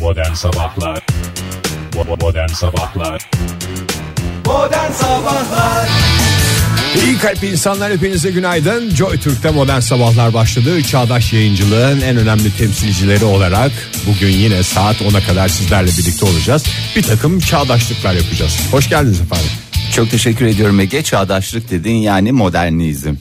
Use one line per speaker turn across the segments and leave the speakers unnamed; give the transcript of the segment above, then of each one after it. Modern Sabahlar Bo- Modern Sabahlar
Modern Sabahlar
İyi kalp insanlar hepinize günaydın. Joy Türk'te modern sabahlar başladı. Çağdaş yayıncılığın en önemli temsilcileri olarak bugün yine saat 10'a kadar sizlerle birlikte olacağız. Bir takım çağdaşlıklar yapacağız. Hoş geldiniz efendim.
Çok teşekkür ediyorum Ege çağdaşlık dediğin yani modernizm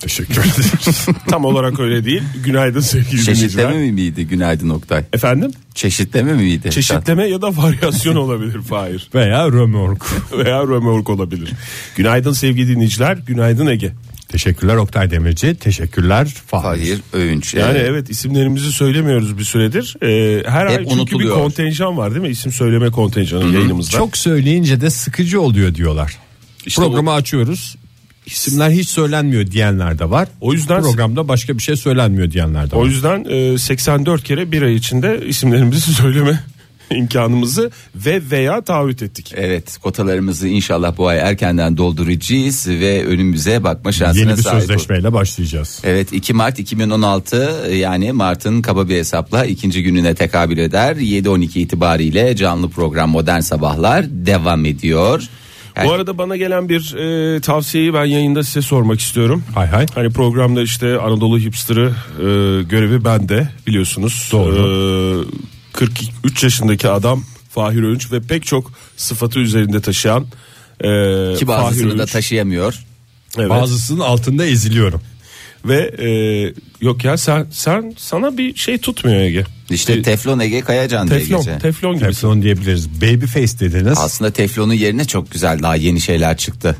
Teşekkür ederiz. Tam olarak öyle değil. Günaydın sevgili dinleyiciler.
Çeşitleme miydi günaydın Oktay
Efendim?
Çeşitleme miydi
Çeşitleme ya da varyasyon olabilir Fahir.
Veya Römork.
Veya römork olabilir. Günaydın sevgili dinleyiciler. Günaydın Ege.
Teşekkürler Oktay Demirci. Teşekkürler Fahir.
Hayır övünç
Yani
Evet.
evet isimlerimizi söylemiyoruz bir süredir. Ee, her
Hep
ay çünkü
unutuluyor.
bir kontenjan var değil mi? İsim söyleme kontenjanı yayınımızda.
Çok söyleyince de sıkıcı oluyor diyorlar.
İşte
Programı açıyoruz. İsimler hiç söylenmiyor diyenler de var.
O yüzden-
programda başka bir şey söylenmiyor diyenler de var.
O yüzden e, 84 kere bir ay içinde isimlerimizi söyleme imkanımızı ve veya taahhüt ettik.
Evet kotalarımızı inşallah bu ay erkenden dolduracağız ve önümüze bakma şansına
Yeni bir
sahip ol-
sözleşmeyle başlayacağız.
Evet 2 Mart 2016 yani Mart'ın kaba bir hesapla ikinci gününe tekabül eder. 7-12 itibariyle canlı program Modern Sabahlar devam ediyor. Yani-
Bu arada bana gelen bir e, tavsiyeyi ben yayında size sormak istiyorum.
Hay hay.
Hani programda işte Anadolu Hipster'ı e, görevi bende biliyorsunuz. Doğru. 43 yaşındaki adam Fahir Önç ve pek çok sıfatı üzerinde taşıyan e,
Ki
Fahir
bazısını da
Öğünç.
taşıyamıyor.
Evet.
Bazısının altında eziliyorum.
Ve e, yok ya sen sen sana bir şey tutmuyor Ege.
İşte
Bir
Teflon Ege Kayacan diye
teflon,
geçen.
teflon gibi.
Teflon diyebiliriz. Baby face dediniz.
Aslında Teflon'un yerine çok güzel daha yeni şeyler çıktı.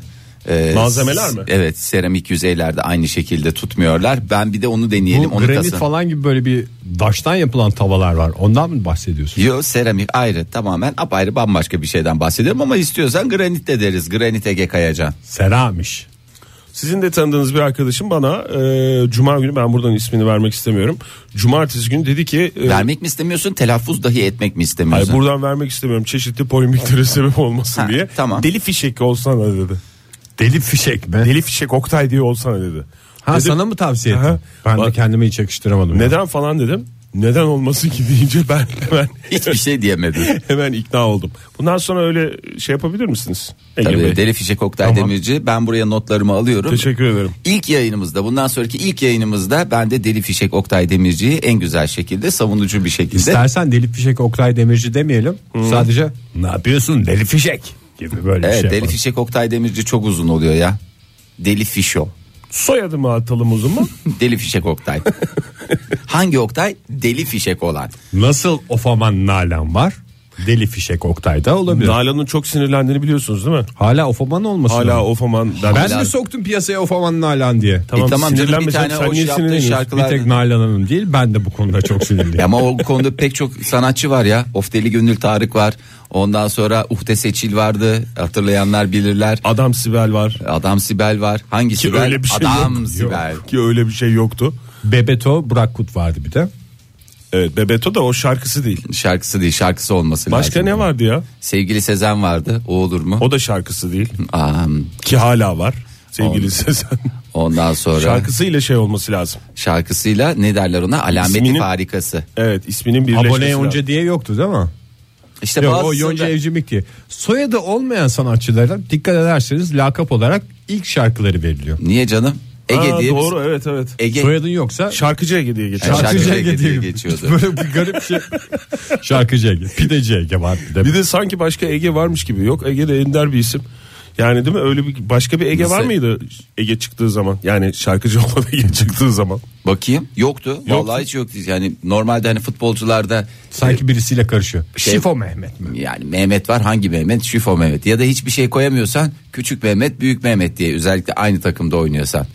Ee,
Malzemeler
s-
mi?
Evet seramik yüzeylerde aynı şekilde tutmuyorlar. Ben bir de onu deneyelim.
Bu
onu
granit
tasarım-
falan gibi böyle bir daştan yapılan tavalar var. Ondan mı bahsediyorsun?
Yo seramik ayrı tamamen apayrı bambaşka bir şeyden bahsediyorum ama istiyorsan granit de deriz. Granit Ege Kayacan.
Seramiş.
Sizin de tanıdığınız bir arkadaşım bana e, Cuma günü ben buradan ismini vermek istemiyorum. Cumartesi günü dedi ki e,
Vermek mi istemiyorsun telaffuz dahi etmek mi
Hayır,
istemiyorsun?
buradan vermek istemiyorum çeşitli polemiklere sebep olmasın
Ha,
diye.
tamam.
Deli fişek olsana dedi.
Deli fişek mi?
Deli fişek Oktay diye olsana dedi.
ha
Dedim,
sana mı tavsiye
Aha.
ettim? Ben de
Bak-
kendime hiç yakıştıramadım. ya.
Neden falan dedim. Neden olmasın ki deyince ben hemen
Hiçbir şey diyemedi.
hemen ikna oldum. Bundan sonra öyle şey yapabilir misiniz? Ege Bey?
Tabii Deli Fişek Oktay
Tamam.
Demirci ben buraya notlarımı alıyorum.
Teşekkür ederim.
İlk yayınımızda bundan sonraki ilk yayınımızda ben de Deli Fişek Oktay Demirci'yi en güzel şekilde savunucu bir şekilde
İstersen deli fişek Oktay Demirci demeyelim.
Hmm.
Sadece ne yapıyorsun deli fişek gibi böyle
Evet
bir şey
Deli
yapalım.
Fişek Oktay Demirci çok uzun oluyor ya. Deli Fişo.
Soyadımı atalım o zaman.
Deli Fişek Oktay. Hangi Oktay? Deli Fişek olan.
Nasıl ofaman nalan var? Deli fişek Oktay da olabilir.
Nalan'ın çok sinirlendiğini biliyorsunuz değil mi?
Hala ofaman olmasın.
Hala
ama.
ofaman der.
ben
Hala-
mi soktum piyasaya ofaman nalan diye?
Tamam,
E tamam canım, bir
sinirlenmesen
tane şey
sen
hoş
niye
yaptığı
sinirleniyorsun?
şarkı-
Bir tek Nalan Hanım değil ben de bu konuda çok sinirliyim.
Ama o konuda pek çok sanatçı var ya. Of Deli Gönül Tarık var. Ondan sonra Uhde Seçil vardı. Hatırlayanlar bilirler.
Adam Sibel var.
Adam Sibel var. Hangi
Ki
Sibel?
öyle bir şey
Adam
yok.
Sibel.
Yok. Ki öyle bir şey yoktu.
Bebeto Burak Kut vardı bir de.
Evet Bebeto da o şarkısı değil.
Şarkısı değil şarkısı olması lazım.
Başka ne vardı ya?
Sevgili Sezen vardı. O olur mu?
O da şarkısı değil.
Aa,
Ki hala var. Sevgili
Oldu.
Sezen.
ondan sonra
Şarkısıyla şey olması lazım.
şarkısıyla ne derler ona? Alameti
İsminin-
farikası.
Evet isminin birleşmesi
Abone
lazım.
Yonca diye yoktu değil mi?
İşte
Yok, o
bazısında-
Yonca Evcimik diye. Soyadı olmayan sanatçılara dikkat ederseniz lakap olarak ilk şarkıları veriliyor.
Niye canım? Ege
Aa,
diye biz-
doğru evet evet.
Ege
Soyadın yoksa
Şarkıcı Ege diye geçer.
Yani şarkı-
Şarkıcı
Şarkıcı
Ege
Ege
diye
diye
geçiyordu.
geçiyordu.
Böyle bir garip şey. Şarkıcı Ege. Pideci Ege var. Bir de.
Bir de sanki başka Ege varmış gibi. Yok Ege de ender bir isim. Yani değil mi öyle bir başka bir Ege
Nasıl?
var mıydı Ege çıktığı zaman? Yani şarkıcı olan Ege çıktığı zaman.
Bakayım yoktu. Vallahi hiç yoktu. Yani normalde hani futbolcularda
Sanki birisiyle karışıyor.
Şey-
Şifo Mehmet mi?
yani Mehmet var hangi Mehmet? Şifo Mehmet ya da hiçbir şey koyamıyorsan küçük Mehmet büyük Mehmet diye özellikle aynı takımda oynuyorsan.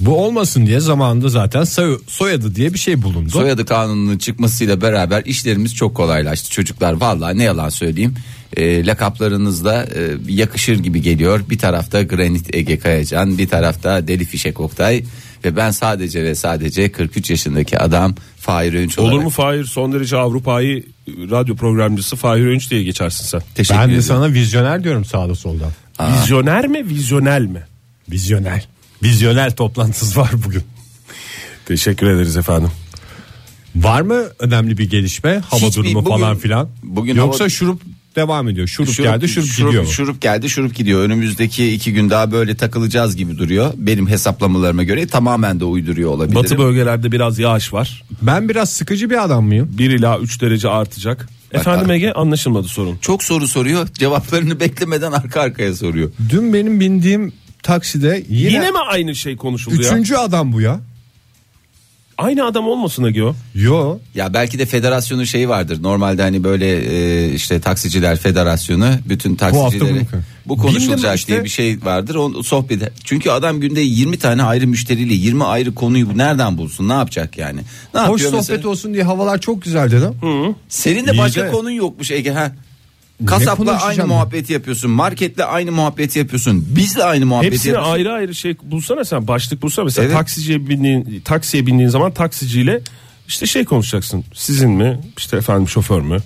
Bu olmasın diye zamanında zaten soy- soyadı diye bir şey bulundu.
Soyadı kanununun çıkmasıyla beraber işlerimiz çok kolaylaştı çocuklar. Vallahi ne yalan söyleyeyim. E, lakaplarınızda e, yakışır gibi geliyor. Bir tarafta Granit Ege Kayacan, bir tarafta Deli Fişek Oktay ve ben sadece ve sadece 43 yaşındaki adam Fahir Önç
Olur
olarak
mu Fahir son derece Avrupa'yı e, radyo programcısı Fahir Önç diye geçersin sen.
teşekkür
ben de
ediyorum.
sana vizyoner diyorum sağda soldan.
Vizyoner mi vizyonel mi?
Vizyoner. Vizyoner toplantısı var bugün.
Teşekkür ederiz efendim.
Var mı önemli bir gelişme? Hava
Hiçbir-
durumu
bugün-
falan filan.
bugün
Yoksa
hava-
şurup devam ediyor. Şurup, geldi, şurup, gidiyor. mu?
şurup geldi, şurup gidiyor. Önümüzdeki iki gün daha böyle takılacağız gibi duruyor. Benim hesaplamalarıma göre tamamen de uyduruyor olabilirim.
Batı bölgelerde biraz yağış var.
Ben biraz sıkıcı bir adam mıyım?
1 ila 3 derece artacak. Efendim
abi.
Ege anlaşılmadı sorun.
Çok soru soruyor. Cevaplarını beklemeden arka arkaya soruyor.
Dün benim bindiğim takside yine,
Yine, mi aynı şey konuşuldu ya?
üçüncü adam bu ya.
Aynı adam olmasın Ege o.
Yo.
Ya belki de federasyonun şeyi vardır. Normalde hani böyle e, işte taksiciler federasyonu bütün
hafta
taksicilere
bunu-
bu konuşulacak
Bildim işte.
diye bir şey vardır. O sohbet. Çünkü adam günde 20 tane ayrı müşteriyle 20 ayrı konuyu nereden bulsun? Ne yapacak yani? Ne
Hoş
yapıyor
sohbet
mesela?
olsun diye havalar çok güzel dedim.
Senin de
İyi
başka
de-
konun yokmuş Ege ha. Kasapla
konuşacağım
aynı
ben?
muhabbeti yapıyorsun. Marketle aynı muhabbeti yapıyorsun. Bizle aynı muhabbeti
Hepsine
yapıyorsun.
ayrı ayrı şey bulsana sen başlık bulsana mesela
Evet.
taksiciye bindiğin taksiye bindiğin zaman taksiciyle işte şey konuşacaksın. Sizin mi? İşte efendim şoför mü?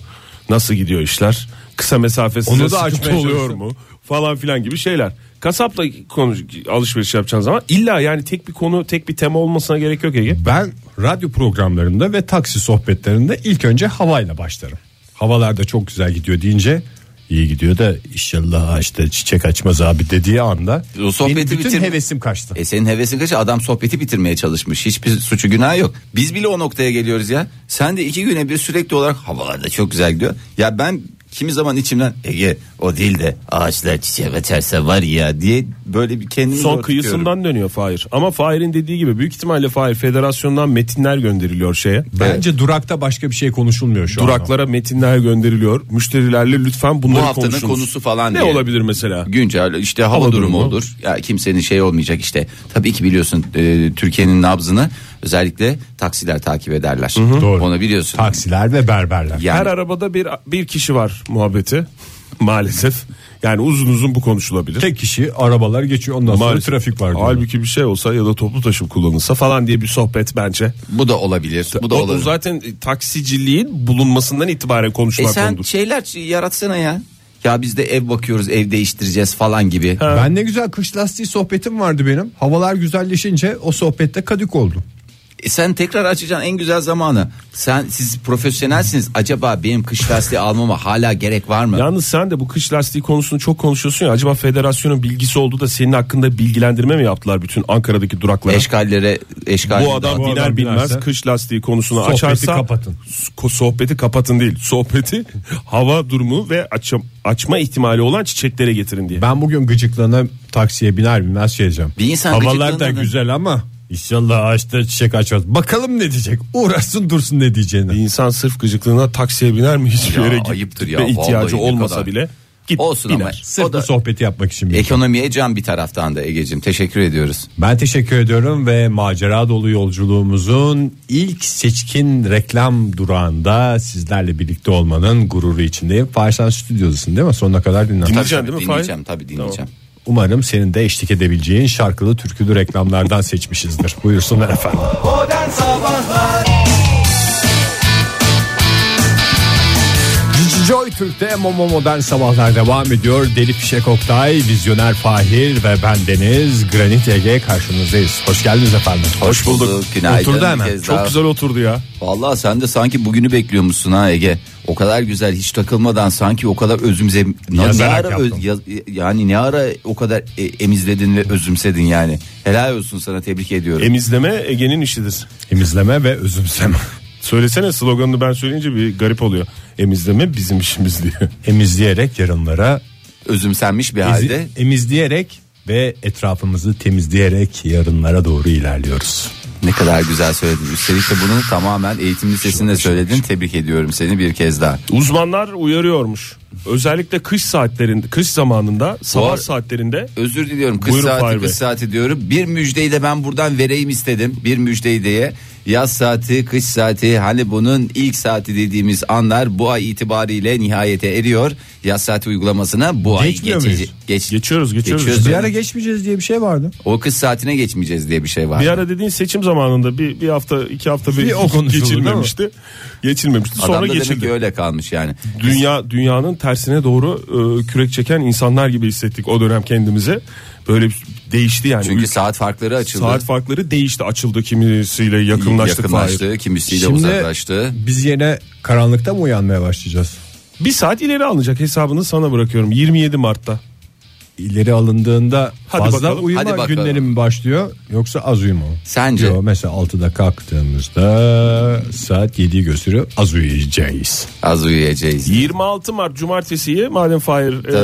Nasıl gidiyor işler? Kısa mesafe size
Onu da
sıkıntı
açmaya
oluyor
çalışıyorsun.
mu? Falan filan gibi şeyler. Kasapla konuş alışveriş yapacağın zaman illa yani tek bir konu, tek bir tema olmasına gerek yok Ege.
Ben radyo programlarında ve taksi sohbetlerinde ilk önce havayla başlarım. Havalar da çok güzel gidiyor deyince iyi gidiyor da inşallah işte çiçek açmaz abi dediği anda
O sohbeti
benim bütün
bitir-
hevesim kaçtı.
E senin hevesin kaç? Adam sohbeti bitirmeye çalışmış. Hiçbir suçu günah yok. Biz bile o noktaya geliyoruz ya. Sen de iki güne bir sürekli olarak havalarda çok güzel gidiyor. Ya ben kimi zaman içimden Ege o değil de ağaçlar çiçek açarsa var ya diye böyle bir kendimi
Son
zor tutuyorum.
kıyısından dönüyor Fahir. Ama Fahir'in dediği gibi büyük ihtimalle Fahir federasyondan metinler gönderiliyor şeye.
Bence durakta başka bir şey konuşulmuyor şu an.
Duraklara metinler gönderiliyor. Müşterilerle lütfen bunları
Bu haftanın
konuşunuz.
konusu falan
Ne
diye.
olabilir mesela?
Güncel işte hava,
Hava
durumu,
durumu.
olur. Ya kimsenin şey olmayacak işte. Tabii ki biliyorsun e, Türkiye'nin nabzını özellikle taksiler takip ederler.
Doğru.
Onu biliyorsun.
Taksiler ve berberler.
Yani- e
Her arabada bir bir kişi var muhabbeti. Maalesef. Yani uzun uzun bu konuşulabilir.
Tek kişi arabalar geçiyor ondan sonra
Maalesef.
trafik var. diyorlar.
Halbuki bir şey olsa ya da toplu taşım kullanılsa falan diye bir sohbet bence.
Bu da olabilir. Bu da
O- o
olabilir.
zaten e, taksiciliğin bulunmasından itibaren
E
konuşulan
sen
konudur.
şeyler yaratsana ya. Ya biz de ev bakıyoruz, ev değiştireceğiz falan gibi.
Ben ne güzel kış lastiği sohbetim vardı benim. Havalar güzelleşince o sohbette kadık oldu.
E sen tekrar açacaksın en güzel zamanı. Sen siz profesyonelsiniz. Acaba benim kış lastiği almama hala gerek var mı?
Yalnız sen de bu kış lastiği konusunu çok konuşuyorsun ya. Acaba federasyonun bilgisi oldu da senin hakkında bilgilendirme mi yaptılar bütün Ankara'daki duraklara?
Eşkallere, eşkallere.
bu adam
Bu
biner
adam
bilmez
binerse-
kış lastiği konusunu
Sohbeti
açarsa
kapatın.
so- sohbeti kapatın değil sohbeti hava durumu ve açım, açma ihtimali olan çiçeklere getirin diye.
Ben bugün gıcıklanıp taksiye biner binmez şey diyeceğim.
Bir insan
Havalar da
gıcıklanır mı?
güzel ama inşallah ağaçta çiçek açmaz. Bakalım ne diyecek. Uğraşsın dursun ne
Bir
diyeceğini.
insan sırf gıcıklığına taksiye biner mi hiçbir
Ya,
yere git-
ayıptır ya,
gitme
vallahi
ihtiyacı
ne
olmasa
kadar.
bile git
Olsun ama
biner.
Sırf
O da-
bu sohbeti yapmak için. bir-
Ekonomiye can bir taraftan da Ege'cim teşekkür ediyoruz.
Ben teşekkür ediyorum ve macera dolu yolculuğumuzun ilk seçkin reklam durağında sizlerle birlikte olmanın gururu içindeyim. Fahişan stüdyosusun değil mi? Sonuna kadar dinlen.
Dinleyeceğim
Tabii,
değil mi Fahir?
Dinleyeceğim tabii dinleyeceğim.
Umarım senin de eşlik edebileceğin şarkılı türkülü reklamlardan seçmişizdir. Buyursunlar efendim. Cici Joy Türk'te Momo Modern Sabahlar devam ediyor. Deli Fişek Oktay, Vizyoner Fahir ve bendeniz Granit Ege karşınızdayız. Hoş geldiniz efendim.
Hoş bulduk. Günaydın.
Oturdu
Bir
hemen.
kez
Çok
daha.
güzel oturdu ya.
Vallahi sen de sanki bugünü bekliyormuşsun ha Ege. O kadar güzel hiç takılmadan sanki o kadar özümse ne
Yazarak
ara öz- ya- yani ne ara o kadar e- emizledin ve özümsedin yani. Helal olsun sana tebrik ediyorum.
Emizleme Ege'nin işidir.
Emizleme ve özümseme.
Söylesene sloganını ben söyleyince bir garip oluyor. Emizleme bizim işimiz diye.
Emizleyerek yarınlara,
Özümsenmiş bir
ezi-
halde.
emizleyerek ve etrafımızı temizleyerek yarınlara doğru ilerliyoruz.
Ne kadar güzel söyledin. Üstelik de bunu tamamen eğitim lisesinde söyledin. Tebrik ediyorum seni bir kez daha.
Uzmanlar uyarıyormuş. Özellikle kış saatlerinde, kış zamanında, sabah
Var.
saatlerinde
Özür diliyorum. Kış
Buyurun
saati
Fahir
kış
Bey.
saati diyorum. Bir müjdeyi de ben buradan vereyim istedim. Bir müjdeyi diye. Yaz saati, kış saati hani bunun ilk saati dediğimiz anlar bu ay itibariyle nihayete eriyor. Yaz saati uygulamasına bu ay
Geçmiyor
geçici-
muyuz?
geç-
Geçiyoruz, geçiyoruz.
Geçiyoruz.
Bir ara geçmeyeceğiz diye bir şey vardı.
O kış saatine geçmeyeceğiz diye bir şey var.
bir ara dediğin seçim zamanında bir, bir hafta iki hafta bir,
Bir o konuşuldu,
geçilmemişti. Geçilmemişti.
Adam
Sonra
da demek ki
geçildi.
öyle kalmış yani.
Dünya dünyanın tersine doğru e, kürek çeken insanlar gibi hissettik o dönem kendimizi. Böyle bir değişti yani.
Çünkü
Ülke-
saat farkları açıldı.
saat farkları değişti. Açıldı kimisiyle yakınlaştık.
yakınlaştı,
Fahir.
kimisiyle uzaklaştı.
biz yine karanlıkta mı uyanmaya başlayacağız?
Bir saat ileri alınacak hesabını sana bırakıyorum 27 Mart'ta.
İleri alındığında
Hadi
fazla
bakalım.
uyuma
Hadi bakalım.
günleri mi başlıyor yoksa az uyuma? mı?
Sence?
Yo, mesela 6'da kalktığımızda saat 7'yi gösteriyor az uyuyacağız.
Az uyuyacağız.
26 Mart Cumartesi'yi madem Fahir
Tabii.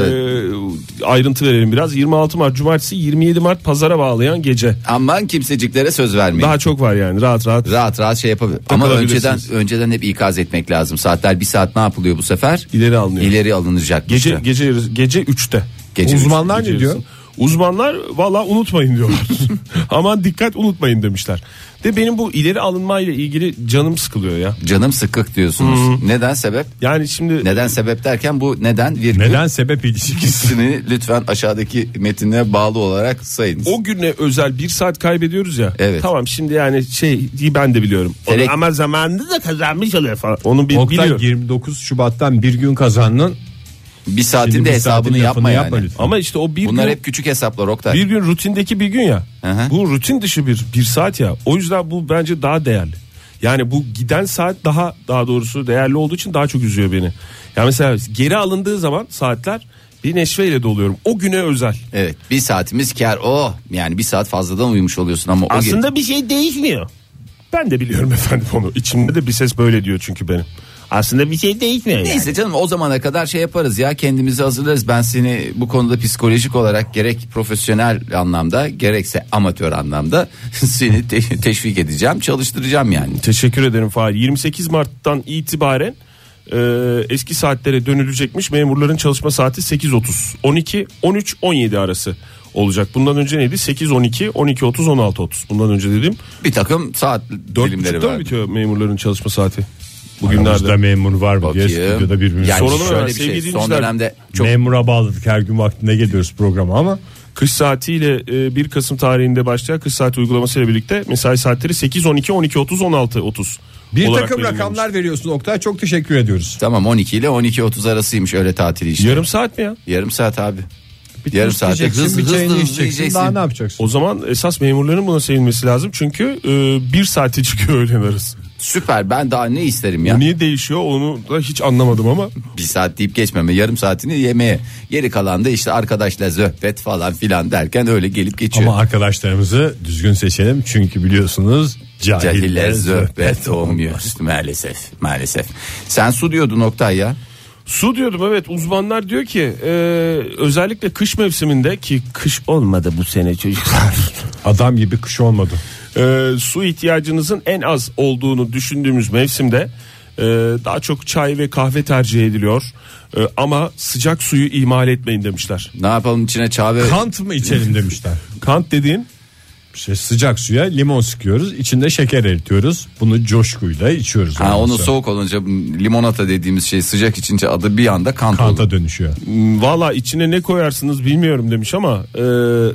e, ayrıntı verelim biraz. 26 Mart Cumartesi 27 Mart Pazara bağlayan gece.
Aman kimseciklere söz vermeyin.
Daha çok var yani rahat rahat.
Rahat rahat şey yapabilir. Ama önceden
Takılabilirsiniz.
önceden hep ikaz etmek lazım. Saatler bir saat ne yapılıyor bu sefer?
İleri alınıyor.
İleri alınacak.
Gece
işte.
gece gece 3'te.
Gece
Uzmanlar
Gece
ne diyor?
yarısı. Uzmanlar valla unutmayın diyorlar. Aman dikkat unutmayın demişler. De benim bu ileri alınma ile ilgili canım sıkılıyor ya.
Canım sıkık diyorsunuz. Neden sebep?
Yani şimdi
Neden sebep derken bu neden virgül?
Neden sebep ilişkisi?
İkisini lütfen aşağıdaki metine bağlı olarak sayınız.
o güne özel bir saat kaybediyoruz ya.
Evet.
Tamam şimdi yani şey ben de biliyorum. Onu
Terek-
Ama zamanında da kazanmış oluyor falan. Onu bir
Oktay
biliyorum.
29 Şubat'tan bir gün kazandın.
bir saatin
Şimdi
de
bir
hesabını
saatin
yapma
lafını
yani.
yapma lütfen.
Ama işte o bir
Bunlar
gün,
hep küçük hesaplar Oktay.
bir gün rutindeki bir gün ya.
Hı hı.
Bu rutin dışı bir bir saat ya. O yüzden bu bence daha değerli. Yani bu giden saat daha daha doğrusu değerli olduğu için daha çok üzüyor beni. Yani mesela geri alındığı zaman saatler bir neşveyle doluyorum. O güne özel.
Evet bir saatimiz kar o yani bir saat fazladan uyumuş oluyorsun ama o
Aslında bir şey değişmiyor. Ben de biliyorum efendim onu. İçimde de bir ses böyle diyor çünkü benim. Aslında bir
E,
şey değişmiyor yani.
Neyse canım o zamana kadar şey yaparız ya kendimizi hazırlarız. Ben seni bu konuda psikolojik olarak gerek profesyonel anlamda gerekse amatör anlamda seni te- teşvik edeceğim, çalıştıracağım yani.
Teşekkür ederim Fahir. 28 Mart'tan itibaren e, eski saatlere dönülecekmiş. Memurların çalışma saati 8.30. 12, 13, 17 arası olacak. Bundan önce neydi? 8, 12, 12, 30, 16, 30. Bundan önce dedim.
Bir takım saat dilimleri
4.30'da mı
var.
bitiyor memurların çalışma saati?
Aramızda
Bugünlerde.
memur var mı diye
Bakayım.
stüdyoda birbirimize
Yani
Soralım
şöyle
hemen
bir şey
sevgili
son
dinleyiciler.
dönemde çok
Memura bağladık her gün vaktinde geliyoruz programa ama
Kış saatiyle e, 1 Kasım tarihinde başlayan kış saati uygulamasıyla birlikte mesai saatleri 8, 12, 12, 30, 16, 30.
bir
olarak
takım
belirlenmiş.
rakamlar veriyorsun Oktay çok teşekkür ediyoruz.
tamam 12 ile 12.30 arasıymış öyle tatili işte.
Yarım saat mi ya?
Yarım saat abi.
Bir
Yarım
tost
saate
yiyeceksin,
hızlı
bir
hızlı
çayını
hızlı
içeceksin,
yiyeceksin.
Daha ne yapacaksın?
O zaman esas memurların buna sevinmesi lazım. Çünkü e, bir saate çıkıyor öğlen arası.
Süper ben daha ne isterim ya.
Bu Niye değişiyor onu da hiç anlamadım ama
Bir saat deyip geçmeme yarım saatini yemeğe. Geri kalan da işte arkadaşla zöhbet falan filan derken öyle gelip geçiyor.
Ama arkadaşlarımızı düzgün seçelim çünkü biliyorsunuz
Cahiller
cahiller
zöhbet olmuyor maalesef maalesef. Sen su diyordu nokta ya.
su diyordum evet uzmanlar diyor ki e, özellikle kış mevsiminde ki kış olmadı bu sene çocuklar
Adam gibi kış olmadı.
E, su ihtiyacınızın en az olduğunu düşündüğümüz mevsimde e, daha çok çay ve kahve tercih ediliyor E, ama sıcak suyu ihmal etmeyin demişler.
Ne yapalım içine çağve
Kant mı içelim demişler.
Kant dediğin
İşte şey, sıcak suya limon sıkıyoruz içinde şeker eritiyoruz bunu coşkuyla içiyoruz.
Ha
Ondan
onu
sonra
soğuk olunca limonata dediğimiz şey sıcak içince adı bir anda kant, oldu.
Kanta dönüşüyor.
Valla içine ne koyarsınız bilmiyorum demiş ama e,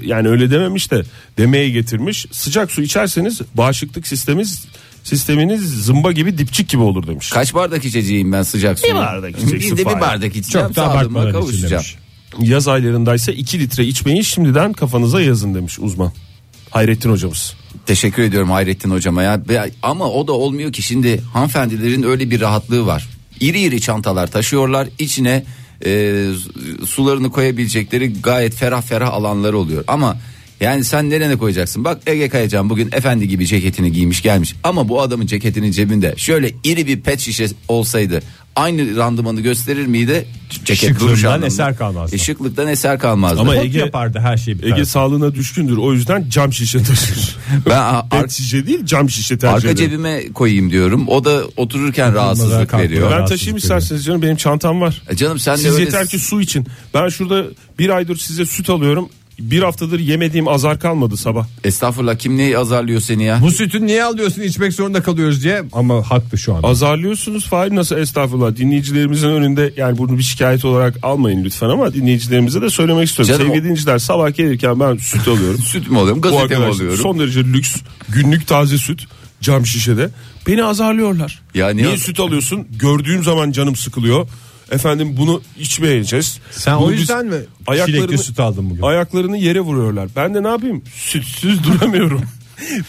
yani öyle dememiş de demeye getirmiş. Sıcak su içerseniz bağışıklık sisteminiz sisteminiz zımba gibi dipçik gibi olur demiş.
Kaç bardak içeceğim ben sıcak suyu?
bardak içeceksin
Biz de bir
Fahir.
bardak içeceğim.
Çok da
sağlığıma
abartmadan için
kavuşacağım.
demiş.
Yaz aylarındaysa 2 litre içmeyi şimdiden kafanıza yazın demiş uzman. Hayrettin hocamız.
Teşekkür ediyorum Hayrettin hocama ya. Be- Ama o da olmuyor ki şimdi hanımefendilerin öyle bir rahatlığı var. İri iri çantalar taşıyorlar içine e, sularını koyabilecekleri gayet ferah ferah alanları oluyor. Ama yani sen nereye koyacaksın? Bak Ege Kayacan bugün efendi gibi ceketini giymiş gelmiş. Ama bu adamın ceketinin cebinde şöyle iri bir pet şişe olsaydı aynı randımanı gösterir miydi? Ceket duruş
Şıklıktan
anlamında.
eser kalmazdı.
E, şıklıktan eser kalmazdı.
Ama
Pot
Ege-
yapardı her şey şeyi bir
Ege
tane.
sağlığına düşkündür o yüzden cam şişe taşır.
ben a- ar-
Pet şişe değil cam şişe tercih
arka
ederim.
cebime koyayım diyorum. O da otururken rahatsızlık
kalkmadan
veriyor.
Ben taşıyayım
Rahatsızlık
isterseniz canım benim çantam var.
E Canım sen de
Siz
öyle
yeter ki su için. Ben şurada bir aydır size süt alıyorum. Bir haftadır yemediğim azar kalmadı sabah.
estağfurullah kim neyi azarlıyor seni ya?
Bu sütü niye alıyorsun içmek zorunda kalıyoruz diye ama haklı şu anda.
Azarlıyorsunuz Fahir nasıl estağfurullah dinleyicilerimizin önünde yani bunu bir şikayet olarak almayın lütfen ama dinleyicilerimize de söylemek istiyorum.
Canım
Sevgili dinleyiciler sabah gelirken ben süt alıyorum.
Süt mü alıyorum
Bu
gazete mi
arkadaşlar
alıyorum?
son derece lüks günlük taze süt cam şişede beni azarlıyorlar.
Ya niye-
Niye süt alıyorsun gördüğüm zaman canım sıkılıyor. Efendim bunu içmeyeceğiz.
Sen
Bunu
o
biz
yüzden mi çilekli süt aldın bugün?
Ayaklarını yere vuruyorlar. Ben de ne yapayım? Sütsüz duramıyorum.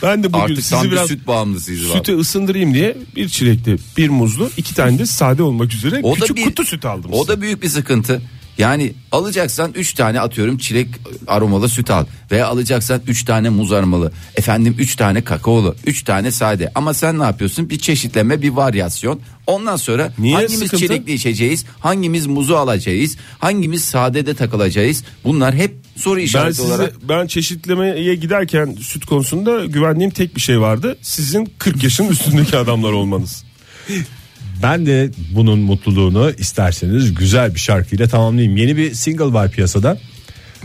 ben de bugün
Artık
sizi
tam bir
biraz
süt bağımlısıyız.
sütü ısındırayım diye bir çilekli, bir muzlu, iki tane de sade olmak üzere
O da
küçük
bir-
kutu süt aldım.
O da büyük bir sıkıntı. Yani alacaksan 3 tane atıyorum çilek aromalı süt al. Veya alacaksan 3 tane muz aromalı. Efendim 3 tane kakaolu. 3 tane sade. Ama sen ne yapıyorsun? Bir çeşitleme bir varyasyon. Ondan sonra
Niye
hangimiz
sıkıntı?
çilekli içeceğiz? Hangimiz muzu alacağız? Hangimiz sadede takılacağız? Bunlar hep soru
Ben
işareti
size,
olarak.
ben çeşitlemeye giderken süt konusunda güvendiğim tek bir şey vardı. Sizin 40 yaşın üstündeki adamlar olmanız.
Ben de bunun mutluluğunu isterseniz güzel bir şarkıyla tamamlayayım. Yeni bir single var piyasada.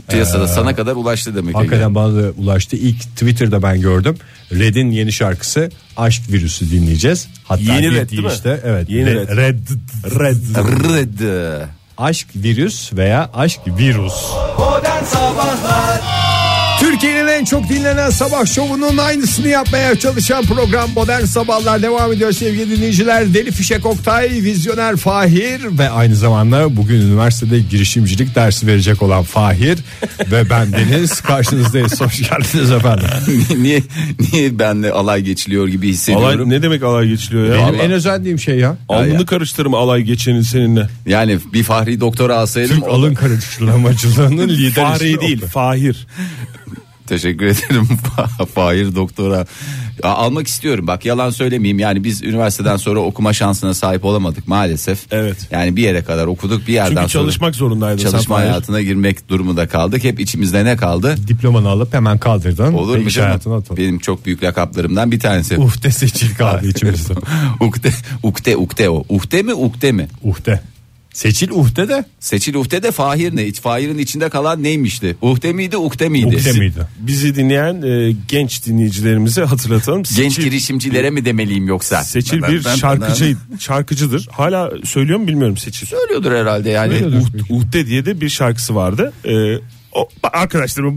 Ee,
Piyasada sana kadar ulaştı demek. Ege.
Hakikaten bana da ulaştı. İlk Twitter'da ben gördüm. Red'in yeni şarkısı Aşk Virüsü dinleyeceğiz. Hatta
Yeni
Red
Red değil mi?
işte. Evet.
Yeni
Red.
Red.
Red. Red.
Rıd.
Aşk virüs veya aşk virüs. Türkiye'nin en çok dinlenen sabah şovunun aynısını yapmaya çalışan program Modern Sabahlar devam ediyor sevgili dinleyiciler. Deli Fişek Oktay, Vizyoner Fahir ve aynı zamanda bugün üniversitede girişimcilik dersi verecek olan Fahir ve ben Deniz karşınızdayız. Hoş geldiniz efendim.
niye niye benle alay geçiliyor gibi hissediyorum.
Alay, ne demek alay geçiliyor ya?
Benim en özendiğim şey ya.
Alnını karıştırma alay geçenin seninle.
Yani bir fahri doktora alsaydım
Türk alın karıştırmacılığının lideri.
Fahri değil, Fahir.
Teşekkür ederim Fa- Fahir doktora. Ya, Almak istiyorum bak yalan söylemeyeyim yani biz üniversiteden sonra okuma şansına sahip olamadık maalesef.
Evet.
Yani bir yere kadar okuduk bir yerden
Çünkü çalışmak zorundaydın
sonra çalışma
sen Fahir.
hayatına girmek durumunda kaldık. Hep içimizde ne kaldı?
Diplomanı alıp hemen kaldırdın.
Olur mu
iş
canım?
hayatına atıldın.
Benim çok büyük lakaplarımdan bir tanesi.
Uhde seçil kaldı içimizde.
ukte, ukte, ukte o. Uhte mi, ukte mi?
Uhde. Seçil uhde de
Seçil uhte de Fahir ne? Fahir'in içinde kalan neymişti? Uhte miydi, ukte miydi?
uhde miydi?
Bizi dinleyen e, genç dinleyicilerimize hatırlatalım.
Genç
Seçil-
girişimcilere mi demeliyim yoksa?
Seçil
Ben-
bir
ben-
şarkıcı şarkıcıdır. Hala söylüyor mu bilmiyorum Seçil.
Söylüyordur herhalde yani.
Söylüyordur.
Uht- Uhde diye de bir şarkısı vardı. Ee, o, arkadaşlarımın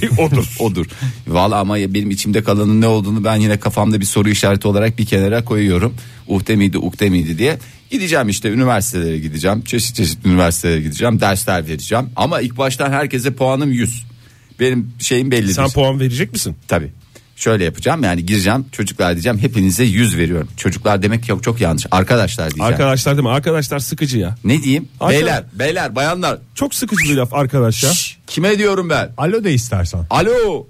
şey odur.
odur. Valla ama ya benim içimde kalanın ne olduğunu ben yine kafamda bir soru işareti olarak bir kenara koyuyorum. Uhde miydi ukde miydi diye. Gideceğim işte üniversitelere gideceğim. Çeşit çeşit üniversitelere gideceğim. Dersler vereceğim. Ama ilk baştan herkese puanım 100. Benim şeyim bellidir.
Sen puan verecek misin?
Tabii. Şöyle yapacağım yani gireceğim çocuklar diyeceğim hepinize 100 veriyorum. Çocuklar demek çok çok yanlış. Arkadaşlar diyeceğim.
Arkadaşlar değil mi? Arkadaşlar sıkıcı ya.
ne diyeyim?
Arkadaş-
Beyler, beyler, bayanlar.
Çok sıkıcı bir laf arkadaş ya.
Şşş, kime diyorum ben?
Alo de istersen.
Alo.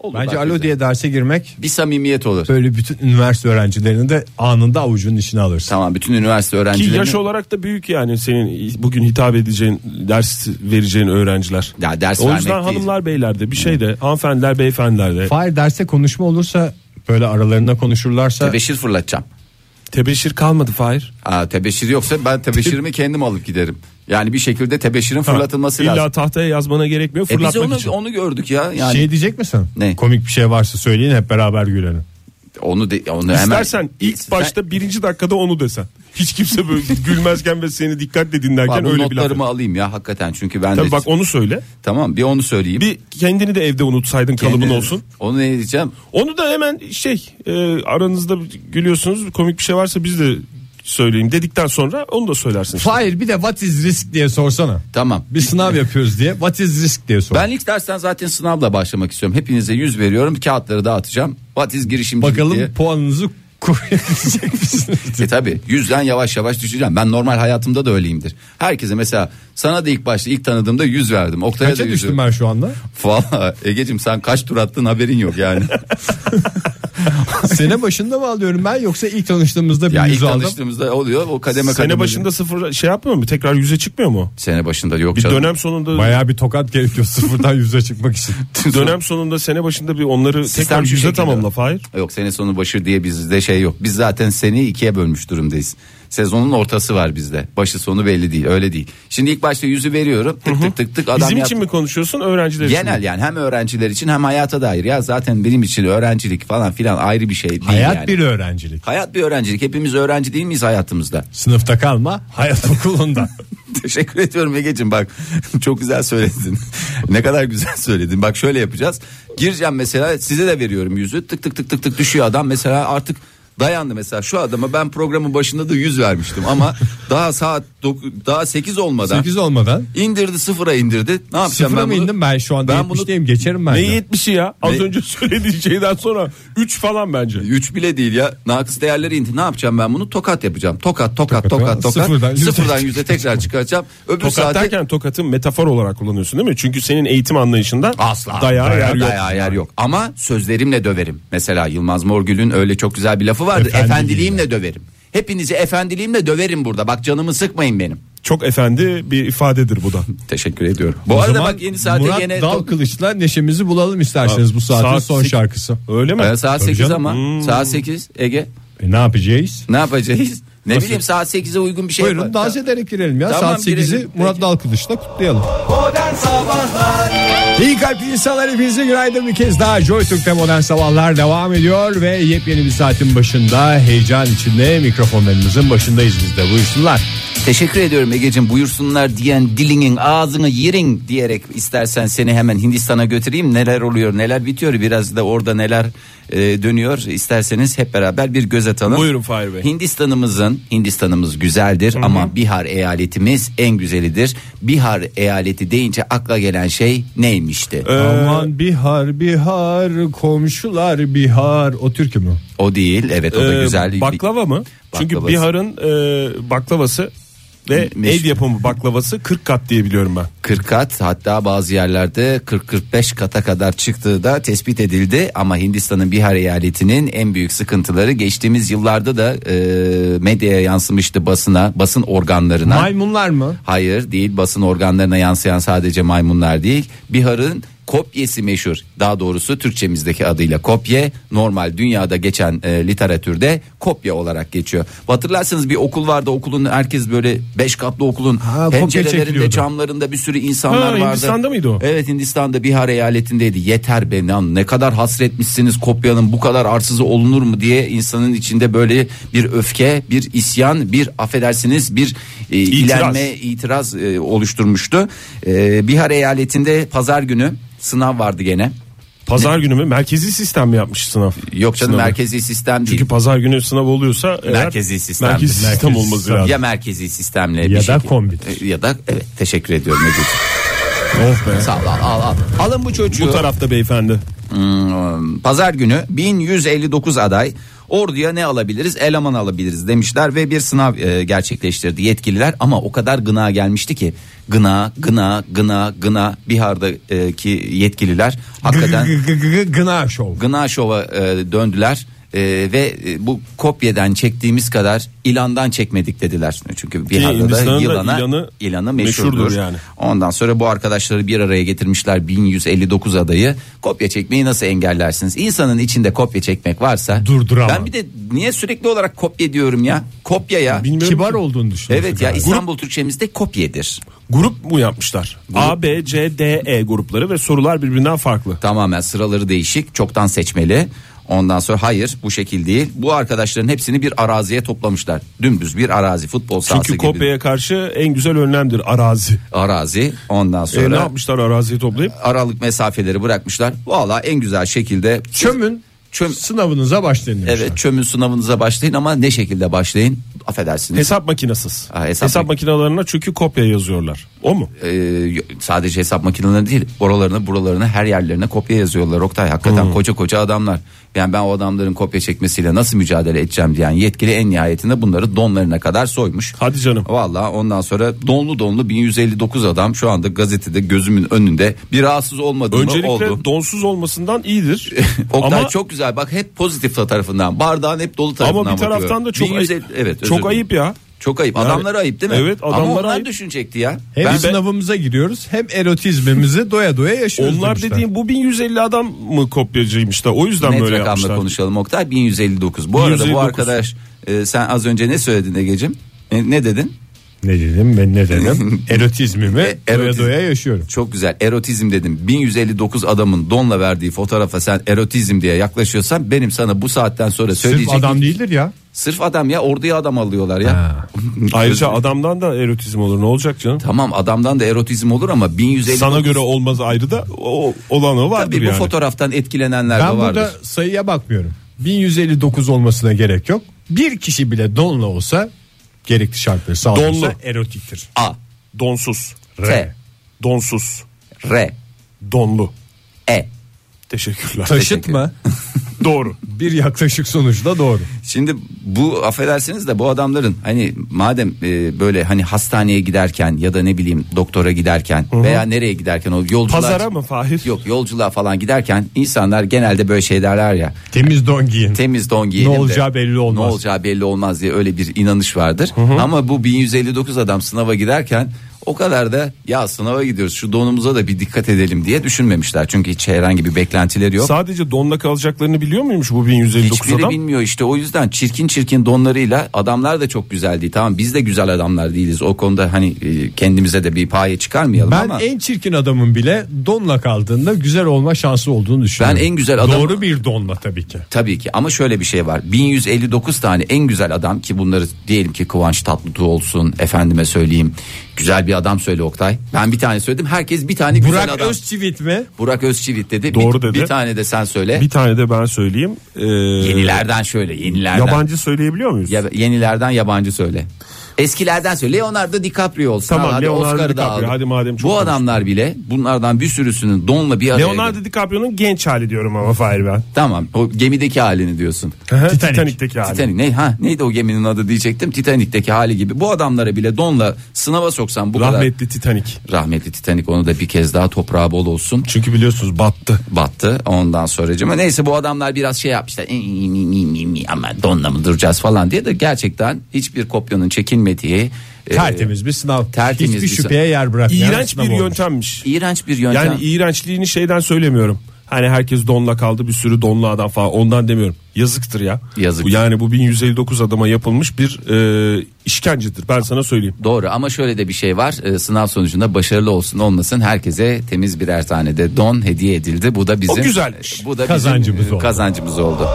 Olur
Bence
bak
alo
güzel.
diye derse girmek
bir samimiyet olur.
böyle bütün üniversite öğrencilerini de anında avucunun içine alırsın.
Tamam bütün üniversite
Ki
öğrencilerinin
yaş olarak da büyük yani senin bugün hitap edeceğin ders vereceğin öğrenciler.
Ya ders
o
vermek
yüzden
değil.
hanımlar beyler de bir şey de hanımefendiler beyefendiler de
Fahir derse konuşma olursa böyle aralarında konuşurlarsa
Tebeşir fırlatacağım.
tebeşir kalmadı Fahir.
Aa, tebeşir yoksa ben tebeşirimi kendim alıp giderim. Yani bir şekilde tebeşirin fırlatılması
İlla
lazım.
tahtaya yazmana gerekmiyor
E biz
fırlatmak
onu,
için.
onu gördük ya. Yani
şey diyecek misin?
Ne?
Komik bir şey varsa söyleyin hep beraber gülelim.
onu de, onu hemen
İstersen ilk
Sen-
başta birinci dakikada onu desen. Hiç kimse böyle gülmezken ve seni dikkatle
Bak,
dinlerken
bu
öyle bir laf.
notlarımı alayım ya hakikaten çünkü ben de
Tabii bak onu söyle.
tamam bir onu söyleyeyim.
Bir kendini de evde unutsaydın kalıbın
Kendine-
olsun.
Onu ne diyeceğim?
Onu da hemen şey e, aranızda gülüyorsunuz komik bir şey varsa biz de söyleyeyim dedikten sonra onu da söylersin. işte.
Fahir bir de what is risk diye sorsana.
Tamam.
Bir sınav yapıyoruz diye what is risk diye sor.
Ben ilk dersten zaten sınavla başlamak istiyorum. Hepinize 100 veriyorum. Kağıtları dağıtacağım. What is girişimcilik
Bakalım
diye.
puanınızı koruyabilecek misiniz?
E tabi yüzden yavaş yavaş düşeceğim. Ben normal hayatımda da öyleyimdir. Herkese mesela sana da ilk başta ilk tanıdığımda 100 verdim. Oktay'a da
Kaça
100
düştüm
verdim.
ben şu anda?
Valla Ege'cim sen kaç tur attın haberin yok yani.
Sene başında mı alıyorum ben yoksa ilk tanıştığımızda bir
ya ilk
yüz aldım?
tanıştığımızda oluyor o kademe kademe.
Sene başında sıfır şey yapmıyor mu? Tekrar yüze çıkmıyor mu?
Sene başında yok
Bir
canım.
dönem sonunda
Baya bir tokat gerekiyor sıfırdan yüze çıkmak için.
dönem sonunda sene başında bir onları
Sistem
tekrar
bir
yüze
şekilde.
tamamla Fahir.
Yok sene sonu başı diye bizde şey yok. Biz zaten seneyi ikiye bölmüş durumdayız. Sezonun ortası var bizde. Başı sonu belli değil öyle değil. Şimdi ilk başta yüzü veriyorum tık tık tık tık adam
Bizim
yaptı.
için mi konuşuyorsun öğrenciler için mi?
Genel yani hem öğrenciler için hem hayata dair ya zaten benim için öğrencilik falan filan ayrı bir şey değil
Hayat
yani.
bir öğrencilik.
Hayat bir öğrencilik. Hepimiz öğrenci değil miyiz hayatımızda?
Sınıfta kalma hayat okulunda.
Teşekkür ediyorum Ege'cim bak çok güzel söyledin. ne kadar güzel söyledin. Bak şöyle yapacağız. Gireceğim mesela size de veriyorum yüzü. Tık tık tık tık tık düşüyor adam. Mesela artık dayandı mesela şu adama ben programın başında da 100 vermiştim ama daha saat dok- daha 8 olmadan
8 olmadan.
indirdi sıfıra indirdi. Ne yapacağım
Sıfıra
ben
mı
bunu?
indim ben şu anda
Ben bunu-
70'teyim geçerim ben.
Ne
de.
70'i ya? Az
Ne-
önce söylediğin şeyden sonra 3 falan bence.
3 bile değil ya. Nakıs değerleri indi. Ne yapacağım ben bunu? Tokat yapacağım. Tokat, tokat,
Tokat,
tokat, tokat.
sıfırdan yüze
Sıfırdan
tekrar
yüze tekrar çıkaracağım. Öbür
Tokat
saate
derken tokatı metafor olarak kullanıyorsun değil mi? Çünkü senin eğitim anlayışında
Asla.
dayağı yer yok.
Dayağı yer yok. Ama sözlerimle döverim. Mesela Yılmaz Morgül'ün öyle çok güzel bir lafı vardır.
Efendiliğimle.
Efendiliğimle döverim. Hepinizi efendiliğimle döverim burada. Bak canımı sıkmayın benim.
Çok efendi bir ifadedir bu da.
Teşekkür ediyorum. Bu
O
arada
zaman
bak yeni saate
Murat
gene
Dal Kılıç'la neşemizi bulalım isterseniz bu saatin
Saat
son
sek-
şarkısı.
Öyle mi? Hmm.
Ee, saat
Tabii
8
canım.
ama saat 8 Ege
E, ne yapacağız?
ne yapacağız? Ne bileyim saat 8'e uygun bir şey
Buyurun
yapar-
dans ederek girelim ya.
Tamam,
Saat 8'i
girelim.
Murat
Peki.
Dal Kılıç'la kutlayalım. İyi kalpli insanlar hepinize günaydın bir kez daha Joy Türk'te modern sabahlar devam ediyor ve yepyeni bir saatin başında heyecan içinde mikrofonlarımızın başındayız biz de buyursunlar.
Teşekkür ediyorum Ege'cim buyursunlar diyen dilinin ağzını yerin diyerek istersen seni hemen Hindistan'a götüreyim. Neler oluyor neler bitiyor biraz da orada neler e, dönüyor isterseniz hep beraber bir göz atalım.
Buyurun Fahir Bey.
Hindistan'ımızın Hindistan'ımız güzeldir ama Bihar eyaletimiz en güzelidir. Bihar eyaleti deyince akla gelen şey neymişti?
Ee, Aman Bihar Bihar komşular Bihar o türkü mü?
o değil evet o da
e,
Ee,
güzel.
Baklava mı? Çünkü
Baklavası.
Bihar'ın e, baklavası ve
Meşhur.
el yapımı baklavası 40 kat diye biliyorum ben.
40 kat hatta bazı yerlerde 40-45 kata kadar çıktığı da tespit edildi. Ama Hindistan'ın Bihar eyaletinin en büyük sıkıntıları geçtiğimiz yıllarda da e, medyaya yansımıştı basına, basın organlarına.
Maymunlar mı?
Hayır değil basın organlarına yansıyan sadece maymunlar değil. Bihar'ın kopyesi meşhur. Daha doğrusu Türkçemizdeki adıyla kopye. Normal dünyada geçen e, literatürde kopya olarak geçiyor. Hatırlarsanız bir okul vardı okulun herkes böyle beş katlı okulun
Ha, kopya çekiliyordu.
pencerelerinde camlarında bir sürü insanlar
Ha,
vardı.
Hindistan'da mıydı o?
Evet Hindistan'da Bihar eyaletindeydi. Yeter be lan ne kadar hasretmişsiniz kopyanın bu kadar arsızı olunur mu diye insanın içinde böyle bir öfke, bir isyan, bir affedersiniz bir e,
İtiraz.
ilenme, itiraz e, oluşturmuştu. E, Bihar eyaletinde pazar günü sınav vardı gene.
Pazar günü mü? Merkezi sistem mi yapmış sınav?
Yok canım
Sınavı.
merkezi sistem değil.
Çünkü pazar günü sınav oluyorsa eğer
Merkezi sistem.
Merkezi sistem
Merkezi
olması
sistem.
lazım.
ya merkezi sistemle
Ya
bir
da
şekilde-
kombit.
E, Ya da evet teşekkür ediyorum. Ececiğim.
Of Oh be.
Sağ ol al al. al. Alın bu çocuğu.
Bu tarafta beyefendi.
Hmm, pazar günü 1159 aday orduya ne alabiliriz eleman alabiliriz demişler ve bir sınav e, gerçekleştirdi yetkililer ama o kadar gına gelmişti ki gına gına gına gına Bihar'daki yetkililer hakikaten
Gına şov.
gına şova e, döndüler. E, ve e, bu kopyadan çektiğimiz kadar ilandan çekmedik dediler. Çünkü bir da
Hindistan'da
yılana,
ilanı
ilanı,
meşhurdur
meşhurdur.
yani.
Ondan sonra bu arkadaşları bir araya getirmişler 1159 adayı. Kopya çekmeyi nasıl engellersiniz? İnsanın içinde kopya çekmek varsa.
Durduramam.
Ben bir de niye sürekli olarak kopya diyorum ya? Kopya ya.
Bilmiyorum
Kibar
ki.
olduğunu düşünüyorsun.
Evet ya
galiba.
İstanbul Türkçemizde kopyedir.
Grup mu yapmışlar? A, B, C, D, E grupları ve sorular birbirinden farklı.
Tamamen sıraları değişik, çoktan seçmeli. Ondan sonra hayır bu şekil değil. Bu arkadaşların hepsini bir araziye toplamışlar. Dümdüz bir arazi futbol sahası
Çünkü
gibi.
kopyaya karşı en güzel önlemdir arazi.
Arazi ondan
E, ne
sonra
yapmışlar araziyi toplayıp?
aralık mesafeleri bırakmışlar. Valla en güzel şekilde
Çömün
çöm
sınavınıza başlayın demişler.
evet çömün sınavınıza başlayın ama ne şekilde başlayın? Affedersiniz.
Hesap makinesiz.
Ha,
hesap
hesap mak-
makinalarına çünkü kopya yazıyorlar. O mu?
Ee, yo- sadece hesap makineleri değil oralarını buralarını her yerlerine kopya yazıyorlar Oktay
Hmm.
hakikaten koca koca adamlar yani ben o adamların kopya çekmesiyle nasıl mücadele edeceğim diyen yetkili en nihayetinde bunları donlarına kadar soymuş
Hadi canım.
Valla ondan sonra donlu donlu 1159 adam şu anda gazetede gözümün önünde bir rahatsız olmadı mı
Öncelikle
oldu
donsuz olmasından iyidir.
Oktay
ama
çok güzel bak hep pozitif tarafından bardağın hep dolu tarafından
ama bir taraftan
bakıyorum.
da çok
1150
ayıp.
evet, özür
çok
dilerim.
ayıp ya.
çok ayıp
Yani-
adamlara ayıp değil mi
Evet, adamlara
ama onlar
ayıp.
düşünecekti ya
Hem
Ben-
sınavımıza giriyoruz hem erotizmimizi doya doya yaşıyoruz
Onlar
demişler.
dediğim bu 1150 adam mı kopyacıymış da o yüzden
Net
böyle
rakamla
yapmışlar.
konuşalım Oktay 1159. Bu arada
1159.
bu arkadaş e, sen az önce ne söyledin Ege'cim? E, ne dedin?
Ne dedim ben ne dedim? Erotizmimi
E,
doya
erotizm.
doya yaşıyorum.
Çok güzel erotizm dedim. 1159 adamın donla verdiği fotoğrafa sen erotizm diye yaklaşıyorsan benim sana bu saatten sonra
Sırf
söyleyecek
adam değildir ya.
Sırf adam ya orduya adam alıyorlar
Ha.
ya.
Ayrıca adamdan da erotizm olur ne olacak canım?
tamam adamdan da erotizm olur ama 1159
Sana göre olmaz ayrı da o, olan o vardır
tabii bu
yani.
fotoğraftan etkilenenler
Ben
de vardır.
burada sayıya bakmıyorum. 1159 olmasına gerek yok. Bir kişi bile donla olsa gerekli şartları
Donlu.
sağlarsa erotiktir.
A,
Donsuz.
T,
Donsuz.
R,
Donlu.
E.
Teşekkürler.
Taşıt mı?
Doğru.
Bir yaklaşık sonuçta doğru.
Şimdi bu affedersiniz de bu adamların hani madem e, böyle hani hastaneye giderken ya da ne bileyim doktora giderken veya nereye giderken o yolculuğa
Pazara mı Fahir?
Yok yolculuğa falan giderken insanlar genelde böyle şey derler ya
Temiz don giyin.
temiz don giyelim de,
olacağı belli olmaz.
Ne olacağı belli olmaz diye öyle bir inanış vardır. Ama bu 1159 adam sınava giderken o kadar da ya sınava gidiyoruz şu donumuza da bir dikkat edelim diye düşünmemişler. Çünkü hiç herhangi bir beklentileri yok.
Sadece donla kalacaklarını biliyor muymuş bu 1159
Hiçbiri
adam?
bilmiyor işte o yüzden çirkin çirkin donlarıyla adamlar da çok güzel değil. Tamam biz de güzel adamlar değiliz. O konuda hani e, kendimize de bir paye çıkarmayalım
Ben
ama
en çirkin adamın bile donla kaldığında güzel olma şansı olduğunu düşünüyorum.
Ben en güzel adam-
Doğru bir donla tabii ki.
tabii ki ama şöyle bir şey var. 1159 tane en güzel adam ki bunları diyelim ki Kıvanç Tatlıtuğ olsun efendime söyleyeyim. Güzel bir adam söyle Oktay. Ben bir tane söyledim. Herkes bir tane güzel
Burak
adam.
Özçivit mi?
Burak Özçivit dedi.
Doğru
bir,
dedi.
Bir tane de sen söyle.
Bir tane de ben söyleyeyim. Ee,
yenilerden söyle. Yenilerden.
Yabancı söyleyebiliyor muyuz?
Ya, yenilerden yabancı söyle. Eskilerden söyle. Leonardo DiCaprio olsun.
Tamam,
Al, hadi
Leonardo
Oscar'ı da
DiCaprio.
aldı.
Hadi madem çok
Bu adamlar bile bunlardan bir sürüsünün donla bir araya gelip-
Leonardo DiCaprio'nun genç hali diyorum ama Fahir ben.
Tamam. O gemideki halini diyorsun.
Titanic.
Titanic'teki hali.
Titanic ne ha neydi o geminin adı diyecektim. Titanic'teki hali gibi. Bu adamlara bile donla sınava soksan bu kadar
Rahmetli Titanic.
rahmetli Titanic onu da bir kez daha toprağa bol olsun.
Çünkü biliyorsunuz battı.
battı ondan sonracıma neyse bu adamlar biraz şey yapmışlar "İ, i, mi, mi, mi, mi, ama donla mı duracağız falan diye de gerçekten hiçbir kopyanın çekilmediği e,
Tertemiz bir sınav.
tertemiz
Hiçbir
bir sınav.
şüpheye yer bırakmayan
İğrenç
sınav
bir
olmuş.
yöntemmiş.
iğrenç bir yöntem.
Yani iğrençliğini şeyden söylemiyorum. Hani herkes donla kaldı bir sürü donlu adam falan ondan demiyorum. Yazıktır ya.
Yazık.
Bu Yani bu 1159 adama yapılmış bir e, işkencedir ben sana söyleyeyim.
Doğru ama şöyle de bir şey var E, sınav sonucunda başarılı olsun olmasın herkese temiz birer tane de don hediye edildi. Bu da bizim
güzelmiş.
Bu da
Kazancımız
bizim, e,
oldu.
Kazancımız oldu.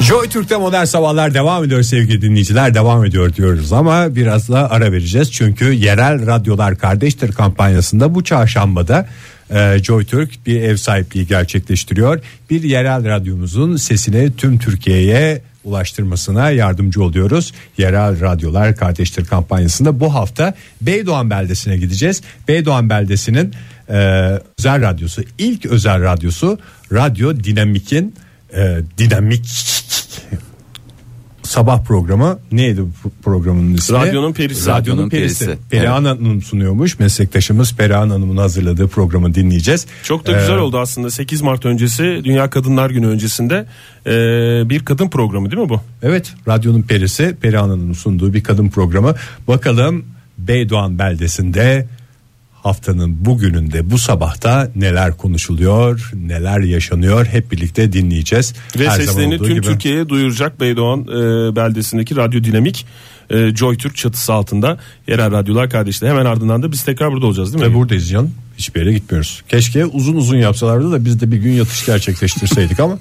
Joy Türk'te modern sabahlar devam ediyor sevgili dinleyiciler devam ediyor diyoruz ama biraz da ara vereceğiz çünkü yerel radyolar kardeştir kampanyasında bu çarşambada e, Joy Türk bir ev sahipliği gerçekleştiriyor. Bir yerel radyomuzun sesini tüm Türkiye'ye ulaştırmasına yardımcı oluyoruz. Yerel Radyolar Kardeştir kampanyasında bu hafta Beydoğan beldesine gideceğiz. Beydoğan beldesinin e, özel radyosu ilk özel radyosu Radyo Dinamik'in e, dinamik sabah programı neydi bu programın ismi?
Radyonun perisi.
Radyonun perisi.
Perisi.
Perihan Hanım sunuyormuş. Meslektaşımız Perihan Hanım'ın hazırladığı programı dinleyeceğiz.
Çok da güzel
Ee,
oldu aslında 8 Mart öncesi Dünya Kadınlar Günü öncesinde e, bir kadın programı değil mi bu?
Evet, radyonun perisi Perihan Hanım'ın sunduğu bir kadın programı. Bakalım Beydoğan beldesinde haftanın bugününde bu sabahta neler konuşuluyor, neler yaşanıyor hep birlikte dinleyeceğiz.
Ve
Her zaman
seslerini
olduğu
tüm
gibi.
Türkiye'ye duyuracak Beydoğan e, beldesindeki Radyo Dinamik e, Joy Türk çatısı altında yerel radyolar kardeşleri. Hemen ardından da biz tekrar burada olacağız değil
Ve
mi?
buradayız canım. Hiçbir yere gitmiyoruz. Keşke uzun uzun yapsalardı da biz de bir gün yatış gerçekleştirseydik ama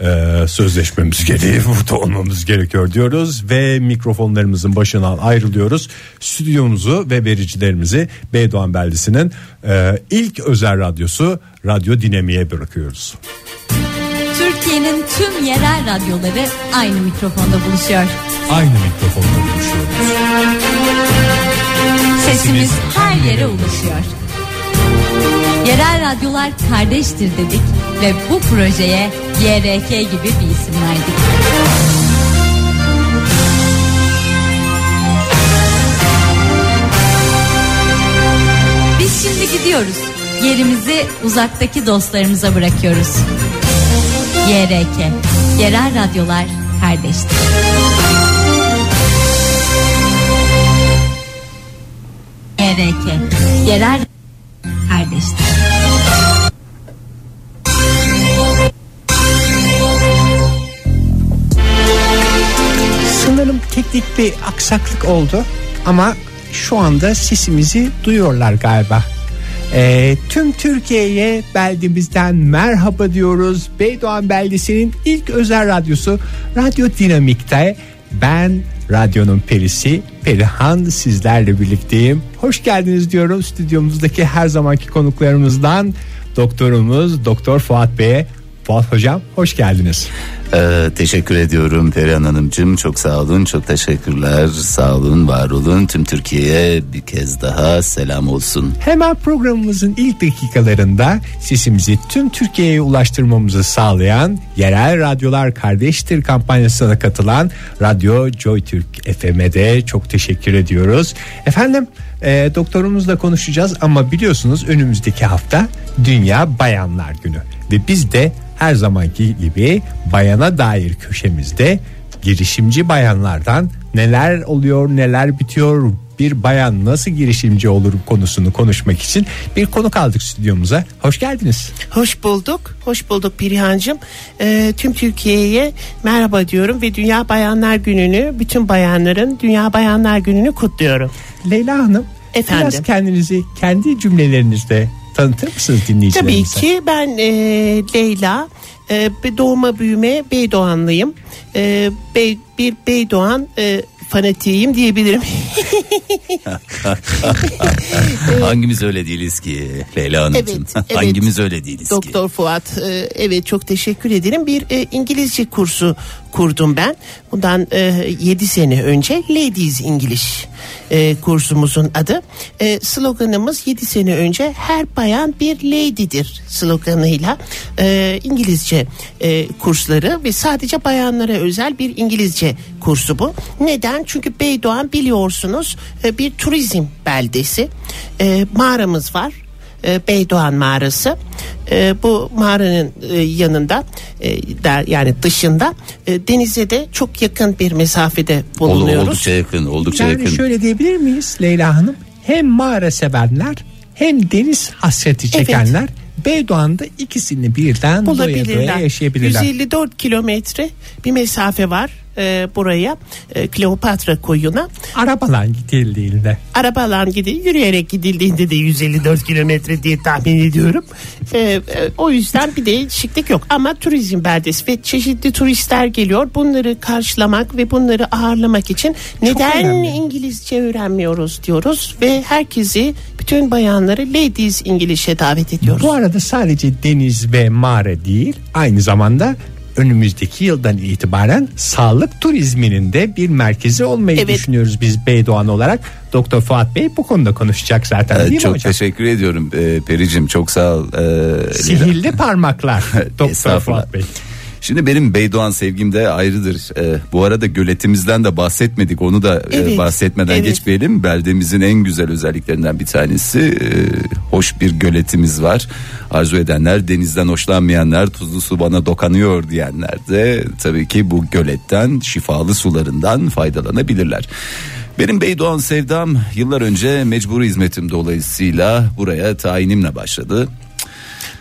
e, sözleşmemiz gereği burada olmamız gerekiyor diyoruz ve mikrofonlarımızın başından ayrılıyoruz. Stüdyomuzu ve vericilerimizi Beydoğan Beldesi'nin e, ilk özel radyosu Radyo Dinamiğe bırakıyoruz.
Türkiye'nin tüm yerel radyoları aynı mikrofonda buluşuyor.
Aynı mikrofonla konuşuyoruz.
Sesimiz her yere ulaşıyor. Yerel radyolar kardeştir dedik ve bu projeye YRK gibi bir isim verdik. Biz şimdi gidiyoruz. Yerimizi uzaktaki dostlarımıza bırakıyoruz. YRK, Yerel Radyolar Kardeştir. YRK, Yerel Kardeştir.
Sanırım teknik bir aksaklık oldu ama şu anda sesimizi duyuyorlar galiba. Ee, tüm Türkiye'ye beldemizden merhaba diyoruz. Beydoğan beldesinin ilk özel radyosu Radyo Dinamik'te. Ben radyonun perisi Perihan sizlerle birlikteyim. Hoş geldiniz diyorum stüdyomuzdaki her zamanki konuklarımızdan doktorumuz Doktor Fuat Bey'e Fuat Hocam hoş geldiniz.
Ee, teşekkür ediyorum Perihan Hanımcığım. Çok sağ olun, çok teşekkürler. Sağ olun, var olun. Tüm Türkiye'ye bir kez daha selam olsun.
Hemen programımızın ilk dakikalarında sesimizi tüm Türkiye'ye ulaştırmamızı sağlayan Yerel Radyolar Kardeştir kampanyasına katılan Radyo Joy Türk FM'e de çok teşekkür ediyoruz. Efendim e, doktorumuzla konuşacağız ama biliyorsunuz önümüzdeki hafta Dünya Bayanlar Günü ve biz de her zamanki gibi bayana dair köşemizde girişimci bayanlardan neler oluyor neler bitiyor bir bayan nasıl girişimci olur konusunu konuşmak için bir konuk aldık stüdyomuza. Hoş geldiniz.
Hoş bulduk. Hoş bulduk Perihan'cığım. Ee, tüm Türkiye'ye merhaba diyorum ve Dünya Bayanlar Günü'nü bütün bayanların Dünya Bayanlar Günü'nü kutluyorum.
Leyla Hanım
Efendim?
biraz kendinizi kendi cümlelerinizde tanıtır mısınız dinleyicilerimize?
Tabii ki ben e, Leyla. E, bir doğma büyüme Beydoğanlıyım. E, Bey- bir Beydoğan e, fanatiğim diyebilirim.
Hangimiz öyle değiliz ki Leyla Hanımcığım?
Evet, evet.
Hangimiz öyle değiliz ki?
Doktor Fuat e, evet çok teşekkür ederim. Bir e, İngilizce kursu kurdum ben. Bundan 7 sene önce Ladies English e, kursumuzun adı. E, sloganımız 7 sene önce her bayan bir lady'dir sloganıyla e, İngilizce e, kursları ve sadece bayanlara özel bir İngilizce kursu bu. Neden? Çünkü Beydoğan biliyorsunuz e, bir turizm beldesi. E, mağaramız var e, Beydoğan mağarası. E, bu mağaranın e, yanında e, da, yani dışında e, denize de çok yakın bir mesafede
Ol-
bulunuyoruz.
Oldukça yakın, oldukça
Yani
yakın.
şöyle diyebilir miyiz Leyla Hanım? Hem mağara sevenler hem deniz hasreti çekenler Beydoğan'da ikisini birden doya doya
bulabilirler.
yaşayabilirler.
154 kilometre bir mesafe var e, buraya e, Kleopatra koyuna.
Arabalan gidildiğinde.
arabalan gidi yürüyerek gidildiğinde de 154 kilometre diye tahmin ediyorum. Ee, e, o yüzden bir değişiklik yok ama turizm beldesi ve çeşitli turistler geliyor. Bunları karşılamak ve bunları ağırlamak için neden
önemli.
İngilizce öğrenmiyoruz diyoruz ve herkesi bütün bayanları Ladies İngilizce davet ediyoruz.
Bu arada sadece deniz ve mağara değil aynı zamanda önümüzdeki yıldan itibaren sağlık turizminin de bir merkezi olmayı
Evet.
düşünüyoruz biz Beydoğan olarak. Doktor Fuat Bey bu konuda konuşacak zaten
Ee,
değil
çok
mi hocam?
teşekkür ediyorum e, Pericim. Çok sağ ol. Ee,
Sihirli parmaklar Doktor
Estağfurullah.
Fuat Bey.
Şimdi benim Beydoğan sevgim de ayrıdır. Ee, bu arada göletimizden de bahsetmedik. Onu da e,
Evet,
bahsetmeden
evet.
geçmeyelim. Beldemizin en güzel özelliklerinden bir tanesi e, hoş bir göletimiz var. Arzu edenler, denizden hoşlanmayanlar, tuzlu su bana dokanıyor diyenler de tabii ki bu göletten, şifalı sularından faydalanabilirler. Benim Beydoğan sevdam yıllar önce mecburi hizmetim dolayısıyla buraya tayinimle başladı.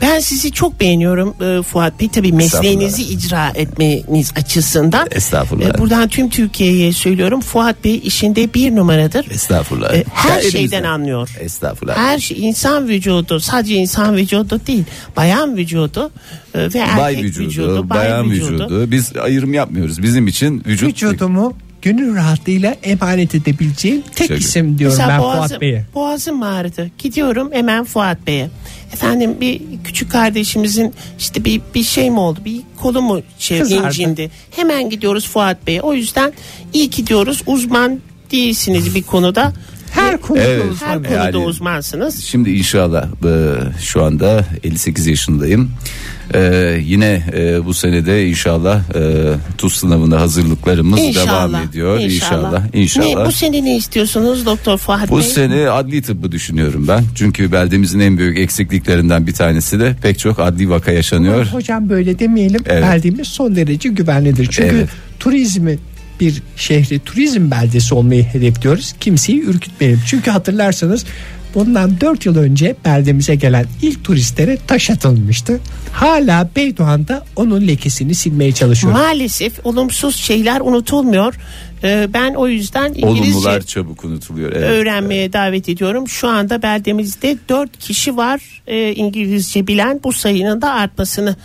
Ben sizi çok beğeniyorum e, Fuat Bey. Tabii mesleğinizi icra etmeniz açısından.
Estağfurullah.
E, buradan tüm Türkiye'ye söylüyorum. Fuat Bey işinde bir numaradır.
Estağfurullah.
E, her
Ya elimizden.
şeyden anlıyor.
Estağfurullah.
Her şey insan vücudu sadece insan vücudu değil bayan vücudu e, ve erkek
Bay Ee, vücudu,
bay
bayan vücudu. Biz ayrım yapmıyoruz. Bizim için vücut
Vücudumu gönül rahatlığıyla emanet edebileceğim tek
Teşekkür.
isim diyorum
Mesela
ben
boğazım,
Fuat Bey'e.
boğazım ağrıdı. Gidiyorum hemen Fuat Bey'e. Efendim bir küçük kardeşimizin işte bir bir şey mi oldu? Bir kolu mu şey
Kızardı.
incindi? Hemen gidiyoruz Fuat Bey'e. O yüzden iyi ki diyoruz uzman değilsiniz bir konuda.
Her konuda
Evet.
uzman.
Her konuda
Yani-
uzmansınız.
Şimdi inşallah e, şu anda 58 yaşındayım. E, yine e, bu senede inşallah e, TUS sınavında hazırlıklarımız devam ediyor. İnşallah. İnşallah.
Ne, bu sene ne istiyorsunuz Doktor Fuat
Bu
Bey?
sene adli tıbbı düşünüyorum ben. Çünkü beldemizin en büyük eksikliklerinden bir tanesi de pek çok adli vaka yaşanıyor.
Hocam böyle demeyelim.
Evet.
Beldemiz son derece güvenlidir. Çünkü
Evet.
turizmi bir şehri turizm beldesi olmayı hedefliyoruz. Kimseyi ürkütmeyelim. Çünkü hatırlarsanız bundan 4 yıl önce beldemize gelen ilk turistlere taş atılmıştı. Hala Beydoğan'da onun lekesini silmeye çalışıyoruz.
Maalesef olumsuz şeyler unutulmuyor. Ee, ben o yüzden İngilizce
Olumlular çabuk unutuluyor. Evet.
öğrenmeye davet ediyorum. Şu anda beldemizde 4 kişi var e, İngilizce bilen. Bu sayının da artmasını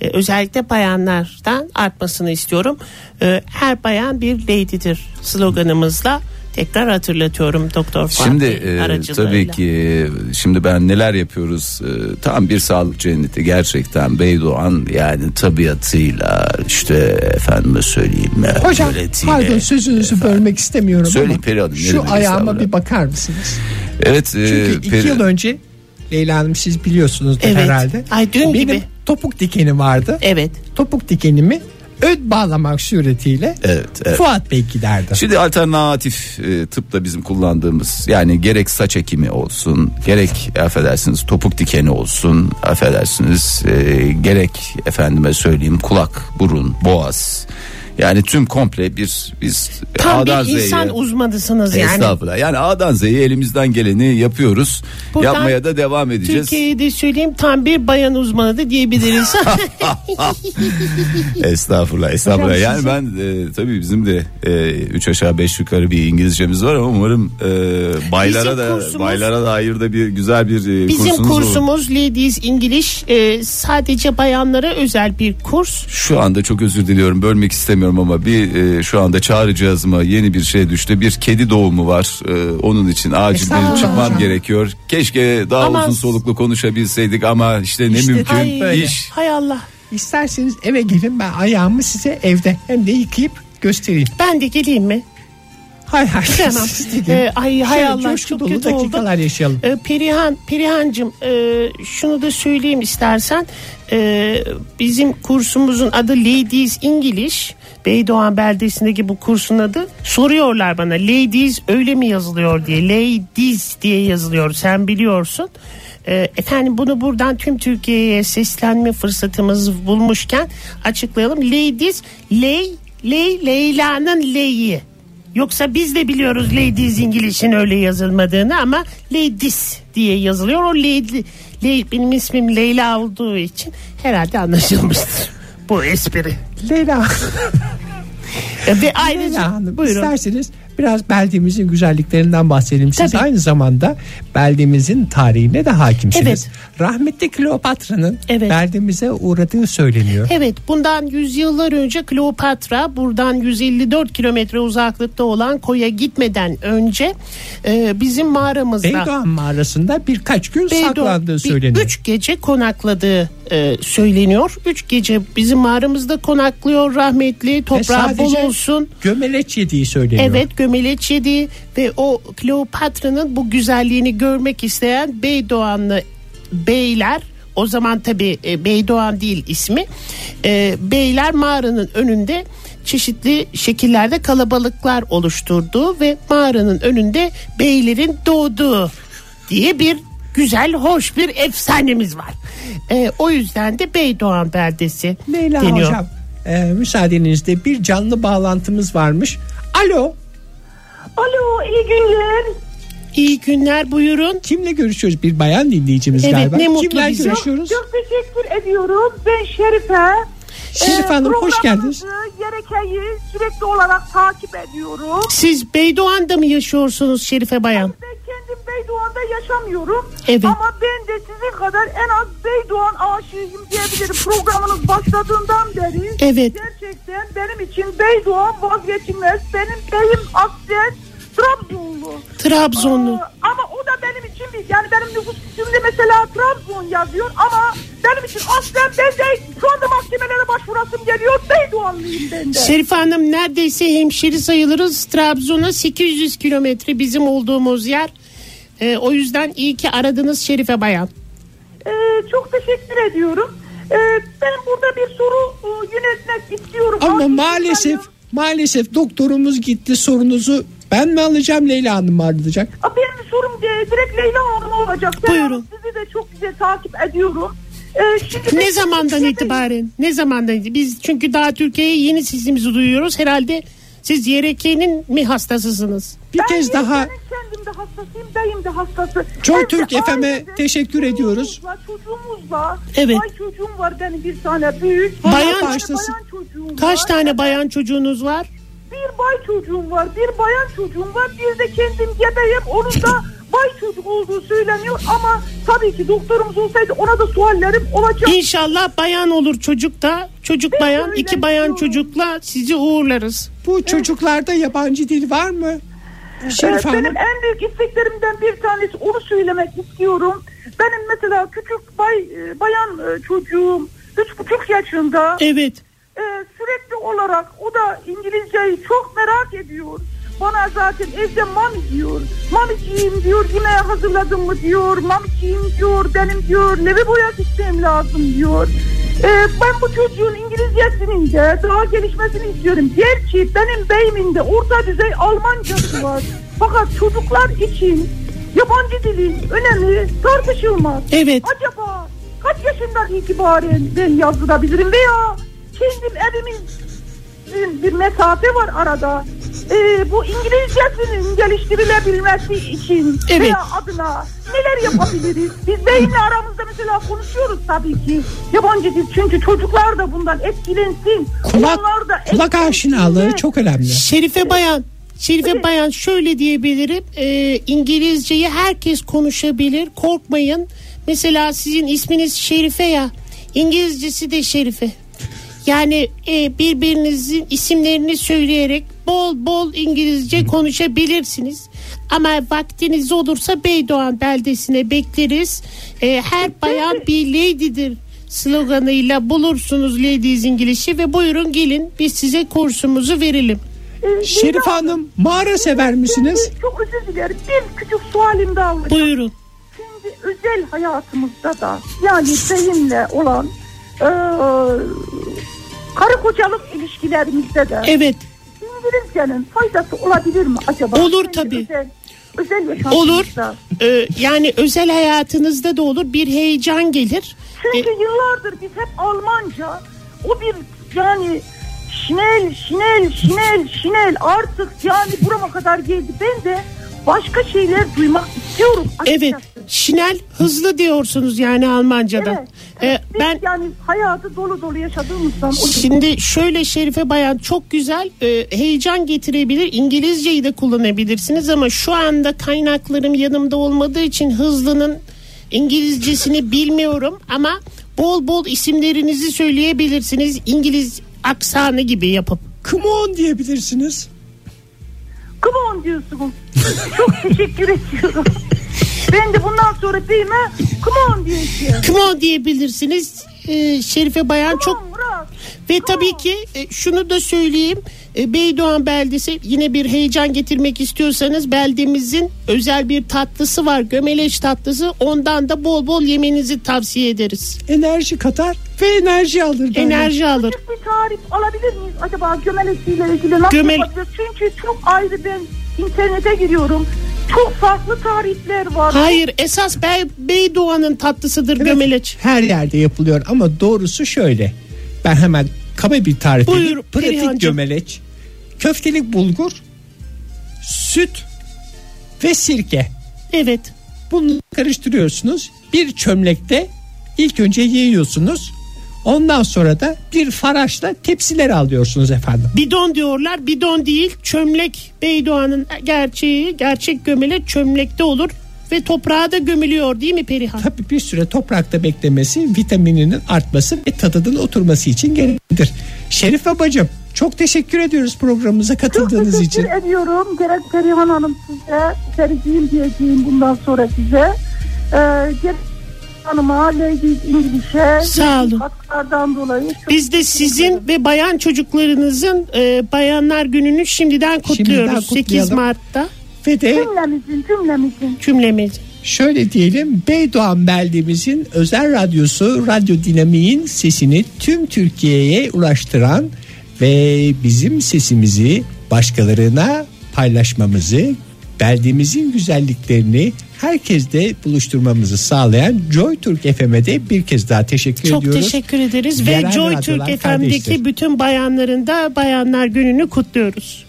e, özellikle bayanlardan artmasını istiyorum. E, her bayan bir lady'dir sloganımızla Tekrar hatırlatıyorum Doktor Fatih
Şimdi e,
aracılığıyla.
tabii ki e, şimdi ben neler yapıyoruz E, tam bir sağlık cenneti gerçekten Beydoğan yani tabiatıyla işte efendime söyleyeyim e,
Hocam
yönetiyle.
pardon sözünüzü bölmek istemiyorum
Söyle
ama
Peri Hanım, ne
şu
demek
ayağıma
estağfurullah.
bir bakar mısınız?
Evet e,
Çünkü iki
Peri-
yıl önce Leyla Hanım siz biliyorsunuz
Evet.
herhalde.
Ay, dün
Benim
gibi.
topuk dikeni vardı.
Evet.
Topuk dikenimi öd bağlamak suretiyle
Evet, evet.
Fuat Bey giderdi.
Şimdi alternatif e, tıpta bizim kullandığımız yani gerek saç ekimi olsun gerek affedersiniz topuk dikeni olsun affedersiniz e, gerek efendime söyleyeyim kulak burun boğaz yani tüm komple bir biz
Tam
A'dan
bir
Z'ye-
insan uzmanısınız yani.
Estağfurullah. Yani A'dan Z'ye elimizden geleni yapıyoruz.
Buradan
Yapmaya da devam edeceğiz.
Türkiye'yi de söyleyeyim tam bir bayan uzmanı da diyebiliriz.
Estağfurullah, estağfurullah.
Hocam
yani
sizin-
ben e, tabii bizim de e, üç aşağı beş yukarı bir İngilizcemiz var ama umarım e, baylara
Bizim
da
kursumuz-
baylara da hayır da bir güzel bir e,
Bizim
kursunuz olur.
kursumuz Ladies English e, sadece bayanlara özel bir kurs.
Şu anda çok özür diliyorum bölmek istemiyorum ama bir e, şu anda çağrı cihazıma yeni bir şey düştü. Bir kedi doğumu var. E, onun için acil benim
Estağfurullah
çıkmam
hocam.
gerekiyor. Keşke daha
Ama-
uzun soluklu konuşabilseydik ama işte ne
İşte
mümkün.
böyle.
İş
Hay Allah.
İsterseniz eve gelin ben ayağımı size evde hem de yıkayıp göstereyim.
Ben de e, geleyim mi?
Hay hay.
Tamam.
Siz de gelin.
Ee, ay, hay
Şöyle
Allah,
coşku
çok
dolu
kötü oldu.
dakikalar yaşayalım.
Ee, Perihan, Perihancım e, şunu da söyleyeyim istersen. Ee, bizim kursumuzun adı Ladies English. Beydoğan beldesindeki bu kursun adı. Soruyorlar bana Ladies öyle mi yazılıyor diye. Ladies diye yazılıyor sen biliyorsun. Ee, efendim bunu buradan tüm Türkiye'ye seslenme fırsatımız bulmuşken açıklayalım. Ladies, Ley, Ley, Leyla'nın Ley'i. Yoksa biz de biliyoruz Ladies İngiliz'in öyle yazılmadığını ama Ladies diye yazılıyor. O Lady, Ley- benim ismim Leyla olduğu için herhalde anlaşılmıştır bu espri.
Leyla,
E, Ve ayrıca
Leyla Hanım
buyurun.
isterseniz biraz beldemizin güzelliklerinden bahsedelim. Siz
Tabii.
aynı zamanda beldemizin tarihine de hakimsiniz. Rahmetli Kleopatra'nın
Evet.
beldemize uğradığı söyleniyor.
Evet bundan yüzyıllar önce Kleopatra buradan 154 kilometre uzaklıkta olan koya gitmeden önce e, bizim mağaramızda...
Beydoğan mağarasında birkaç gün
Beydo-
saklandığı
bir-
söyleniyor.
Üç gece konakladığı e, söyleniyor. Üç gece bizim mağaramızda konaklıyor rahmetli.
Ve
Toprağı bol
E, sadece
olsun.
Gömeleç yediği söyleniyor.
Evet gömeleç yedi ve o Kleopatra'nın bu güzelliğini görmek isteyen Beydoğanlı beyler o zaman tabi Beydoğan değil ismi e, beyler mağaranın önünde çeşitli şekillerde kalabalıklar oluşturduğu ve mağaranın önünde beylerin doğduğu diye bir güzel hoş bir efsanemiz var. E, o yüzden de Beydoğan beldesi
Leyla
deniyor.
hocam e, müsaadenizle bir canlı bağlantımız varmış. Alo
Alo iyi günler.
İyi günler buyurun.
kimle görüşüyoruz? Bir bayan dinleyicimiz
Evet,
galiba.
ne mutlu
Kimle
bize.
görüşüyoruz?
Çok teşekkür ediyorum. Ben Şerife.
Şerife Hanım hoş geldiniz.
programınızı, Yereke'yi sürekli olarak takip ediyorum.
Siz Beydoğan'da mı yaşıyorsunuz Şerife Bayan?
Ben kendim Beydoğan'da yaşamıyorum.
Evet.
Ama ben de sizin kadar en az Beydoğan aşığıyım diyebilirim. Programınız başladığından beri.
Evet.
Gerçekten benim için Beydoğan vazgeçilmez. Benim beyim aslen Trabzonlu.
Trabzonlu.
Aa, Ama o da benim için bir yani benim nüfus kütüğümde mesela Trabzon yazıyor ama benim için aslen ben de şu anda mahkemelere başvurasım geliyor. Beydoğanlıyım ben de.
Şerife Hanım neredeyse hemşeri sayılırız. Trabzon'a 800 kilometre bizim olduğumuz yer. Ee, o yüzden iyi ki aradınız Şerife Bayan.
Ee, çok teşekkür ediyorum. Ee, ben burada bir soru e, yönetmek istiyorum.
Ama
Aslında
maalesef
ben-
maalesef doktorumuz gitti sorunuzu ben mi alacağım Leyla Hanım mı alacak?
Aa, Benim sorum e, direkt Leyla Hanım'a olacak. Ben
Buyurun.
Sizi de çok güzel takip ediyorum. Ee, şimdi
Ne
ben-
zamandan itibaren? Ne zamandan? Biz çünkü daha Türkiye'ye yeni sesimizi duyuyoruz. Herhalde siz YRK'nin mi hastasısınız?
Bir
Ben
kez
bir-
daha
ben kendim de hastasıyım, beyim de hastası.
Joy
Evde
Türk FM 'e
ailemde
teşekkür ediyoruz.
çocuğumuzla, Çocuğumuzla.
Evet.
Ay çocuğum var benim bir tane büyük.
Bayan-
Bir tane
Başlasın.
bayan çocuğum
Kaç
var.
tane bayan çocuğunuz var?
Bir bay çocuğum var, bir bayan çocuğum var, bir de kendim gebeyim. Onun da bay çocuk olduğu söyleniyor ama tabii ki doktorumuz olsaydı ona da suallerim olacak.
İnşallah bayan olur çocuk da. Çocuk bayan,
şey
iki bayan çocukla sizi uğurlarız.
bu çocuklarda yabancı dil var mı? Şerif
Ee,
Hanım.
benim en büyük isteklerimden bir tanesi onu söylemek istiyorum. Benim mesela küçük bay, e, bayan e, çocuğum üç buçuk yaşında.
Evet.
Ee, sürekli olarak o da İngilizceyi çok merak ediyor. Bana zaten evde mami diyor. Mamiciğim diyor yemeğe hazırladın mı diyor. Mamiciğim diyor benim diyor nevi boya sistem lazım diyor. Ee, ben bu çocuğun İngilizcesinin de daha gelişmesini istiyorum. Gerçi benim beyimin de orta düzey Almancası var. Fakat çocuklar için yabancı dilin önemi tartışılmaz.
Evet.
Acaba kaç yaşından itibaren ben yazdırabilirim veya kendim evimin bir mesafe var arada. Ee, bu İngilizcesinin geliştirilebilmesi için
Evet.
veya adına neler yapabiliriz? Biz beyinle aramızda mesela konuşuyoruz tabii ki. Yabancı dil çünkü çocuklar da bundan etkilensin.
Kulak,
Onlar da
kulak
etkilensin
aşinalığı
de.
çok önemli.
Şerife Bayan. Şerife Bayan şöyle diyebilirim. Ee, İngilizceyi herkes konuşabilir. Korkmayın. Mesela sizin isminiz Şerife ya. İngilizcesi de Şerife. Yani e, birbirinizin isimlerini söyleyerek bol bol İngilizce konuşabilirsiniz. Ama vaktiniz olursa Beydoğan beldesine bekleriz. E, her bayan bir lady'dir sloganıyla bulursunuz Ladies İngiliz'i ve buyurun gelin biz size kursumuzu verelim.
Ee,
Şerif
Leyla,
Hanım mağara sever misiniz?
bir- Çok özür dilerim. Bir küçük sualim daha var.
Buyurun.
Şimdi özel hayatımızda da yani beyinle olan eee karı kocalık ilişkilerimizde de
Evet.
İngilizcenin faydası olabilir mi acaba?
Olur
Çünkü
tabii.
Özel, özel yaşantımızda.
Olur. Ee, yani özel hayatınızda da olur bir heyecan gelir.
Çünkü
E-
yıllardır biz hep Almanca o bir yani şinel şinel şinel şinel artık yani burama kadar geldi. Ben de başka şeyler duymak istiyorum. açıkçası.
Evet. Şinel hızlı diyorsunuz yani Almanca'da.
Evet.
Ee,
Biz
ben
yani hayatı dolu dolu yaşadığımızdan o
Şimdi şöyle Şerife Bayan çok güzel e, heyecan getirebilir. İngilizceyi de kullanabilirsiniz ama şu anda kaynaklarım yanımda olmadığı için hızlının İngilizcesini bilmiyorum ama bol bol isimlerinizi söyleyebilirsiniz. İngiliz aksanı gibi yapıp.
Come on diyebilirsiniz.
Come on diyorsunuz. Çok teşekkür ediyorum. Ben de bundan sonra beyime come on diyeceğim.
Come on diyebilirsiniz. E, Şerife Bayan
Come
çok
on Murat.
Ve tabii ki e, şunu da söyleyeyim. E, Beydoğan beldesi yine bir heyecan getirmek istiyorsanız beldemizin özel bir tatlısı var. Gömeleş tatlısı. Ondan da bol bol yemenizi tavsiye ederiz.
Enerji katar ve enerji alır. benden.
Enerji alır.
Küçük bir tarif alabilir miyiz acaba gömelesiyle ilgili nasıl
Gömel-
yapabiliriz? Çünkü çok ayrı ben internete giriyorum. Çok farklı tarifler var.
Hayır esas Bey, Beydoğan'ın tatlısıdır gömeleç.
Her yerde yapılıyor ama doğrusu şöyle. Ben hemen kaba bir tarif
Buyur,
edeyim. Pratik
Perihan'cığım.
gömeleç, köftelik bulgur, süt ve sirke.
Evet.
Bunu karıştırıyorsunuz. Bir çömlekte ilk önce yiyorsunuz. Ondan sonra da bir faraşla tepsilere alıyorsunuz efendim.
Bidon diyorlar. Bidon değil. Çömlek. Beydoğan'ın gerçeği, gerçek gömeleç çömlekte olur. Ve toprağa da gömülüyor değil mi Perihan?
Tabii bir süre toprakta beklemesi, vitamininin artması ve tadının oturması için gereklidir. Şerif babacığım çok teşekkür ediyoruz programımıza
Çok
katıldığınız
teşekkür
için.
ediyorum. Gerek Perihan Hanım size, Sericiğim diyeceğim bundan sonra size. Ee, gerek Hanım'a, Lady İngiliz'e
Sağ olun.
katkılardan şey. dolayı. çok
Biz de
teşekkür ederim.
sizin ve bayan çocuklarınızın e, bayanlar gününü şimdiden kutluyoruz.
Şimdiden kutlayalım.
8 Mart'ta
Ve de
Cümlemizin, cümlemizin.
cümlemiz.
şöyle diyelim Beydoğan beldemizin özel radyosu Radyo Dinamik'in sesini tüm Türkiye'ye ulaştıran ve bizim sesimizi başkalarına paylaşmamızı beldemizin güzelliklerini herkeste buluşturmamızı sağlayan Joy Türk FM'de bir kez daha teşekkür
Çok
ediyoruz.
teşekkür ederiz
Yerel
ve Joy
radyolar
Türk FM'deki
kardeştir.
bütün bayanların da bayanlar gününü kutluyoruz.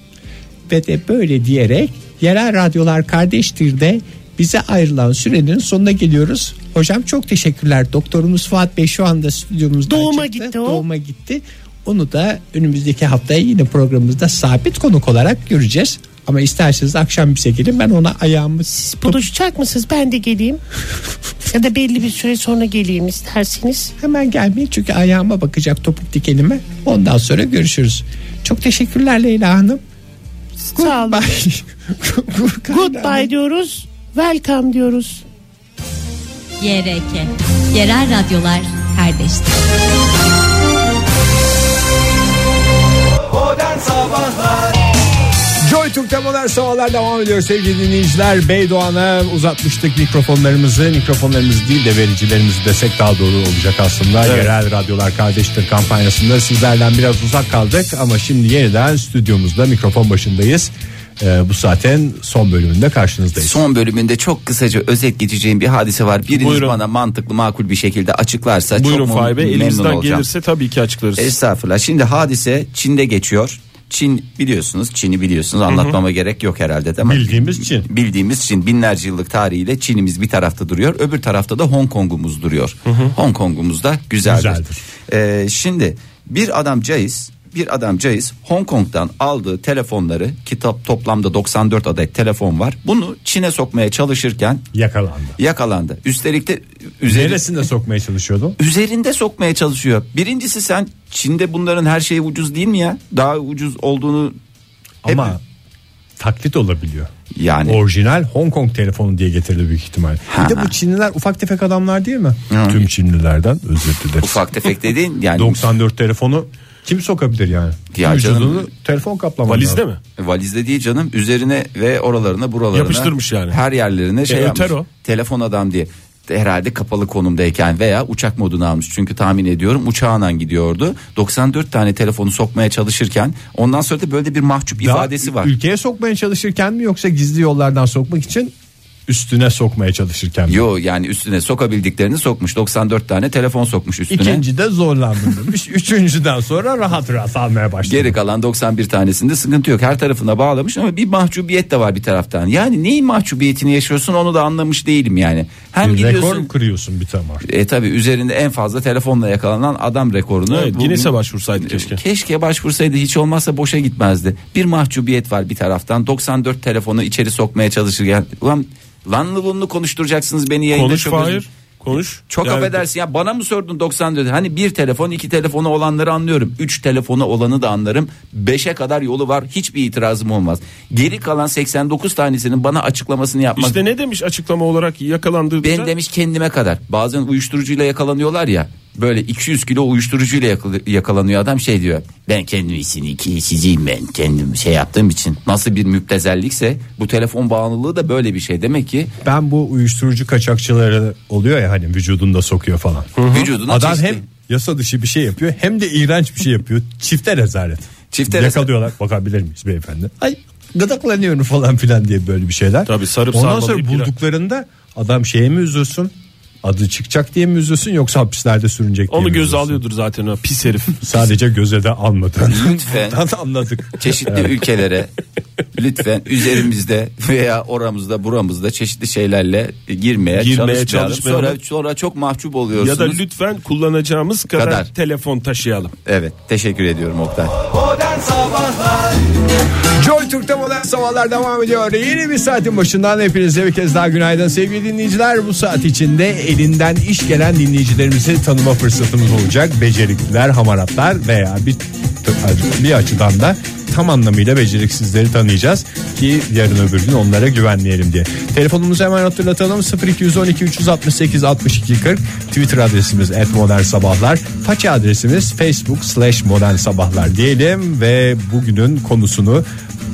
ve de böyle diyerek yerel radyolar kardeştir de bize ayrılan sürenin sonuna geliyoruz. Hocam çok teşekkürler. Doktorumuz Fuat Bey şu anda stüdyomuzda
Doğuma gitti o.
Doğuma gitti. Onu da önümüzdeki haftaya yine programımızda sabit konuk olarak göreceğiz. Ama isterseniz akşam bize gelin ben ona ayağımı
Buluşacak mısınız? Ben de geleyim. ya da belli bir süre sonra geleyim isterseniz.
hemen gelmeyin çünkü ayağıma bakacak topuk dikenime. Ondan sonra görüşürüz. Çok teşekkürler Leyla Hanım.
Sağ olun.
Goodbye.
Goodbye diyoruz. Welcome diyoruz.
YRK. Yerel radyolar kardeştir.
Joy Türk'te modern sabahlar devam ediyor sevgili dinleyiciler. Beydoğan'a uzatmıştık mikrofonlarımızı. Mikrofonlarımızı değil de vericilerimizi desek daha doğru olacak aslında. Yerel Radyolar Kardeştir kampanyasında sizlerden biraz uzak kaldık. Ama şimdi yeniden stüdyomuzda mikrofon başındayız. Ee, bu zaten son bölümünde karşınızdayız.
Son bölümünde çok kısaca özet geçeceğim bir hadise var. Biriniz
Buyurun.
bana mantıklı makul bir şekilde açıklarsa
Buyurun
çok mem-
Fahri Bey
memnun
elimizden
olacağım. E,
gelirse tabii ki açıklarız.
Estağfurullah. Şimdi hadise Çin'de geçiyor. Çin biliyorsunuz, Çin'i biliyorsunuz. Anlatmama gerek yok herhalde değil mi?
Bildiğimiz Çin.
Bildiğimiz Çin binlerce yıllık tarihiyle Çin'imiz bir tarafta duruyor. Öbür tarafta da Hong Kong'umuz duruyor. Hong Kong'umuz da güzeldir.
Güzeldir.
Ee, şimdi bir adam caiz bir adam caiz Hong Kong'dan aldığı telefonları kitap toplamda 94 adet telefon var. Bunu Çin'e sokmaya çalışırken
Yakalandı.
yakalandı. Üstelik de üzeri,
Neresinde sokmaya çalışıyordu?
üzerinde sokmaya çalışıyor. Birincisi sen Çin'de bunların her şeyi ucuz değil mi ya? Daha ucuz olduğunu
Ama
Hep-
taklit olabiliyor.
yani
Orijinal Hong Kong telefonu diye getirdi büyük ihtimal. Bir de bu Çinliler ufak tefek adamlar değil mi? Tüm Çinlilerden özür dileriz.
ufak tefek dediğin yani
94 telefonu kim sokabilir yani?
Ya
Vücudunu
canım.
telefon kaplamalı.
Valizde mi?
E, Valizde değil canım üzerine ve oralarına buralarına
Yapıştırmış yani.
Her yerlerine şey
E,
yapmış.
öter o.
Telefon adam diye herhalde kapalı konumdayken veya uçak modunu almış çünkü tahmin ediyorum uçağına gidiyordu. 94 tane telefonu sokmaya çalışırken ondan sonra da böyle bir mahcup ifadesi var.
Ülkeye sokmaya çalışırken mi yoksa gizli yollardan sokmak için üstüne sokmaya çalışırken mi?
Yo yani üstüne sokabildiklerini sokmuş. 94 tane telefon sokmuş üstüne.
İkinci de zorlandım demiş. Üçüncüden sonra rahat rahat almaya başladı.
Geri kalan 91 tanesinde sıkıntı yok. Her tarafına bağlamış ama bir mahcubiyet de var bir taraftan. Yani neyin mahcubiyetini yaşıyorsun onu da anlamış değilim yani. Hem
Bir
gidiyorsun
rekor kırıyorsun bir tamam.
E tabi üzerinde en fazla telefonla yakalanan adam rekorunu.
Evet,
Bu-
Guinness'e başvursaydı keşke.
Keşke başvursaydı hiç olmazsa boşa gitmezdi. Bir mahcubiyet var bir taraftan. 94 telefonu içeri sokmaya çalışırken. Ulan lanlı lunlu konuşturacaksınız beni yayında.
Konuş
Çok özür-
Fahir. Konuş.
Çok
Yani-
affedersin ya bana mı sordun 94? Hani bir telefon iki telefonu olanları anlıyorum. Üç telefonu olanı da anlarım. Beşe kadar yolu var. Hiçbir itirazım olmaz. Geri kalan 89 tanesinin bana açıklamasını yapmak.
İşte ne demiş açıklama olarak yakalandığında?
Ben demiş kendime kadar. Bazen uyuşturucuyla yakalanıyorlar ya. Böyle 200 kilo uyuşturucuyla yakal- yakalanıyor adam şey diyor. Ben kendim iyisini ki siziyim ben kendim şey yaptığım için. Nasıl bir müptezellikse bu telefon bağımlılığı da böyle bir şey. Demek ki
Ben bu uyuşturucu kaçakçıları oluyor ya hani vücudunda sokuyor falan.
vücuduna
Adam
çeşitli-
hem yasa dışı bir şey yapıyor hem de iğrenç bir şey yapıyor. Çifte rezalet.
Çifte rezalet.
Yakalıyorlar. Bakabilir miyiz beyefendi? Ay gıdaklanıyorum falan filan diye böyle bir şeyler.
Tabii sarıp
Ondan
sarmalı
sonra
ipler.
bulduklarında adam şeye mi üzülsün? Adı çıkacak diye mi üzülsün yoksa hapislerde sürünecek diye
Onu
mi
göze
üzülsün?
alıyordur zaten o pis herif.
Sadece göze de almadan.
Lütfen.
Buradan anladık.
çeşitli ülkelere lütfen üzerimizde veya oramızda buramızda çeşitli şeylerle girmeye,
Girmeye
çalışmayalım.
çalışmayalım.
Sonra, sonra çok mahcup oluyorsunuz.
ya da lütfen kullanacağımız kadar,
Kadar.
telefon taşıyalım.
Evet teşekkür ediyorum Oktay.
Joy Türk'te modern sabahlar devam ediyor. Yeni bir saatin başından hepinize bir kez daha günaydın sevgili dinleyiciler. Bu saat içinde elinden iş gelen dinleyicilerimizi tanıma fırsatımız olacak. Becerikliler, hamaratlar veya bir, bir açıdan da tam anlamıyla beceriksizleri tanıyacağız ki yarın öbür gün onlara güvenleyelim diye. Telefonumuzu hemen hatırlatalım 0212 368 62 40 Twitter adresimiz et sabahlar faça adresimiz facebook slash modern sabahlar diyelim ve bugünün konusunu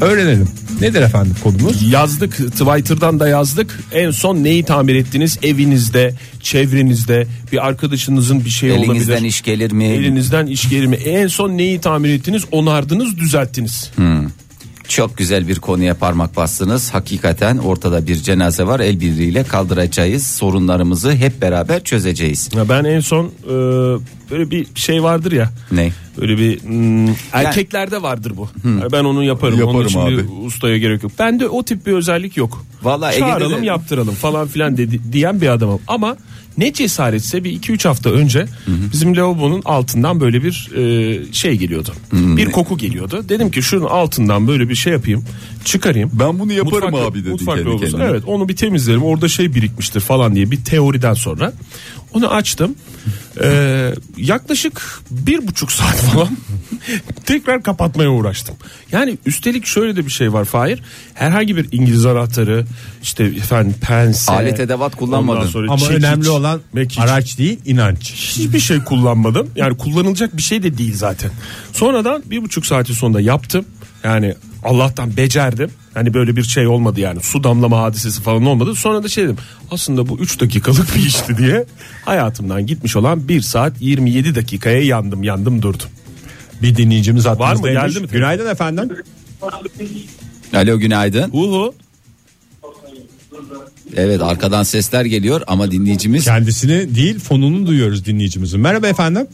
öğrenelim. Nedir efendim konumuz?
Yazdık Twitter'dan da yazdık. En son neyi tamir ettiniz? Evinizde, çevrenizde, bir arkadaşınızın bir şey
Elinizden
olabilir.
iş gelir mi?
Elinizden iş gelir mi? En son neyi tamir ettiniz? Onardınız, düzelttiniz.
Hmm. Çok güzel bir konuya parmak bastınız. Hakikaten ortada bir cenaze var. El birliğiyle kaldıracağız. Sorunlarımızı hep beraber çözeceğiz.
Ya ben en son e, böyle bir şey vardır ya.
Ne?
Böyle bir hmm, erkeklerde vardır bu. Ya Ben onu yaparım. Onun
Yaparım
için bir
abi.
ustaya gerek yok. Bende o tip bir özellik yok.
Vallahi Ege'de
Çağıralım
de-
yaptıralım falan filan dedi, diyen bir adamım. Ama ne cesaretse bir 2-3 hafta önce bizim lavabonun altından böyle bir e, şey geliyordu. Bir koku geliyordu. Dedim ki şunun altından böyle bir şey yapayım. Çıkarayım.
Ben bunu yaparım abi dedi
mutfak
kendi
lavabosu.
kendine.
Evet onu bir temizlerim orada şey birikmiştir falan diye bir teoriden sonra. Onu açtım. Ee, yaklaşık bir buçuk saat falan tekrar kapatmaya uğraştım. Yani üstelik şöyle de bir şey var Fahir. Herhangi bir İngiliz anahtarı işte efendim pense.
Alet edevat kullanmadın.
ondan sonra
Ama
çekiç,
önemli olan
mekiç.
araç değil inanç.
Hiçbir şey kullanmadım. Yani kullanılacak bir şey de değil zaten. Sonradan bir buçuk saatin sonunda yaptım. Yani Allah'tan becerdim. Hani böyle bir şey olmadı yani su damlama hadisesi falan olmadı. Sonra da şey dedim aslında bu 3 dakikalık bir işti diye hayatımdan gitmiş olan 1 saat 27 dakikaya yandım yandım durdum.
Bir dinleyicimiz
mı?
hattımızda.
Geldi mi?
Günaydın efendim.
Alo günaydın.
Uhu
Evet arkadan sesler geliyor ama dinleyicimiz
Kendisini değil fonunu duyuyoruz dinleyicimizin. Merhaba efendim.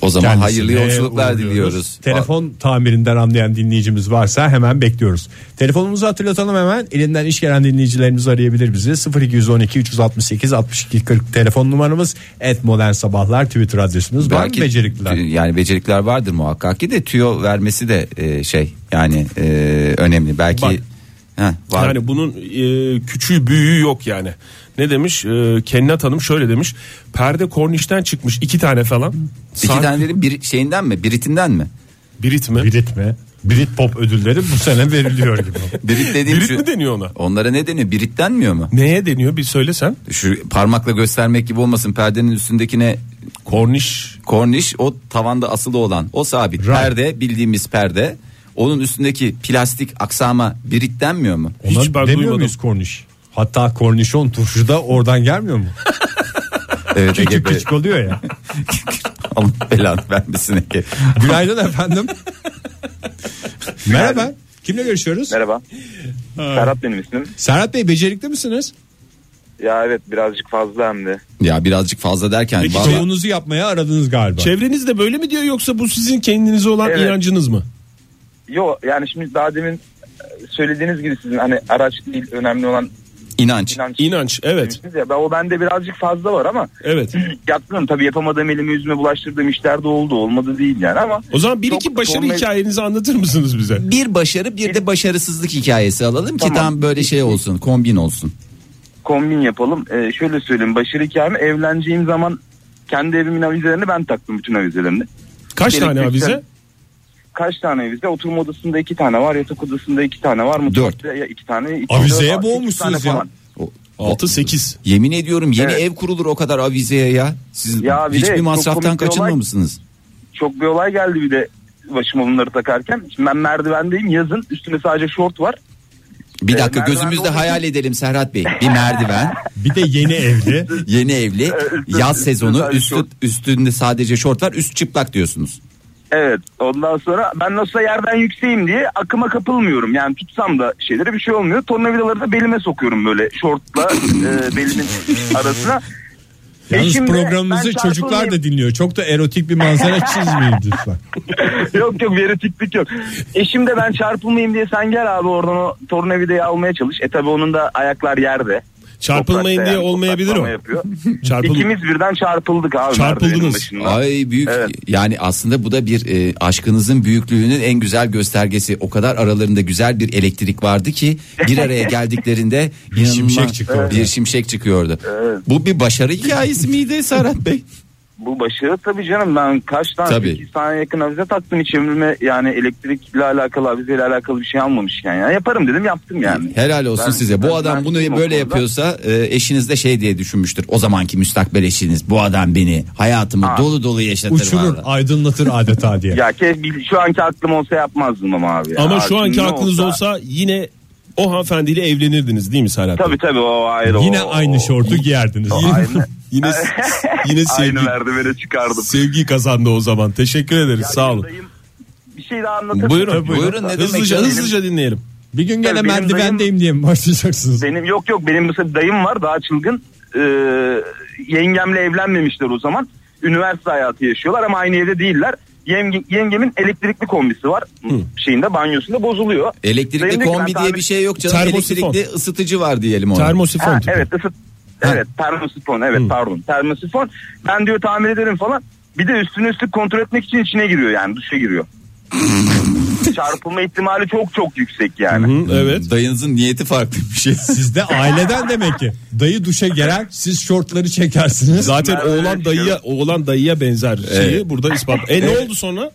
o zaman
Kendisine
hayırlı yolculuklar
uğurluyoruz.
diliyoruz.
Telefon tamirinden anlayan dinleyicimiz varsa hemen bekliyoruz. Telefonumuzu hatırlatalım hemen. Elinden iş gelen dinleyicilerimiz arayabilir bizi. 0212 368 62 40 telefon numaramız. Et Modern Sabahlar Twitter adresimiz. Var mı
Belki-
becerikliler?
Yani becerikler vardır muhakkak ki de tüyo vermesi de e, şey yani e, önemli. Belki
Bak.
Heh, var.
Yani bunun e, küçüğü büyüğü yok yani. Ne demiş? E, Kennat Hanım şöyle demiş. Perde kornişten çıkmış iki tane falan.
İki tane dedim bir şeyinden mi? Biritinden mi?
Birit mi?
Brit mi? Brit Pop ödülleri bu sene veriliyor gibi.
Birit dediğim
Birit
şu-
mi deniyor ona?
Onlara ne deniyor? Birit denmiyor mu?
Neye deniyor bir söylesen.
Şu parmakla göstermek gibi olmasın. Perdenin üstündekine
Korniş.
korniş o tavanda asılı olan o sabit. Perde bildiğimiz perde. Onun üstündeki plastik aksama birit denmiyor mu?
Ona
Hiç ben
demiyor
duymadım.
muyuz korniş? Hatta kornişon turşu da oradan gelmiyor mu?
Evet, Ege
küçük
Bey.
küçük oluyor ya.
Allah belanı vermesin Ege.
Günaydın efendim. Merhaba. Kimle görüşüyoruz?
Merhaba. Serhat benim ismim.
Serhat Bey becerikli misiniz?
Ya evet birazcık fazla hem de.
Ya birazcık fazla derken
Peki,
bazı-
Çoğunuzu yapmaya aradınız galiba.
Çevreniz de böyle mi diyor yoksa bu sizin kendinize olan
Evet.
inancınız mı?
Yo yani şimdi daha demin e, söylediğiniz gibi sizin hani araç değil önemli olan
inanç.
inanç.
İnanç evet.
demiştiniz Ya, ben- o bende birazcık fazla var ama
Evet.
yaptım tabii yapamadığım elimi yüzüme bulaştırdığım işler de oldu olmadı değil yani ama
O zaman bir
Çok
iki başarı
sorun-
hikayenizi anlatır mısınız bize?
Bir başarı bir de başarısızlık hikayesi alalım ki
Tamam.
tam böyle şey olsun kombin olsun.
kombin yapalım. Ee, şöyle söyleyeyim başarı hikayemi evleneceğim zaman kendi evimin avizelerini ben taktım bütün avizelerini.
Kaç
Elektrik-
tane avize?
Kaç tane avize? Oturma odasında iki tane var, yatak odasında iki tane var, mutfakta ya iki tane. Iki
Avizeye
dört-
boğmuşsunuz
üç tane
ya.
falan.
6 8.
Yemin ediyorum yeni
Evet.
ev kurulur o kadar avizeye ya. Siz
Ya bir de
hiçbir
çok
masraftan
komik bir olay.
kaçınmamışsınız.
Çok bir olay geldi bir de başıma bunları takarken. Şimdi ben merdivendeyim yazın üstüne sadece şort var.
Bir dakika
merdiven
gözümüzde
olduğu
hayal edelim Serhat Bey. Bir merdiven,
Bir de yeni evli.
yeni evli,
üstü-
yaz
üstü
sezonu,
sadece
üstü,
Ee, şort.
üstünde sadece şort var, üst çıplak diyorsunuz.
Evet ondan sonra ben nasılsa yerden yükseğim diye akıma kapılmıyorum. Yani tutsam da şeylere bir şey olmuyor. Tornavidaları da belime sokuyorum böyle şortla e, belimin arasına.
Yalnız
Eşim de,
programımızı
"Ben
çocuklar
çarpılmayayım."
da dinliyor. Çok da erotik bir manzara çizmeyin lütfen.
yok yok bir erotiklik yok. Eşim de ben çarpılmayayım diye sen gel abi oradan o tornavidayı almaya çalış. E tabi onun da ayaklar yerde.
Çarpılmayın
Toprakta
diye
yani,
olmayabilir o.
topraklama yapıyor.
Çarpıl-
İkimiz birden çarpıldık abi.
Çarpıldınız.
merdivenin başında.
Ay büyük
Evet.
yani aslında bu da bir e, aşkınızın büyüklüğünün en güzel göstergesi. O kadar aralarında güzel bir elektrik vardı ki bir araya geldiklerinde bir
şimşek çıktı ortaya.
Bir şimşek çıkıyordu.
Evet.
Bu bir başarı hikayesi miydi Serhat Bey?
Bu başarı tabii canım ben kaç tane
Tabii.
8 tane yakın avize taktım hiç ömrüme yani elektrikle alakalı avizeyle alakalı bir şey almamışken ya yaparım dedim yaptım yani.
Helal olsun
Ben-
size. Bu
ben-
adam
ben
bunu
o
böyle
konuda-
yapıyorsa e, eşiniz de şey diye düşünmüştür. O zamanki müstakbel eşiniz bu adam beni hayatımı dolu dolu yaşatır.
Uçurur,
vallahi.
aydınlatır adeta diye.
Ya ke bil- şu anki aklım olsa yapmazdım ama abi. ya.
Ama şu
Abi
anki
ne
aklınız olsa yine o hanımefendiyle evlenirdiniz değil mi Serhat Bey?
Tabii tabii o ayrı.
Yine
o-
aynı şortu giyerdiniz.
Aynı,
Yine yine sevgi
aynı merdivene çıkardım.
sevgi kazandı o zaman. Teşekkür ederiz. Sağ olun.
Dayım, Bir şey daha anlatır
Buyurun.
mısın?
buyurun, ne demek
hızlıca
canım?
hızlıca dinleyelim.
Bir gün gene
Benim
merdivendeyim diye mi başlayacaksınız?
Benim yok yok benim mesela dayım var daha çılgın. Ee, yengemle evlenmemişler o zaman. Üniversite hayatı yaşıyorlar ama aynı evde değiller. Yenge- yengemin elektrikli kombisi var. Şeyinde banyosunda bozuluyor.
Elektrikli
Dayım diyor ki,
kombi
ben
diye
tamir-
bir şey yok canım.
Termosifon.
Elektrikli ısıtıcı var diyelim ona.
Termosifon
Ha,
tipi.
evet ısıt. Evet termosifon evet pardon termosifon. Ben diyor tamir ederim falan. Bir de üstüne üstlük kontrol etmek için içine giriyor yani duşa giriyor. çarpılma ihtimali çok çok yüksek yani.
Evet.
Dayınızın niyeti farklı bir şey.
Sizde aileden demek ki. Dayı duşa girer siz şortları çekersiniz.
Zaten
Ben öyle
oğlan dayıya
düşünüyorum.
oğlan dayıya benzer şeyi
Evet.
burada ispat. E ne oldu sonra?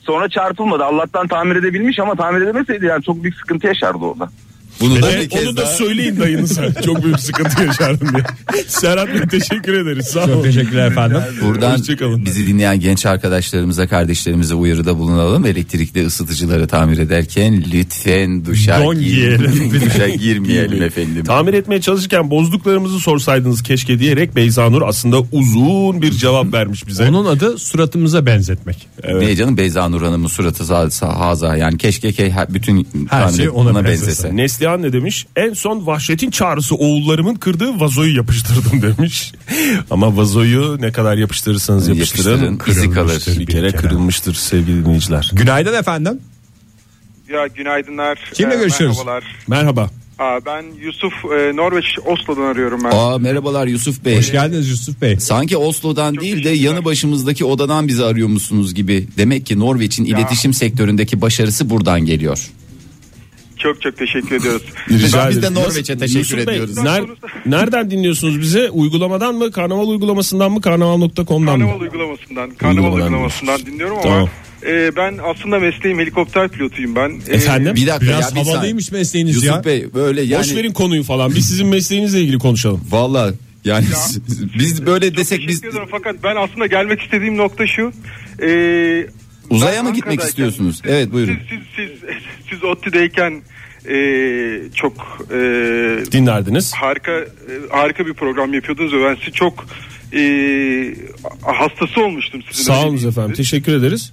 Sonra çarpılmadı. Allah'tan tamir edebilmiş ama tamir edemeseydi yani çok büyük sıkıntı yaşardı orada.
Bunu da bir
E,
kez
onu da
daha-
söyleyin dayınıza. Çok büyük sıkıntı yaşardım diye. Serhat Bey teşekkür ederiz. Sağ olun.
Teşekkürler efendim.
Buradan
Hoşçakalın.
bizi dinleyen genç arkadaşlarımıza, kardeşlerimize uyarıda bulunalım. Elektrikli ısıtıcıları tamir ederken lütfen duşa,
Don
gir-
giyelim.
duşa girmeyelim efendim.
Tamir etmeye çalışırken bozduklarımızı sorsaydınız keşke diyerek Beyza Nur aslında uzun bir cevap vermiş bize.
Onun adı suratımıza benzetmek.
Ne canım Beyza Nur Hanım'ın suratı za- za- haza yani keşke ke- ha- bütün
Her şey ona benzese.
Neslihan ne demiş? En son vahşetin çağrısı oğullarımın kırdığı vazoyu yapıştırdım demiş. Ama vazoyu ne kadar yapıştırırsanız yapıştırın,
Yapıştırın, izi kalır.
kırılmıştır. Bir
Bir
kere
kere.
kırılmıştır sevgili dinleyiciler.
Günaydın efendim.
Ya günaydınlar.
Kimle
Ee,
görüşüyoruz?
Merhabalar.
Merhaba.
Aa, ben Yusuf e, Norveç Oslo'dan arıyorum ben.
Aa merhabalar Yusuf Bey.
Hoş geldiniz Yusuf Bey.
Sanki Oslo'dan değil de
teşekkürler.
yanı başımızdaki odadan bizi arıyormuşsunuz gibi. Demek ki Norveç'in iletişim sektöründeki başarısı buradan geliyor.
Çok çok teşekkür ediyoruz.
Rica biz de
ederim.
Norveç'e teşekkür
Yusuf Bey,
ediyoruz.
ner- nereden dinliyorsunuz bize? Uygulamadan mı? Karnaval uygulamasından mı? Karnaval.com'dan mı?
Karnaval uygulamasından, karnaval
Uygulamadan
uygulamasından dinliyorum ama
Tamam.
e, ben aslında mesleğim helikopter pilotuyum ben. E,
Efendim?
Bir dakika ya
Biraz
bir saniye.
havalıymış mesleğiniz
Yusuf
ya.
Bey böyle
Boş
yani
verin konuyu falan. Biz sizin mesleğinizle ilgili konuşalım.
valla yani biz böyle
çok
desek
teşekkür
biz
ediyorum. fakat ben aslında gelmek istediğim nokta şu. E,
uzaya
ben
mı gitmek
Ankara'dayken-
istiyorsunuz? Evet buyurun.
Siz siz siz siz ODTÜ'deyken e, çok e,
Dinlerdiniz.
harika e, harika bir program yapıyordunuz ve ben sizi çok e, hastası olmuştum sizin.
Sağ olun
Öyle
efendim.
değil mi?
Teşekkür ederiz.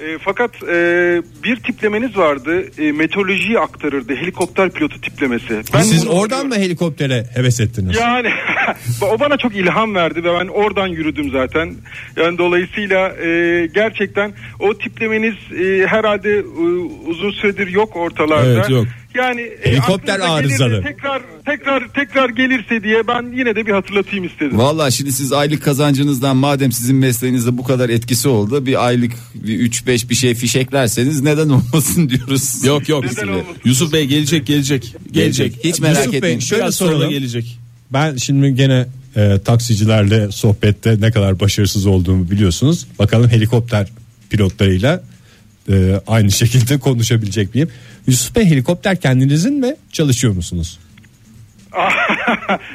E, fakat e, bir tiplemeniz vardı. E, meteorolojiyi aktarırdı. Helikopter pilotu tiplemesi. Ben
Siz
bunu
oradan mı
biliyorum.
helikoptere heves ettiniz?
Yani o bana çok ilham verdi ve ben oradan yürüdüm zaten. Yani dolayısıyla e, gerçekten o tiplemeniz e, herhalde e, uzun süredir yok ortalarda.
Evet, yok.
Yani e,
Helikopter
aklınıza gelir de
arızalı.
Tekrar tekrar tekrar gelirse diye ben yine de bir hatırlatayım istedim.
Valla şimdi siz aylık kazancınızdan madem sizin mesleğinizde bu kadar etkisi oldu bir aylık bir 3-5 bir şey fişeklerseniz neden olmasın diyoruz.
Yok yok.
Neden olmasın?
Yusuf Bey gelecek gelecek. Gelecek.
Hiç merak
Yusuf Bey,
etmeyin.
şöyle
Biraz sonra
soralım.
gelecek.
Ben şimdi gene e, taksicilerle sohbette ne kadar başarısız olduğumu biliyorsunuz. Bakalım helikopter pilotlarıyla e, aynı şekilde konuşabilecek miyim? Yusuf Bey helikopter kendinizin mi çalışıyor musunuz?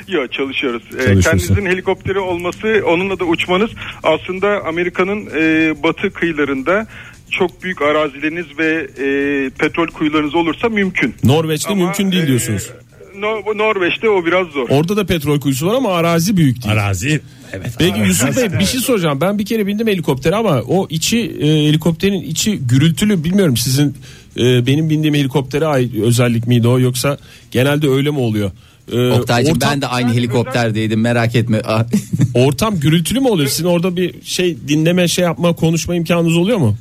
Yok çalışıyoruz. Ee,
Çalışıyorsun.
kendinizin helikopteri olması onunla da uçmanız aslında Amerika'nın e, batı kıyılarında çok büyük arazileriniz ve e, petrol kuyularınız olursa mümkün.
Norveç'te
Ama,
mümkün değil
e,
diyorsunuz.
No- Norveç'te o biraz zor.
Orada da petrol kuyusu var ama arazi büyük değil.
Arazi. Evet.
Peki Yusuf Bey bir şey soracağım. Ben bir kere bindim helikoptere ama o içi e, helikopterin içi gürültülü bilmiyorum sizin e, benim bindiğim helikoptere ait özellik miydi o yoksa genelde öyle mi oluyor? E,
Oktaycığım
ortam,
ben de aynı helikopterdeydim merak etme. Ah,
ortam gürültülü mü oluyor? Sizin orada bir şey dinleme şey yapma konuşma imkanınız oluyor mu?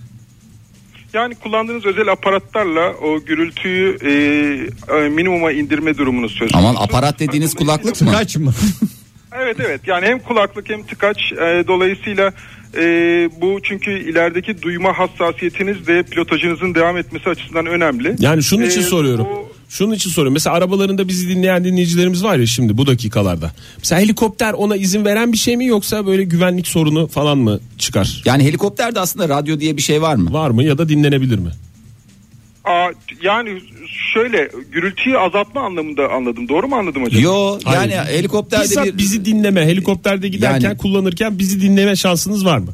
Yani kullandığınız özel aparatlarla o gürültüyü e, e, minimuma indirme durumunuz söz konusu.
Aman aparat dediğiniz kulaklık mı?
Kaç mı?
Evet evet yani hem kulaklık hem tıkaç e, dolayısıyla e, bu çünkü ilerideki duyma hassasiyetiniz ve pilotajınızın devam etmesi açısından önemli.
Yani şunun için
Ee,
soruyorum.
bu-
Şunun için soruyorum. Mesela arabalarında bizi dinleyen dinleyicilerimiz var ya şimdi bu dakikalarda. Mesela helikopter ona izin veren bir şey mi yoksa böyle güvenlik sorunu falan mı çıkar?
Yani helikopterde aslında radyo diye bir şey var mı?
Var mı ya da dinlenebilir mi?
Aa, yani şöyle gürültüyü azaltma anlamında anladım doğru mu anladım acaba?
Yo yani
Hayır.
helikopterde
Bizzat
bir...
bizi dinleme helikopterde giderken
Yani-
kullanırken bizi dinleme şansınız var mı?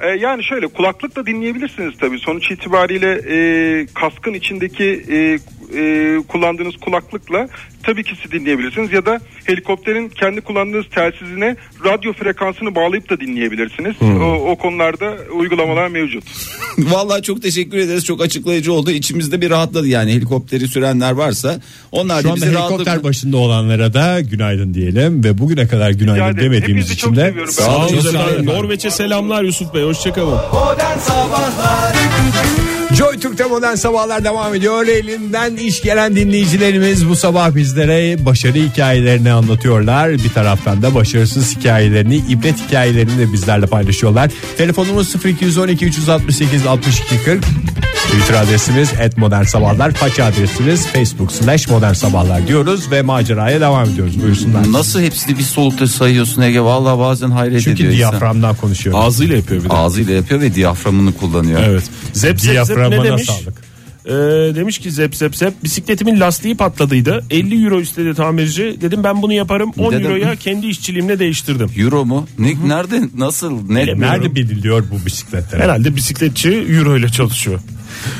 E, yani şöyle kulaklıkla dinleyebilirsiniz tabii. Sonuç itibariyle e, kaskın içindeki e, e, kullandığınız kulaklıkla tabii ki siz dinleyebilirsiniz. Ya da helikopterin kendi kullandığınız telsizine radyo frekansını bağlayıp da dinleyebilirsiniz. O, o konularda uygulamalar mevcut.
Vallahi çok teşekkür ederiz. Çok açıklayıcı oldu. İçimizde bir rahatladı yani helikopteri sürenler varsa. Onlar
Şu
da
anda
bizi
helikopter
rahatlıkla...
başında olanlara da günaydın diyelim ve bugüne kadar günaydın
ederim.
demediğimiz
Hepinizi
için
çok
de
seviyorum.
Sağ olun
Sağ olun
efendim.
efendim. Norveç'e selamlar Yusuf Bey hoşçakalın.
Joy Türk'te modern sabahlar devam ediyor. Elinden iş gelen dinleyicilerimiz bu sabah bizlere başarı hikayelerini anlatıyorlar. Bir taraftan da başarısız hikayelerini, ibret hikayelerini de bizlerle paylaşıyorlar. Telefonumuz 0212 368 62 40. Twitter adresimiz et modern sabahlar. Faça adresimiz facebook slash modern sabahlar diyoruz ve maceraya devam ediyoruz. Buyursunlar.
Nasıl hepsini bir solukta sayıyorsun Ege? Vallahi bazen hayret
Çünkü
ediyor insan.
diyaframdan konuşuyorum.
Ağzıyla yapıyor bir de.
Ağzıyla yapıyor ve diyaframını kullanıyor.
Evet. Zep zep zep ne
Diyaframına
demiş?
sağlık.
Ee, demiş ki zep zep zep bisikletimin lastiği patladıydı. 50 euro istedi tamirci. Dedim ben bunu yaparım. 10
Dedim.
euroya kendi işçiliğimle değiştirdim.
Euro mu? Ne, nerede? Nasıl? Ne?
Nerede biliniyor bu bisikletler?
Herhalde bisikletçi euro ile çalışıyor.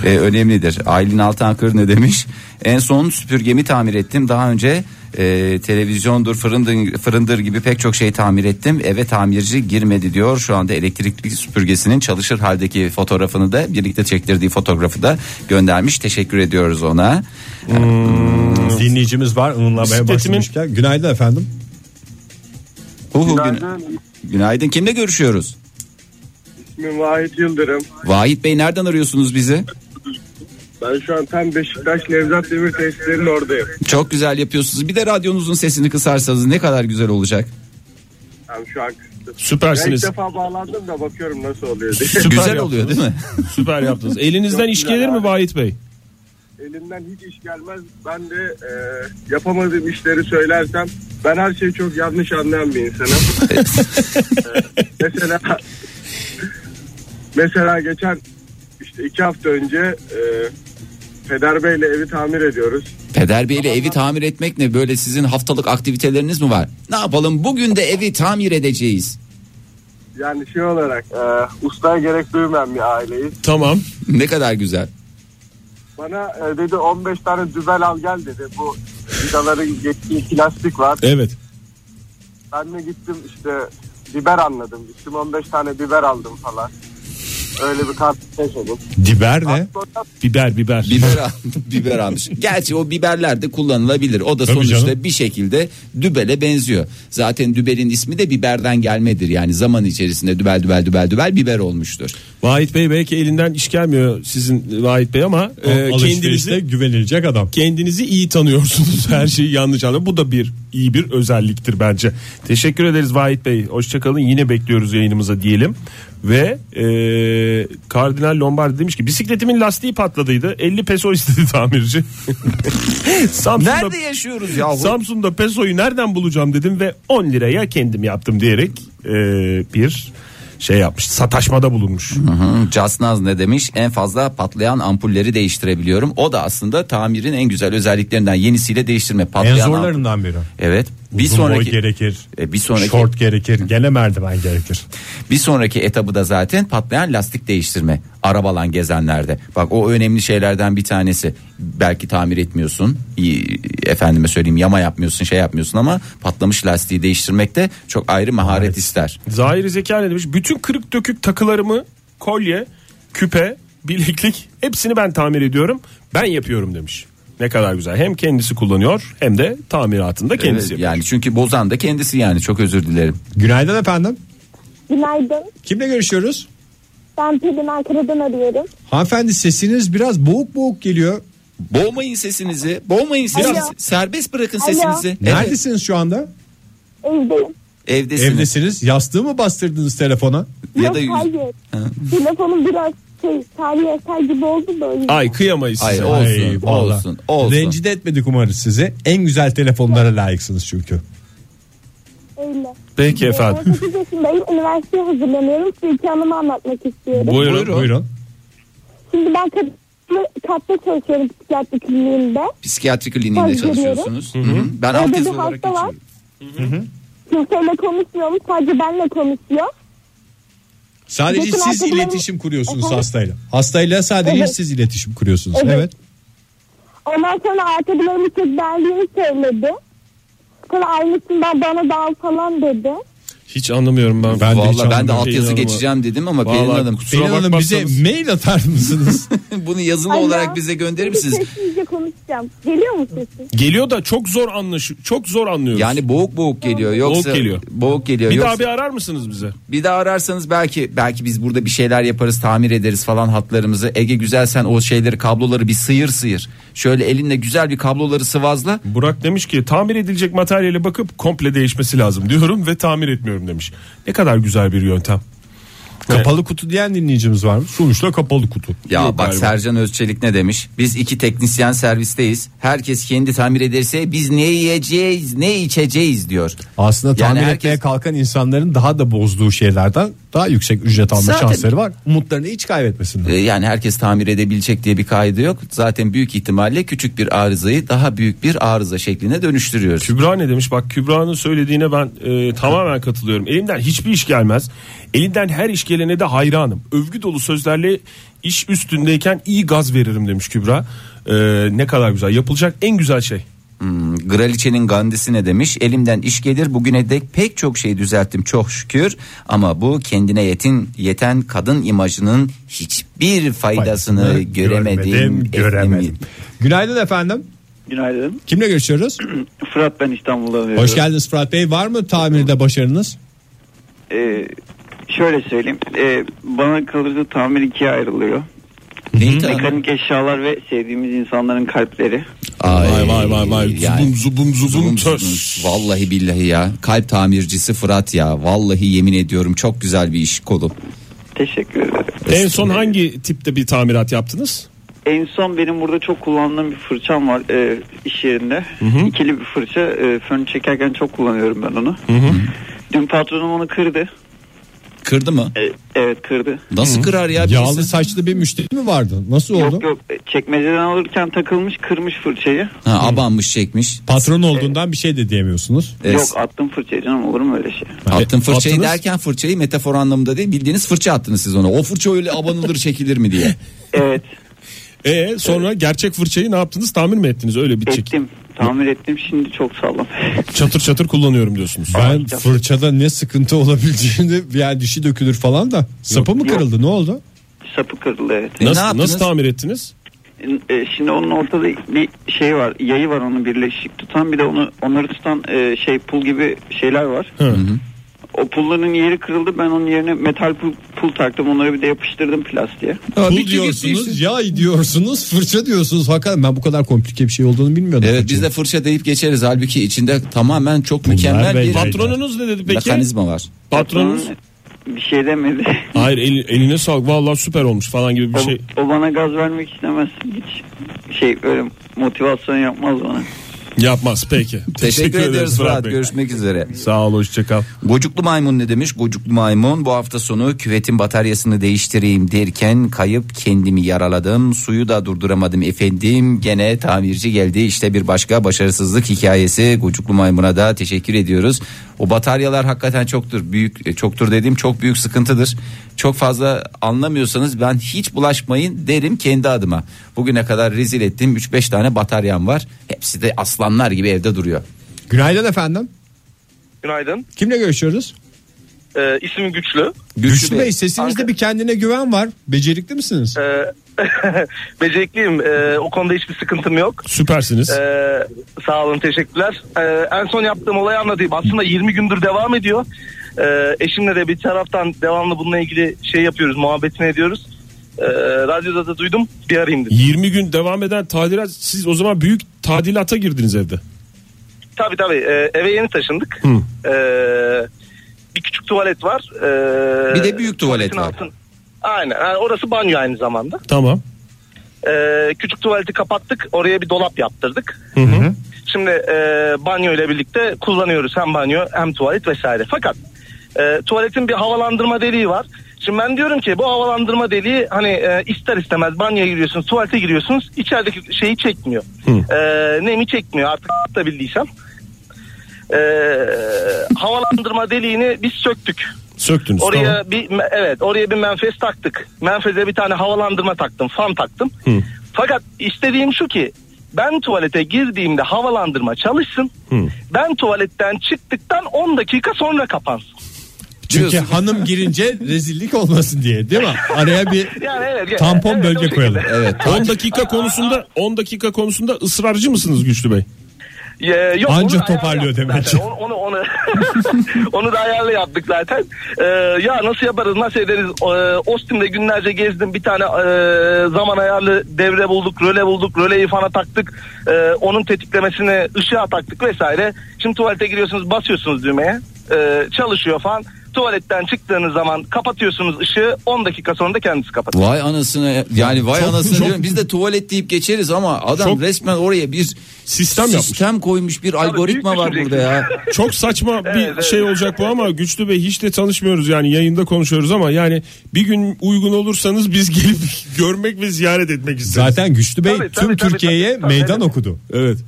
E, önemlidir. Aylin Altankır ne demiş? En son süpürgemi tamir ettim. Daha önce e, televizyondur, fırındır, fırındır gibi pek çok şey tamir ettim. Eve tamirci girmedi diyor. Şu anda elektrikli süpürgesinin çalışır haldeki fotoğrafını da birlikte çektirdiği fotoğrafı da göndermiş. Teşekkür ediyoruz ona.
Dinleyicimiz var ınlamaya
Bisikletimin-
başlamışken. Günaydın efendim.
Huhu, gün-
Günaydın.
günaydın. Kimle görüşüyoruz?
İsmim Vahit Yıldırım.
Vahit Bey nereden arıyorsunuz bizi?
Ben şu an tam Beşiktaş Nevzat Demir tesislerinin oradayım.
Çok güzel yapıyorsunuz. Bir de radyonuzun sesini kısarsanız ne kadar güzel olacak.
Tam şu an kıstım. Ben ilk
Süpersiniz.
defa bağlandım da bakıyorum nasıl oluyor diye.
Süper
güzel
yaptınız.
oluyor değil mi?
Süper yaptınız. Elinizden iş gelir mi Vahit Bey?
Elimden hiç iş gelmez. Ben de e, yapamadığım işleri söylersem ben her şeyi çok yanlış anlayan bir insanım. E, mesela mesela geçen işte iki hafta önce e, Feder Bey'le evi tamir ediyoruz.
Peder Bey ile evi tamir etmek ne? Böyle sizin haftalık aktiviteleriniz mi var? Ne yapalım? Bugün de evi tamir edeceğiz.
Yani şey olarak e, ustaya gerek duymayan bir aileyiz.
Tamam.
Ne kadar güzel.
Bana e, dedi 15 tane dübel al gel dedi. Bu vidaların geçtiği iki lastik var.
Evet.
Ben de gittim işte biber anladım. Gittim 15 tane biber aldım falan. Öyle bir kartı yaşadım.
Diber ne?
Sonra
Biber biber.
Biber, al- biber almış. Gerçi o biberler de kullanılabilir. O da
Tabii
sonuçta
canım.
bir şekilde dübele benziyor. Zaten dübelin ismi de biberden gelmedir. Yani zaman içerisinde dübel dübel dübel dübel biber olmuştur.
Vahit Bey belki elinden iş gelmiyor sizin Vahit Bey ama
O
e,
alışverişte
kendinizi
güvenilecek adam.
kendinizi iyi tanıyorsunuz. Her şeyi yanlış anlıyor. Bu da bir iyi bir özelliktir bence. Teşekkür ederiz Vahit Bey. Hoşçakalın. Yine bekliyoruz yayınımıza diyelim. Ve e, Kardinal Lombardi demiş ki bisikletimin lastiği patladıydı. 50 peso istedi tamirci. Samsun'da,
Nerede yaşıyoruz yahu?
Samsun'da pesoyu nereden bulacağım dedim ve 10 liraya kendim yaptım diyerek e, bir şey yapmış. Sataşmada bulunmuş.
Hı, Casnaz ne demiş? En fazla patlayan ampulleri değiştirebiliyorum. O da aslında tamirin en güzel özelliklerinden yenisiyle değiştirme.
En
Patlayan amp-
zorlarından biri.
Evet. Bir
Uzun
sonraki
boy gerekir.
E, bir sonraki-
Short gerekir. Gene merdiven gerekir.
Bir sonraki etabı da zaten patlayan lastik değiştirme. Arabalan gezenlerde. Bak o önemli şeylerden bir tanesi. Belki tamir etmiyorsun. iyi- Efendime söyleyeyim yama yapmıyorsun şey yapmıyorsun ama patlamış lastiği değiştirmek de çok ayrı maharet ister.
Zahir Zeka ne demiş? Bütün kırık dökük takılarımı, kolye, küpe, bileklik hepsini ben tamir ediyorum. Ben yapıyorum demiş. Ne kadar güzel. Hem kendisi kullanıyor hem de tamiratında kendisi
Evet,
yapıyor.
yani çünkü bozan da kendisi yani çok özür dilerim.
Günaydın efendim.
Günaydın.
Kimle görüşüyoruz?
Ben Pelin Ankara'dan arıyorum.
Hanımefendi sesiniz biraz boğuk boğuk geliyor.
Boğmayın sesinizi. Boğmayın sesinizi.
Alo.
Serbest bırakın
Alo.
sesinizi. Evet,
Neredesiniz şu anda?
Evdeyim.
evdesiniz.
Evdesiniz. Yastığı mı bastırdınız telefona?
Ya
Yok
da yüz...
hayır. Telefonum biraz şey, tarih eser gibi oldu da. o yüzden.
Ay kıyamayız
Ay,
size.
Olsun,
vallahi.
olsun, olsun.
Rencide etmedik umarız sizi. En güzel telefonlara layıksınız çünkü.
Öyle.
Peki
Efendim.
efendim.
18 yaşındayım. Üniversiteye hazırlanıyorum. Size iki anımı anlatmak istiyorum.
Buyurun.
Buyurun.
Şimdi ben katlı, katta çalışıyorum psikiyatri kliniğinde.
Psikiyatri kliniğinde
Tabii,
çalışıyorsunuz. Hı hı. Ben alt
Orada bir
yazı olarak
hasta var.
geçiyorum.
Kimseyle konuşmuyorum. Sadece benle konuşuyor.
Sadece
Yakın
siz
arkadaşlarım-
iletişim kuruyorsunuz
Efendim?
hastayla. Hastayla sadece
Evet.
siz iletişim kuruyorsunuz. Evet.
Evet. Ondan sonra arkadaşlarım çok beğendiğini söyledi. Sonra aynısından bana da al falan dedi.
Hiç anlamıyorum
Ben
ben. Vallahi
Valla ben de
anlamıyorum.
altyazı
Pelin
geçeceğim dedim ama
Vallahi
Pelin Hanım
kusura
Pelin Hanım bize
bakmazsanız-
mail atar mısınız?
bunu yazılı
Alo.
olarak bize gönderir misiniz?
Sessizce konuşacağım. Geliyor mu sesi?
Geliyor da çok zor anlaşı çok zor anlıyoruz.
Yani boğuk boğuk geliyor yoksa
Boğuk geliyor.
boğuk geliyor.
bir
yoksa,
daha bir arar mısınız bize?
bir daha ararsanız belki belki biz burada bir şeyler yaparız, tamir ederiz falan hatlarımızı. Ege güzel sen o şeyleri kabloları bir sıyır sıyır. Şöyle elinle güzel bir kabloları sıvazla.
Burak demiş ki tamir edilecek materyale bakıp komple değişmesi lazım diyorum ve tamir etmiyorum demiş. Ne kadar güzel bir yöntem.
kapalı kutu diyen dinleyicimiz var mı? Sonuçta kapalı kutu.
Ya bak
Yok galiba.
Sercan Özçelik ne demiş? Biz iki teknisyen servisteyiz. Herkes kendi tamir ederse biz ne yiyeceğiz, ne içeceğiz diyor.
Aslında
Yani
tahmin
herkes-
etmeye kalkan insanların daha da bozduğu şeylerden daha yüksek ücret alma
Zaten-
şansları var. Umutlarını hiç kaybetmesinler.
Ee, Yani herkes tamir edebilecek diye bir kaydı yok. Zaten büyük ihtimalle küçük bir arızayı daha büyük bir arıza şekline dönüştürüyoruz.
Kübra ne demiş? Bak Kübra'nın söylediğine ben e, tamamen katılıyorum. Elimden hiçbir iş gelmez. Elinden her iş gelene de hayranım. Övgü dolu sözlerle iş üstündeyken iyi gaz veririm demiş Kübra. E, ne kadar güzel. Yapılacak en güzel şey.
Hmm, Graliçe'nin Gandhi'si ne demiş? Elimden iş gelir bugüne dek pek çok şey düzelttim çok şükür ama bu kendine yetin yeten kadın imajının hiçbir faydasını göremedim. etmedim."
göremedim. Günaydın efendim.
Günaydın.
Kimle görüşüyoruz?
Fırat ben İstanbul'dan arıyorum.
Hoş geldiniz Fırat Bey. Var mı tamirde başarınız?
Ee, şöyle söyleyeyim. Ee, bana kalırsa tamir ikiye ayrılıyor.
Neyi tanı-
Mekanik eşyalar ve sevdiğimiz insanların kalpleri.
Ay,
Vay vay vay vay.
yani-
zubum zubum
Zubum
zubum töz.
zubum. Vallahi billahi ya. Kalp tamircisi Fırat ya. Vallahi yemin ediyorum çok güzel bir iş kolu.
Teşekkür ederim.
En son hangi tipte bir tamirat yaptınız?
En son benim burada çok kullandığım bir fırçam var e, iş yerinde. İkili bir fırça. E, fön çekerken çok kullanıyorum ben onu. Dün patronum onu kırdı.
Kırdı mı?
E, evet kırdı.
Nasıl kırar ya? birisi?
Yağlı saçlı bir müşteri mi vardı? Nasıl oldu?
Yok yok e, çekmeceden alırken takılmış kırmış fırçayı.
Ha, abanmış çekmiş.
Patron olduğundan bir şey de diyemiyorsunuz.
Evet.
Yok attım fırçayı canım olur mu öyle şey?
Attın fırçayı
Attınız.
derken fırçayı metafor anlamında değil bildiğiniz fırça attınız siz ona. O fırça öyle abanılır çekilir mi diye.
Evet
E sonra gerçek fırçayı ne yaptınız? Tamir mi ettiniz? Öyle bir çek.
ettim. Tamir ettim şimdi çok sağlam.
Çatır çatır kullanıyorum diyorsunuz.
Ben fırçada ne sıkıntı olabileceğini yani dişi dökülür falan da. Sapı mı
Yok.
kırıldı ne oldu?
Sapı kırıldı evet.
E, ne
Nasıl,
yaptınız?
nasıl tamir ettiniz?
E, Şimdi onun ortada bir şey var, yayı var onu birleşik tutan bir de onu onları tutan e, şey pul gibi şeyler var. O pulların yeri kırıldı. Ben onun yerine metal pul, pul taktım. Onları bir de yapıştırdım plastiğe.
Ha,
Pul
bitti, bitti
diyorsunuz,
işte.
yay diyorsunuz, fırça diyorsunuz. Hakikaten ben bu kadar komplike bir şey olduğunu bilmiyordum.
Evet
Fırçanın.
biz de fırça deyip geçeriz. Halbuki içinde tamamen çok mükemmel
bence-
bir
Patronunuz ne dedi peki?
mekanizma var.
Patronunuz?
Bir şey demedi.
Hayır el- eline sağlık vallahi süper olmuş falan gibi bir
O,
şey.
o bana gaz vermek istemez. Hiç şey öyle motivasyon yapmaz bana.
Yapmaz peki.
Teşekkür,
ederiz
ederiz Fırat.
Bey.
Görüşmek üzere.
Sağ ol hoşçakal.
Gocuklu maymun ne demiş? Gocuklu maymun bu hafta sonu küvetin bataryasını değiştireyim derken kayıp kendimi yaraladım. Suyu da durduramadım efendim. Gene tamirci geldi. İşte bir başka başarısızlık hikayesi. Gocuklu maymuna da teşekkür ediyoruz. O bataryalar hakikaten çoktur. Büyük e, çoktur dediğim çok büyük sıkıntıdır. Çok fazla anlamıyorsanız ben hiç bulaşmayın derim kendi adıma. Bugüne kadar rezil ettiğim 3-5 tane bataryam var. Hepsi de aslanlar gibi evde duruyor.
Günaydın efendim.
Günaydın.
Kimle görüşüyoruz?
Ee, isim Güçlü.
Güçlü Bey sesinizde
Arka-
bir kendine güven var. Becerikli misiniz?
Ee, becerikliyim. Ee, o konuda hiçbir sıkıntım yok.
Süpersiniz.
Ee, sağ olun teşekkürler. Ee, en son yaptığım olayı anlatayım. Aslında 20 gündür devam ediyor. Ee, eşimle de bir taraftan devamlı bununla ilgili şey yapıyoruz, muhabbetini ediyoruz. Ee, radyoda da duydum, bir arayayım dedim.
20 gün devam eden tadilat siz o zaman büyük tadilata girdiniz evde.
Tabii tabii, ee, eve yeni taşındık. Ee, bir küçük tuvalet var. Ee,
Bir de büyük tuvalet
tuvaletin
var.
altın- Aynen, yani orası banyo aynı zamanda.
Tamam.
Ee, küçük tuvaleti kapattık, oraya bir dolap yaptırdık. Şimdi e, banyo ile birlikte kullanıyoruz hem banyo hem tuvalet vesaire. Fakat e, tuvaletin bir havalandırma deliği var. Şimdi ben diyorum ki bu havalandırma deliği hani e, ister istemez banyoya giriyorsunuz, tuvalete giriyorsunuz. içerideki şeyi çekmiyor. E, nemi çekmiyor artık da bildiysem. E, havalandırma deliğini biz söktük.
Söktünüz.
Oraya
Tamam.
bir evet oraya bir menfez taktık. Menfeze bir tane havalandırma taktım, fan taktım. Fakat istediğim şu ki ben tuvalete girdiğimde havalandırma çalışsın. Ben tuvaletten çıktıktan 10 dakika sonra kapansın.
Çünkü
Diyorsun.
hanım girince rezillik olmasın diye değil mi? Araya bir tampon bölge koyalım.
Evet.
10 dakika konusunda 10 dakika konusunda ısrarcı mısınız Güçlü Bey?
Ee, yok,
Anca
onu da
toparlıyor
ayarlı
demek
yaptık zaten. Onu, onu, onu, onu da ayarlı yaptık zaten. Ee, ya nasıl yaparız nasıl ederiz? Ee, Ostim'de günlerce gezdim. Bir tane e, zaman ayarlı devre bulduk. Röle bulduk. Röleyi fana taktık. Ee, onun tetiklemesine ışığa taktık vesaire. Şimdi tuvalete giriyorsunuz basıyorsunuz düğmeye. Ee, çalışıyor falan. Tuvaletten çıktığınız zaman kapatıyorsunuz ışığı. 10 dakika sonra da kendisi kapatıyor.
Vay anasını yani vay
Çok-
anasını
çok-
diyorum. Biz de tuvalet deyip geçeriz ama adam
Çok-
resmen oraya bir
sistem
koymuş bir algoritma var burada ya.
Çok saçma bir şey olacak bu ama Güçlü Bey hiç de tanışmıyoruz yani yayında konuşuyoruz ama yani bir gün uygun olursanız biz gelip görmek ve ziyaret etmek isteriz.
Zaten Güçlü Bey tüm Türkiye'ye meydan okudu.
Evet.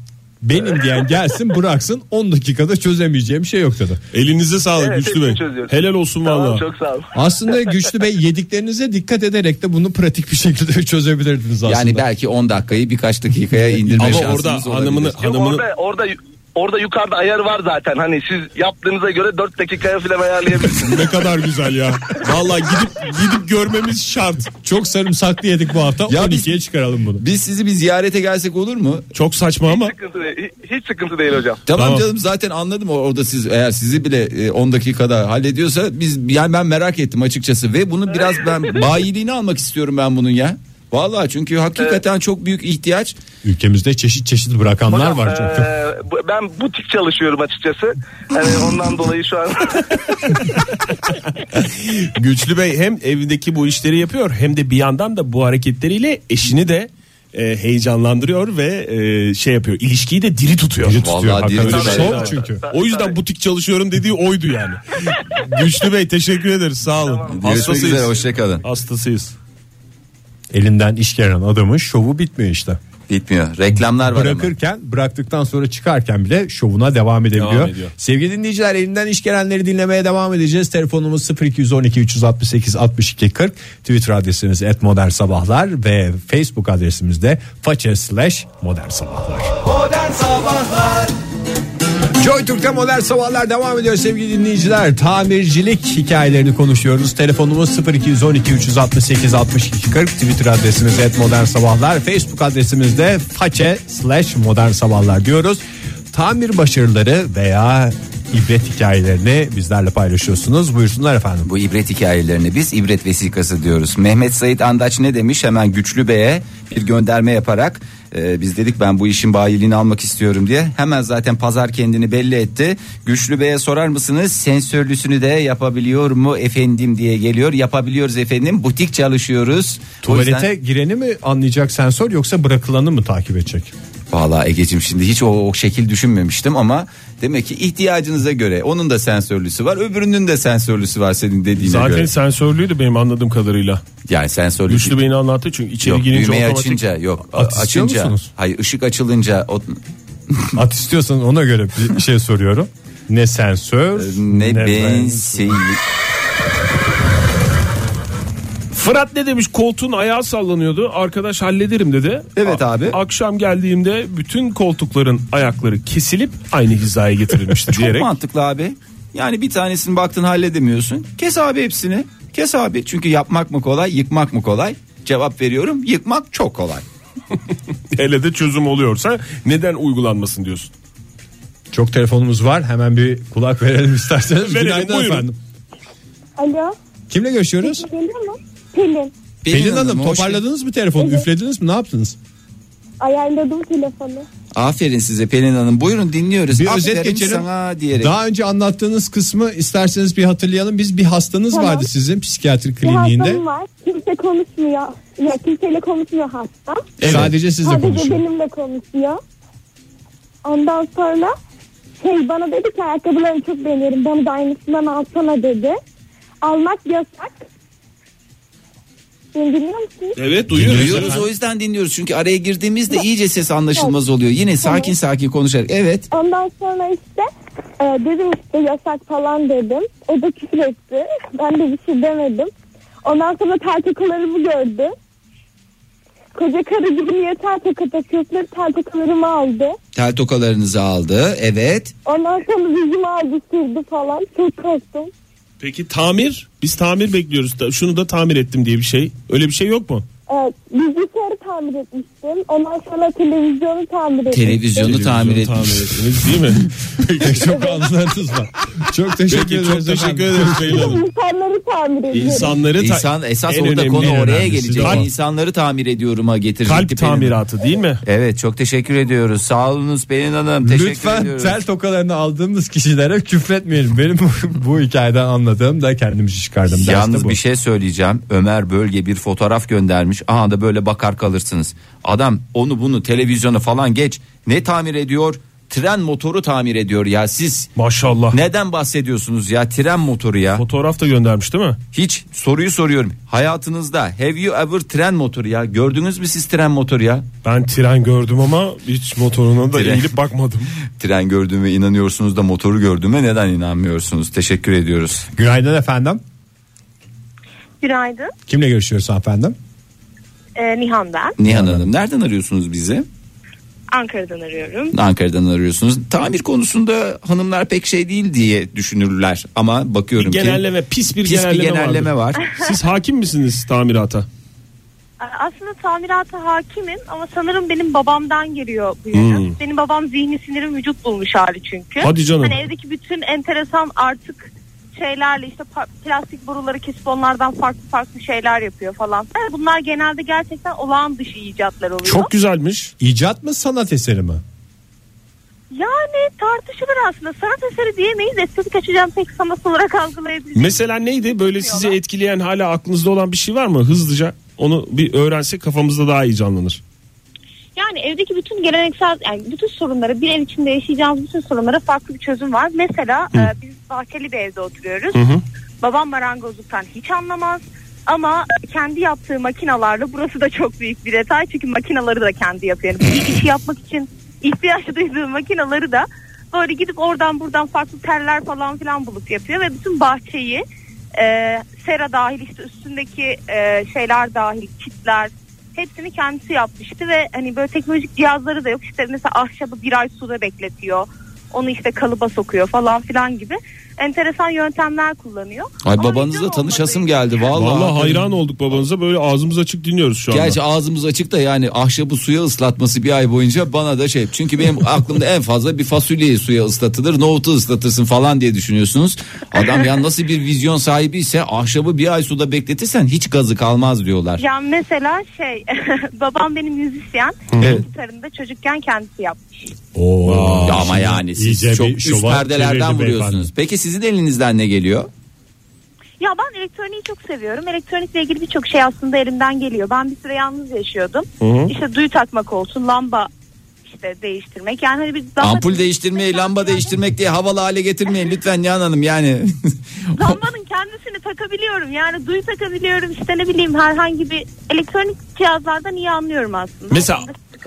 Benim diyen gelsin bıraksın 10 dakikada çözemeyeceğim şey yok dedi.
Elinize sağlık
Evet,
Güçlü Bey.
hepsini çözüyoruz.
Helal olsun
Tamam,
vallahi.
çok Aslında Güçlü Bey yediklerinize dikkat ederek de bunu pratik bir şekilde çözebilirdiniz aslında.
Yani belki 10 dakikayı birkaç dakikaya indirme
Ama
şansınız
orada
olabilir.
hanımını- Yok, hanımını-
Orada, orada Orada yukarıda ayar var zaten. Hani siz yaptığınıza göre 4 dakikaya falan ayarlayabilirsiniz.
ne kadar güzel ya. Vallahi gidip gidip görmemiz şart. Çok sarımsaklı yedik bu hafta. 12'ye çıkaralım bunu.
Biz sizi bir ziyarete gelsek olur mu?
Çok saçma ama.
Sıkıntı değil, hiç sıkıntı değil hocam.
Tamam, canım zaten anladım O- orada siz eğer sizi bile e, 10 dakikada hallediyorsa biz yani ben merak ettim açıkçası ve bunu biraz ben bayiliğini almak istiyorum ben bunun ya. Vallahi çünkü hakikaten çok büyük ihtiyaç.
Ülkemizde çeşit çeşit bırakanlar
Hocam, eee, Ee, bu- ben butik çalışıyorum açıkçası. Hani ondan dolayı şu an
Güçlü Bey hem evdeki bu işleri yapıyor hem de bir yandan da bu hareketleriyle eşini de e, heyecanlandırıyor ve e, şey yapıyor. ilişkiyi de diri tutuyor.
Diri tutuyor, Vallahi diri
hakikaten.
tutuyor.
Şov çünkü. O yüzden butik çalışıyorum dediği oydu yani. Güçlü Bey teşekkür ederiz. Sağ olun. Hastasıyız.
hoşçakalın.
Hastasıyız.
Elinden iş gelen adamın şovu bitmiyor işte.
Bitmiyor. Reklamlar var ama.
Bırakırken bıraktıktan sonra çıkarken bile şovuna devam edebiliyor.
Devam ediyor.
Sevgili dinleyiciler elinden iş gelenleri dinlemeye devam edeceğiz. Telefonumuz 0212 368 62 40. Twitter adresimiz et sabahlar ve Facebook adresimiz de façe slash modern sabahlar.
Modern Sabahlar
Joy Türk'te modern sabahlar devam ediyor sevgili dinleyiciler. Tamircilik hikayelerini konuşuyoruz. Telefonumuz 0212 368 62 40. Twitter adresimiz et modern sabahlar. Facebook adresimiz de façe slash modern sabahlar diyoruz. Tamir başarıları veya ibret hikayelerini bizlerle paylaşıyorsunuz. Buyursunlar efendim.
Bu ibret hikayelerini biz ibret vesikası diyoruz. Mehmet Sait Andaç ne demiş? Hemen Güçlü Bey'e bir gönderme yaparak e, biz dedik ben bu işin bayiliğini almak istiyorum diye. Hemen zaten pazar kendini belli etti. Güçlü Bey'e sorar mısınız? Sensörlüsünü de yapabiliyor mu efendim diye geliyor. Yapabiliyoruz efendim. Butik çalışıyoruz. O
Tuvalete
yüzden-
gireni mi anlayacak sensör yoksa bırakılanı mı takip edecek?
Vallahi Ege'cim şimdi hiç o, o şekil düşünmemiştim ama demek ki ihtiyacınıza göre onun da sensörlüsü var öbürünün de sensörlüsü var senin dediğine
Zaten
göre.
sensörlüydü benim anladığım kadarıyla.
Yani sensörlü
Güçlü Bey'in anlattı çünkü içeri
Yok,
girince
düğmeyi
otomatik...
açınca yok
At
a-
istiyor
açınca
musunuz?
hayır ışık açılınca o,
At istiyorsan ona göre bir şey soruyorum. Ne
Ee,
sensör
ne,
ben-
bensin
Fırat ne demiş koltuğun ayağı sallanıyordu arkadaş hallederim dedi.
Evet abi.
Akşam geldiğimde bütün koltukların ayakları kesilip aynı hizaya getirilmişti
çok
diyerek.
mantıklı abi yani bir tanesini baktın halledemiyorsun kes abi hepsini kes abi çünkü yapmak mı kolay yıkmak mı kolay cevap veriyorum yıkmak çok kolay
Hele de çözüm oluyorsa neden uygulanmasın diyorsun.
Çok telefonumuz var. Hemen bir kulak verelim isterseniz.
Verelim,
Günaydın
buyurun.
efendim.
Alo.
Kimle görüşüyoruz?
Geliyor mu? Pelin.
Pelin, Hanım, toparladınız mı telefonu?
Evet.
Üflediniz mi? Ne yaptınız?
Ayarladım telefonu.
aferin size Pelin Hanım buyurun dinliyoruz
Bir
Aferin
özet geçelim.
sana diyerek
Daha önce anlattığınız kısmı isterseniz bir hatırlayalım. Biz bir hastanız
Tamam.
vardı sizin psikiyatri
Bir
kliniğinde.
hastam var. Kimse konuşmuyor. Ya kimseyle konuşmuyor hasta.
Evet. Sadece sizle konuşuyor.
benimle konuşuyor. Ondan sonra şey bana dedi ki ayakkabılarını çok beğeniyorum. Bana da aynısından alsana dedi. Almak yasak. Beni dinliyor musunuz?
Evet
duyuyoruz.
Evet.
o yüzden dinliyoruz çünkü araya girdiğimizde iyice ses anlaşılmaz oluyor. Yine sakin sakin konuşarak evet
Ondan sonra işte e, dedim işte yasak falan dedim. O da küfür etti. Ben de bir şey demedim. Ondan sonra tartakalarımı gördü. Koca karıcı niye tartaka takıyorsun? Tartakalarımı aldı.
tel tokalarınızı aldı evet
Ondan sonra yüzümü aldı sürdü falan. Çok korktum.
Peki tamir? Biz tamir bekliyoruz. Da, şunu da tamir ettim diye bir şey. Öyle bir şey yok mu?
Evet, bilgisayarı E, tamir etmiştim. Ondan sonra televizyonu tamir etmiştim.
Televizyonu tamir
Televizyonu
etmiş.
ettiniz değil mi?
Peki, çok anılarınız var. Çok teşekkür
Peki,
ederiz.
çok teşekkür
efendim.
ederiz Pelin Hanım.
İnsanları tamir ediyorum.
İnsanları ta-
İnsan esas
en
orada
önemli,
konu
en
oraya
önemlisi.
gelecek.
Kalp-
İnsanları tamir ediyorum'a getirdik.
Kalp tamiratı değil mi?
Evet çok teşekkür ediyoruz. Sağ olunuz Pelin Hanım. Teşekkür
Lütfen
ediyoruz.
tel tokalarını aldığımız kişilere küfretmeyelim. Benim bu, bu hikayeden anladığım da kendimizi çıkardım. Ders de
Yalnız
bu.
bir şey söyleyeceğim. Ömer Bölge bir fotoğraf göndermiş. Aha da böyle bakar kalırsınız. Adam onu bunu televizyonu falan geç. Ne tamir ediyor? Tren motoru tamir ediyor ya siz.
Maşallah.
Neden bahsediyorsunuz ya tren motoru ya?
Fotoğraf da göndermiş değil mi?
Hiç soruyu soruyorum. Hayatınızda have you ever tren motoru ya? Gördünüz mü siz tren motoru ya?
Ben tren gördüm ama hiç motoruna da
Tren.
eğilip bakmadım.
Tren gördüğüme inanıyorsunuz da motoru gördüğüme neden inanmıyorsunuz? Teşekkür ediyoruz.
Günaydın efendim.
Günaydın.
Kimle görüşüyoruz efendim?
Ee, Nihan ben.
Nihan Hanım nereden arıyorsunuz bizi?
Ankara'dan arıyorum.
Ankara'dan arıyorsunuz. Tamir konusunda hanımlar pek şey değil diye düşünürler ama bakıyorum ki
genelleme pis bir genelleme,
genelleme var.
vardır. Siz hakim misiniz tamirata?
Ee, Aslında tamirata hakimim ama sanırım benim babamdan geliyor bu yönüm.
Hmm.
Benim babam zihni sinirim vücut bulmuş hali çünkü.
Hadi canım.
Hani evdeki bütün enteresan artık şeylerle işte pa- plastik boruları kesip onlardan farklı farklı şeyler yapıyor falan. Yani bunlar genelde gerçekten olağan dışı icatlar oluyor.
Çok
güzelmiş.
İcat mı sanat eseri mi?
Yani tartışılır aslında. Sanat eseri diyemeyiz. Estetik açacağım pek sanat olarak algılayabiliriz.
Mesela neydi? Böyle sizi etkileyen hala aklınızda olan bir şey var mı? Hızlıca onu bir öğrensek kafamızda daha iyi canlanır.
Yani evdeki bütün geleneksel yani bütün sorunları bir ev içinde yaşayacağımız bütün sorunlara farklı bir çözüm var. Mesela
Hı.
e, biz bahçeli bir evde oturuyoruz. Babam marangozluktan hiç anlamaz. Ama kendi yaptığı makinalarla burası da çok büyük bir detay. Çünkü makinaları da kendi yapıyor. Yani bir işi yapmak için ihtiyaç duyduğu makinaları da böyle gidip oradan buradan farklı teller falan filan bulup yapıyor. Ve bütün bahçeyi e, sera dahil işte üstündeki e, şeyler dahil kitler hepsini kendisi yapmıştı ve hani böyle teknolojik cihazları da yok. İşte mesela ahşabı bir ay suda bekletiyor. Onu işte kalıba sokuyor falan filan gibi. Enteresan yöntemler kullanıyor.
Ay babanızla tanışasım geldi vallahi.
Vallahi hayran olduk babanıza. Böyle ağzımız açık dinliyoruz şu anda.
Gerçi ağzımız açık da yani ahşabı suya ıslatması bir ay boyunca bana da şey. Çünkü benim aklımda en fazla bir fasulyeyi suya ıslatılır, nohutu ıslatırsın falan diye düşünüyorsunuz. Adam ya nasıl bir vizyon sahibi ise ahşabı bir ay suda bekletirsen hiç gazı kalmaz diyorlar.
Yani mesela şey babam benim müzisyen.
Evet.
Gitarını da çocukken kendisi yapmış.
Ya ama yani siz
İyice
çok
bir
üst
şova
perdelerden
çevirdi
vuruyorsunuz.
beyefendi.
Peki sizin elinizden ne geliyor?
Ya ben elektroniği çok seviyorum. Elektronikle ilgili birçok şey aslında elimden geliyor. Ben bir süre yalnız yaşıyordum.
Hı hı.
İşte duyu takmak olsun, lamba işte değiştirmek. Yani hani bir
Ampul değiştirmeyi, lamba değiştirmek diye havalı hale getirmeyin lütfen Nihan Hanım yani.
Lambanın kendisini takabiliyorum. Yani duyu takabiliyorum. İşte ne bileyim herhangi bir elektronik cihazlardan iyi anlıyorum aslında.
Mesela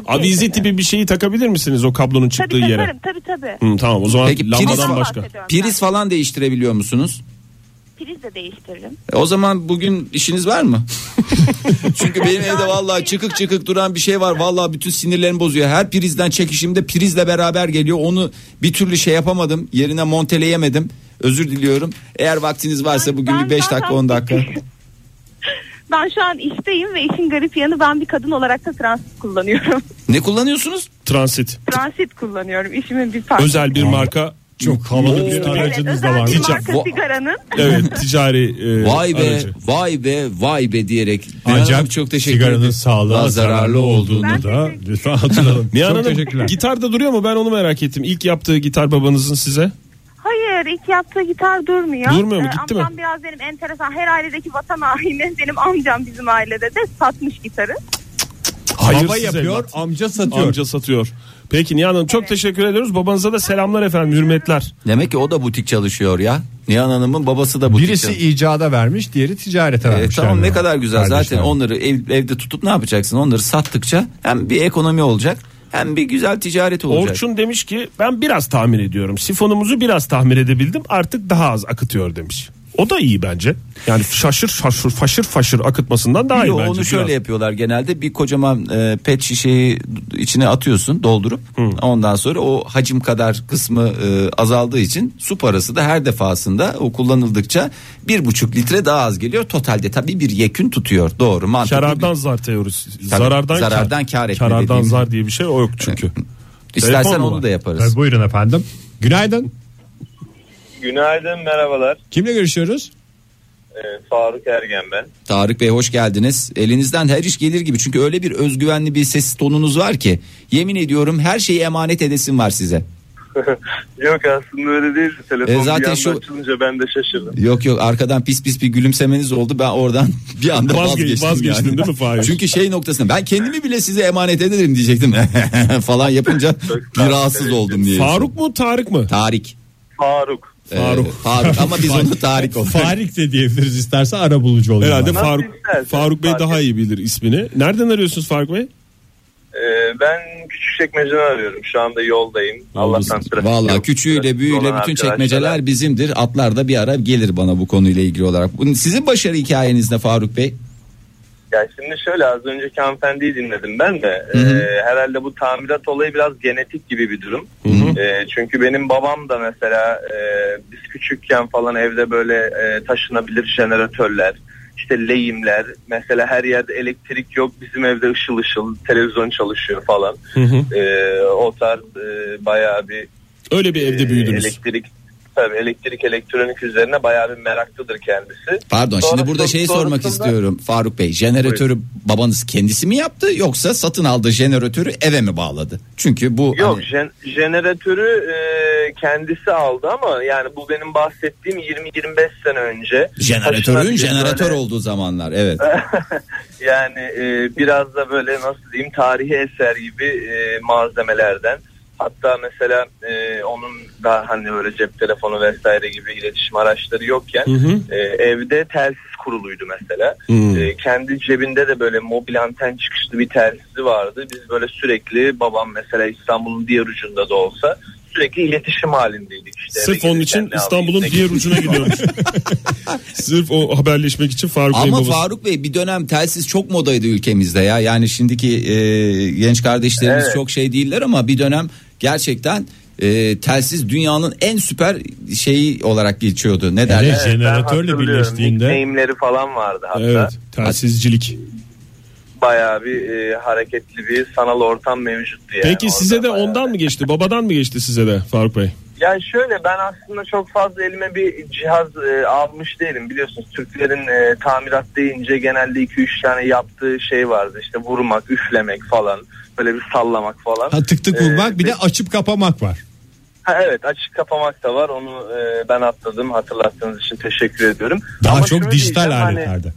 avize tipi bir şeyi takabilir misiniz o kablonun çıktığı
Tabii
yere?
takarım tabii tabii.
Hı, tamam o zaman
Peki priz,
lambadan başka.
priz falan değiştirebiliyor musunuz?
Priz de değiştiririm.
E, O zaman bugün işiniz var mı? Çünkü benim evde vallahi çıkık çıkık duran bir şey var. Vallahi bütün sinirlerimi bozuyor. Her prizden çekişimde prizle beraber geliyor. Onu bir türlü şey yapamadım. Yerine monteleyemedim. Özür diliyorum. Eğer vaktiniz varsa bugün bir 5 dakika 10 dakika.
Ben şu an işteyim ve işin garip yanı ben bir kadın olarak da transit kullanıyorum.
Ne kullanıyorsunuz?
Transit.
transit kullanıyorum. İşimin bir parçası.
Özel bir marka. Çok
havalı bir
Evet,
aracınız
özel bir
Tica-
marka sigaranın.
Evet ticari e,
Vay be,
aracı.
vay be, vay be diyerek.
Ancak
Nihan Hanım çok teşekkür
sigaranın
ederim.
sağlığa
Daha
zararlı olduğunu
Ben
da lütfen hatırlayalım.
Nihan
Çok
Hanım
teşekkürler.
gitar da duruyor mu ben onu merak ettim. İlk yaptığı gitar babanızın size.
Hayır ilk yaptığı gitar durmuyor. Ee,
Durmuyor mu? Gitti mi?
amcam biraz benim enteresan her ailedeki vatan haini benim amcam bizim ailede de satmış gitarı.
Baba
Hayırsız
yapıyor,
evlat.
amca satıyor.
Amca satıyor. Peki Nihan Hanım çok teşekkür ediyoruz. Babanıza da selamlar efendim hürmetler.
Demek ki o da butik çalışıyor ya. Nihan Hanım'ın babası da butik
Birisi
çalışıyor.
icada vermiş, diğeri ticarete
E,
vermiş.
tamam
yani.
ne kadar güzel
Kardeşler.
zaten onları ev- evde tutup ne yapacaksın onları sattıkça hem bir ekonomi olacak hem bir güzel ticaret olacak.
Orçun demiş ki ben biraz tamir ediyorum. Sifonumuzu biraz tamir edebildim. Artık daha az akıtıyor demiş. O da iyi bence. Yani şaşır şaşır faşır faşır akıtmasından daha iyi
Yo,
bence.
onu şöyle
biraz.
yapıyorlar genelde bir kocaman e, pet şişeyi içine atıyorsun doldurup ondan sonra o hacim kadar kısmı e, azaldığı için su parası da her defasında o kullanıldıkça bir buçuk litre daha az geliyor totalde tabii bir yekün tutuyor doğru mantıklı
Karardan zar teorisi.
Tabii,
zarardan,
zarardan kar etme
Karardan
dediğimiz.
zar diye bir şey o yok çünkü.
İstersen
Telefon mu
onu
var?
da yaparız.
E, buyurun efendim. Günaydın.
Günaydın merhabalar.
Kimle görüşüyoruz?
Ee, Faruk Ergen ben.
Tarık Bey hoş geldiniz. Elinizden her iş gelir gibi çünkü öyle bir özgüvenli bir ses tonunuz var ki yemin ediyorum her şeyi emanet edesim var size.
Yok aslında öyle değil. Telefon
E, zaten
bir anda
şu-
açılınca ben de şaşırdım.
Yok yok arkadan pis pis bir gülümsemeniz oldu. Ben oradan bir anda
Vazge-
vazgeçtim.
vazgeçtin
yani.
değil mi Fahir?
Çünkü şey noktasında ben kendimi bile size emanet ederim diyecektim. falan yapınca bir rahatsız oldum diye.
Faruk mu Tarık mı?
Tarık.
Faruk.
Ee, Faruk ama biz onu Tarık olarak.
Farik de diyebiliriz isterse ara bulucu olur.
Herhalde Faruk, Faruk Bey daha iyi bilir ismini. Nereden arıyorsunuz Faruk Bey?
Ee, ben Küçükçekmece'den arıyorum. Şu anda yoldayım. Allah'tan trafik
Valla
yok.
küçüğüyle büyüğüyle
Olan
bütün
arkadaşlar.
çekmeceler bizimdir. Atlar da bir ara gelir bana bu konuyla ilgili olarak. Bunun- Sizin başarı hikayeniz ne Faruk Bey?
Ya şimdi şöyle az önceki hanımefendiyi dinledim ben de.
Hı hı.
Ee, herhalde bu tamirat olayı biraz genetik gibi bir durum.
hı.
Ee, çünkü benim babam da mesela e, biz küçükken falan evde böyle e, taşınabilir jeneratörler, işte lehimler. Mesela her yerde elektrik yok bizim evde ışıl ışıl televizyon çalışıyor falan. Ee, o tarz e, bayağı bir
Öyle bir evde
e,
büyüdünüz.
elektrik tabii elektrik elektronik üzerine bayağı bir meraklıdır kendisi.
Pardon
Sonra
şimdi burada
son-
şeyi sormak
sonrasında-
istiyorum Faruk Bey. Jeneratörü babanız kendisi mi yaptı yoksa satın aldığı jeneratörü eve mi bağladı? Çünkü bu
Yok
hani-
jen- jeneratörü e, kendisi aldı ama yani bu benim bahsettiğim 20-25 sene önce.
jeneratörün
Taşınabilir
jeneratör
böyle-
olduğu zamanlar evet.
Yani e, biraz da böyle nasıl diyeyim tarihi eser gibi e, malzemelerden. Hatta mesela e, onun da hani böyle cep telefonu vesaire gibi iletişim araçları yokken
Hı hı.
e, evde telsiz kuruluydu mesela.
Hmm.
Hı.
E, kendi cebinde de böyle mobil anten çıkışlı bir telsizi vardı. Biz böyle sürekli babam mesela İstanbul'un diğer ucunda da olsa sürekli iletişim halindeydik. İşte eve
Sırf onun
gelirken
için
ne
İstanbul'un
yapayım, ne
diğer
gideyim
ucuna
falan.
gidiyormuş. Sırf o haberleşmek için Faruk Bey'in
Ama
babası.
Faruk Bey bir dönem telsiz çok modaydı ülkemizde ya. Yani şimdiki e, genç kardeşlerimiz
Evet.
çok şey değiller ama bir dönem gerçekten e, telsiz dünyanın en süper şeyi olarak geçiyordu. Ne derler?
Evet, ben hatırlıyorum. Nickname'leri falan vardı hatta.
telsizcilik.
Bayağı bir e, hareketli bir sanal ortam mevcuttu yani.
Peki size de ondan mı geçti? Babadan mı geçti size de Faruk Bey?
Yani şöyle ben aslında çok fazla elime bir cihaz e, almış değilim. Biliyorsunuz Türklerin e, tamirat deyince genelde 2-3 tane yaptığı şey vardı. İşte vurmak, üflemek falan. Böyle bir sallamak falan.
Ha, tık tık
E,
vurmak
Ee,
bir de açıp kapamak var.
Ha, evet açık kapamak da var. Onu e, ben atladım. Hatırlattığınız için teşekkür ediyorum.
Daha
Ama şunu
çok dijital
diyeceğim, hani-
aletlerde.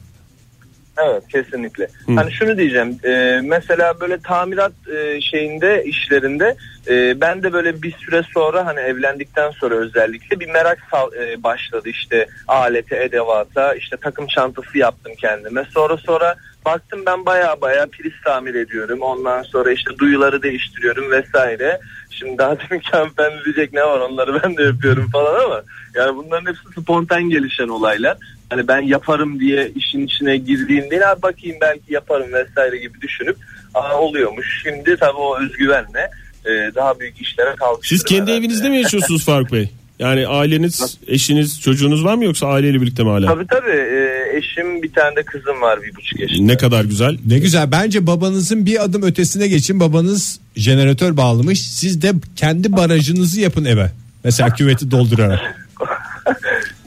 Evet kesinlikle. Hani şunu diyeceğim. e, mesela böyle tamirat e, şeyinde işlerinde e, ben de böyle bir süre sonra hani evlendikten sonra özellikle bir merak sal, e, başladı işte alete, edevata, işte takım çantası yaptım kendime. Sonra sonra baktım ben baya baya priz tamir ediyorum. Ondan sonra işte duyuları değiştiriyorum vesaire. Şimdi daha demin ben diyecek ne var onları ben de yapıyorum falan ama yani bunların hepsi spontan gelişen olaylar. Hani ben yaparım diye işin içine girdiğim değil abi bakayım belki yaparım vesaire gibi düşünüp aa oluyormuş. Şimdi tabii o özgüvenle e, daha büyük işlere kalkıştırır.
Siz kendi
herhalde.
evinizde mi yaşıyorsunuz Faruk Bey? Yani aileniz, eşiniz, çocuğunuz var mı yoksa aileyle birlikte mi hala?
Tabii tabii e, eşim bir tane de kızım var bir buçuk yaşında.
Ne kadar güzel.
Ne güzel. Bence babanızın bir adım ötesine geçin. Babanız jeneratör bağlamış. Siz de kendi barajınızı yapın eve. Mesela küveti doldurarak.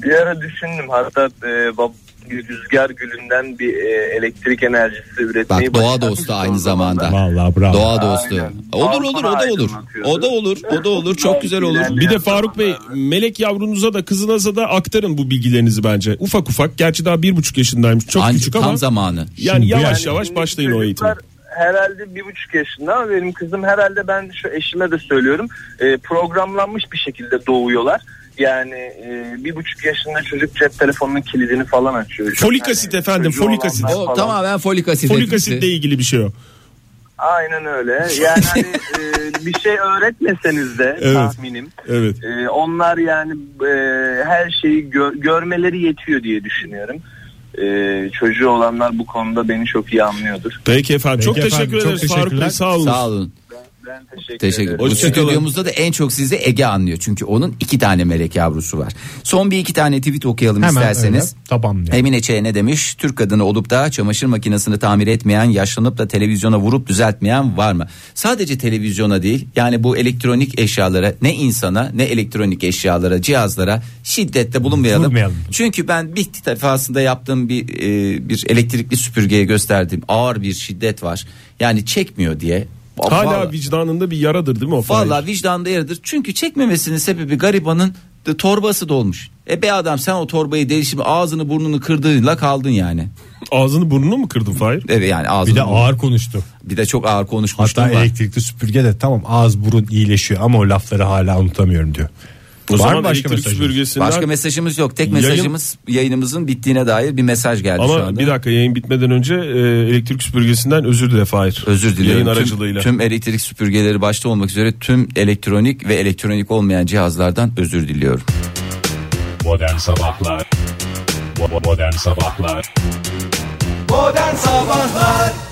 Bir ara düşündüm hatta e, bab- rüzgar gülünden bir e, elektrik enerjisi
Bak
üretmeyi
doğa dostu aynı zamanda.
Vallahi bravo.
Doğa dostu. Olur olur o da olur. O da olur. O da olur. Çok güzel olur.
Bir de Faruk Bey melek yavrunuza da kızınıza da aktarın bu bilgilerinizi bence. Ufak ufak gerçi daha bir buçuk yaşındaymış çok
Anca-
küçük
tam
ama.
zamanı.
Yani
Şimdi bu
yavaş
yani-
yavaş başlayın o eğitime.
herhalde bir buçuk yaşında ama benim kızım herhalde ben şu eşime de söylüyorum e, programlanmış bir şekilde doğuyorlar. Yani e, bir buçuk yaşında çocuk cep telefonunun kilidini falan açıyor.
Folik asit efendim,
çocuğu
folik asit.
olanlar
O
falan.
tamamen
folik asit
Folik
etkisi.
asitle ilgili bir şey o.
Aynen öyle. Yani hani, e, bir şey öğretmeseniz de
Evet.
tahminim.
Evet.
e, onlar yani e, her şeyi gö- görmeleri yetiyor diye düşünüyorum. E, çocuğu olanlar bu konuda beni çok iyi anlıyordur.
Peki efendim. çok
Peki efendim,
teşekkür
çok
ederiz Faruk Bey.
teşekkürler.
Sağ olun.
Sağ olun.
Teşekkür,
Teşekkür Bu stüdyomuzda da en çok sizi Ege anlıyor. Çünkü onun iki tane melek yavrusu var. Son bir iki tane tweet okuyalım
Hemen
isterseniz.
öyle. Tamam.
Emine Çe'ye ne demiş? Türk kadını olup da çamaşır makinesini tamir etmeyen, yaşlanıp da televizyona vurup düzeltmeyen var mı? Sadece televizyona değil, yani bu elektronik eşyalara, ne insana, ne elektronik eşyalara, cihazlara şiddette bulunmayalım.
Vurmayalım.
Çünkü ben bir defasında yaptığım bir e, bir elektrikli süpürgeye gösterdiğim ağır bir şiddet var. Yani çekmiyor diye.
Hala
Vallahi-
vicdanında bir yaradır değil mi o Fahir?
Valla vicdanda yaradır. Çünkü çekmemesinin sebebi garibanın da torbası dolmuş. E be adam sen o torbayı delişim ağzını burnunu kırdığınla kaldın yani.
Ağzını burnunu mu kırdın Fahir?
Evet yani ağzını.
Bir de
burnunu.
ağır konuştu.
Bir de çok ağır konuşmuştum
Hatta
var.
elektrikli süpürge de tamam ağız burun iyileşiyor ama o lafları hala unutamıyorum diyor.
O
Var
zaman
mı başka
elektrik
mesajınız?
süpürgesinden-
Başka mesajımız yok. Tek
Yayın-
mesajımız yayınımızın bittiğine dair bir mesaj geldi şu
Ama
anda.
bir dakika yayın bitmeden önce e, elektrik süpürgesinden özür dile Fahir.
Özür diliyorum.
Yayın
Tüm-
aracılığıyla.
Tüm, elektrik süpürgeleri başta olmak üzere tüm elektronik ve elektronik olmayan cihazlardan özür diliyorum.
Modern Sabahlar Bo- bo- Modern Sabahlar
Modern Sabahlar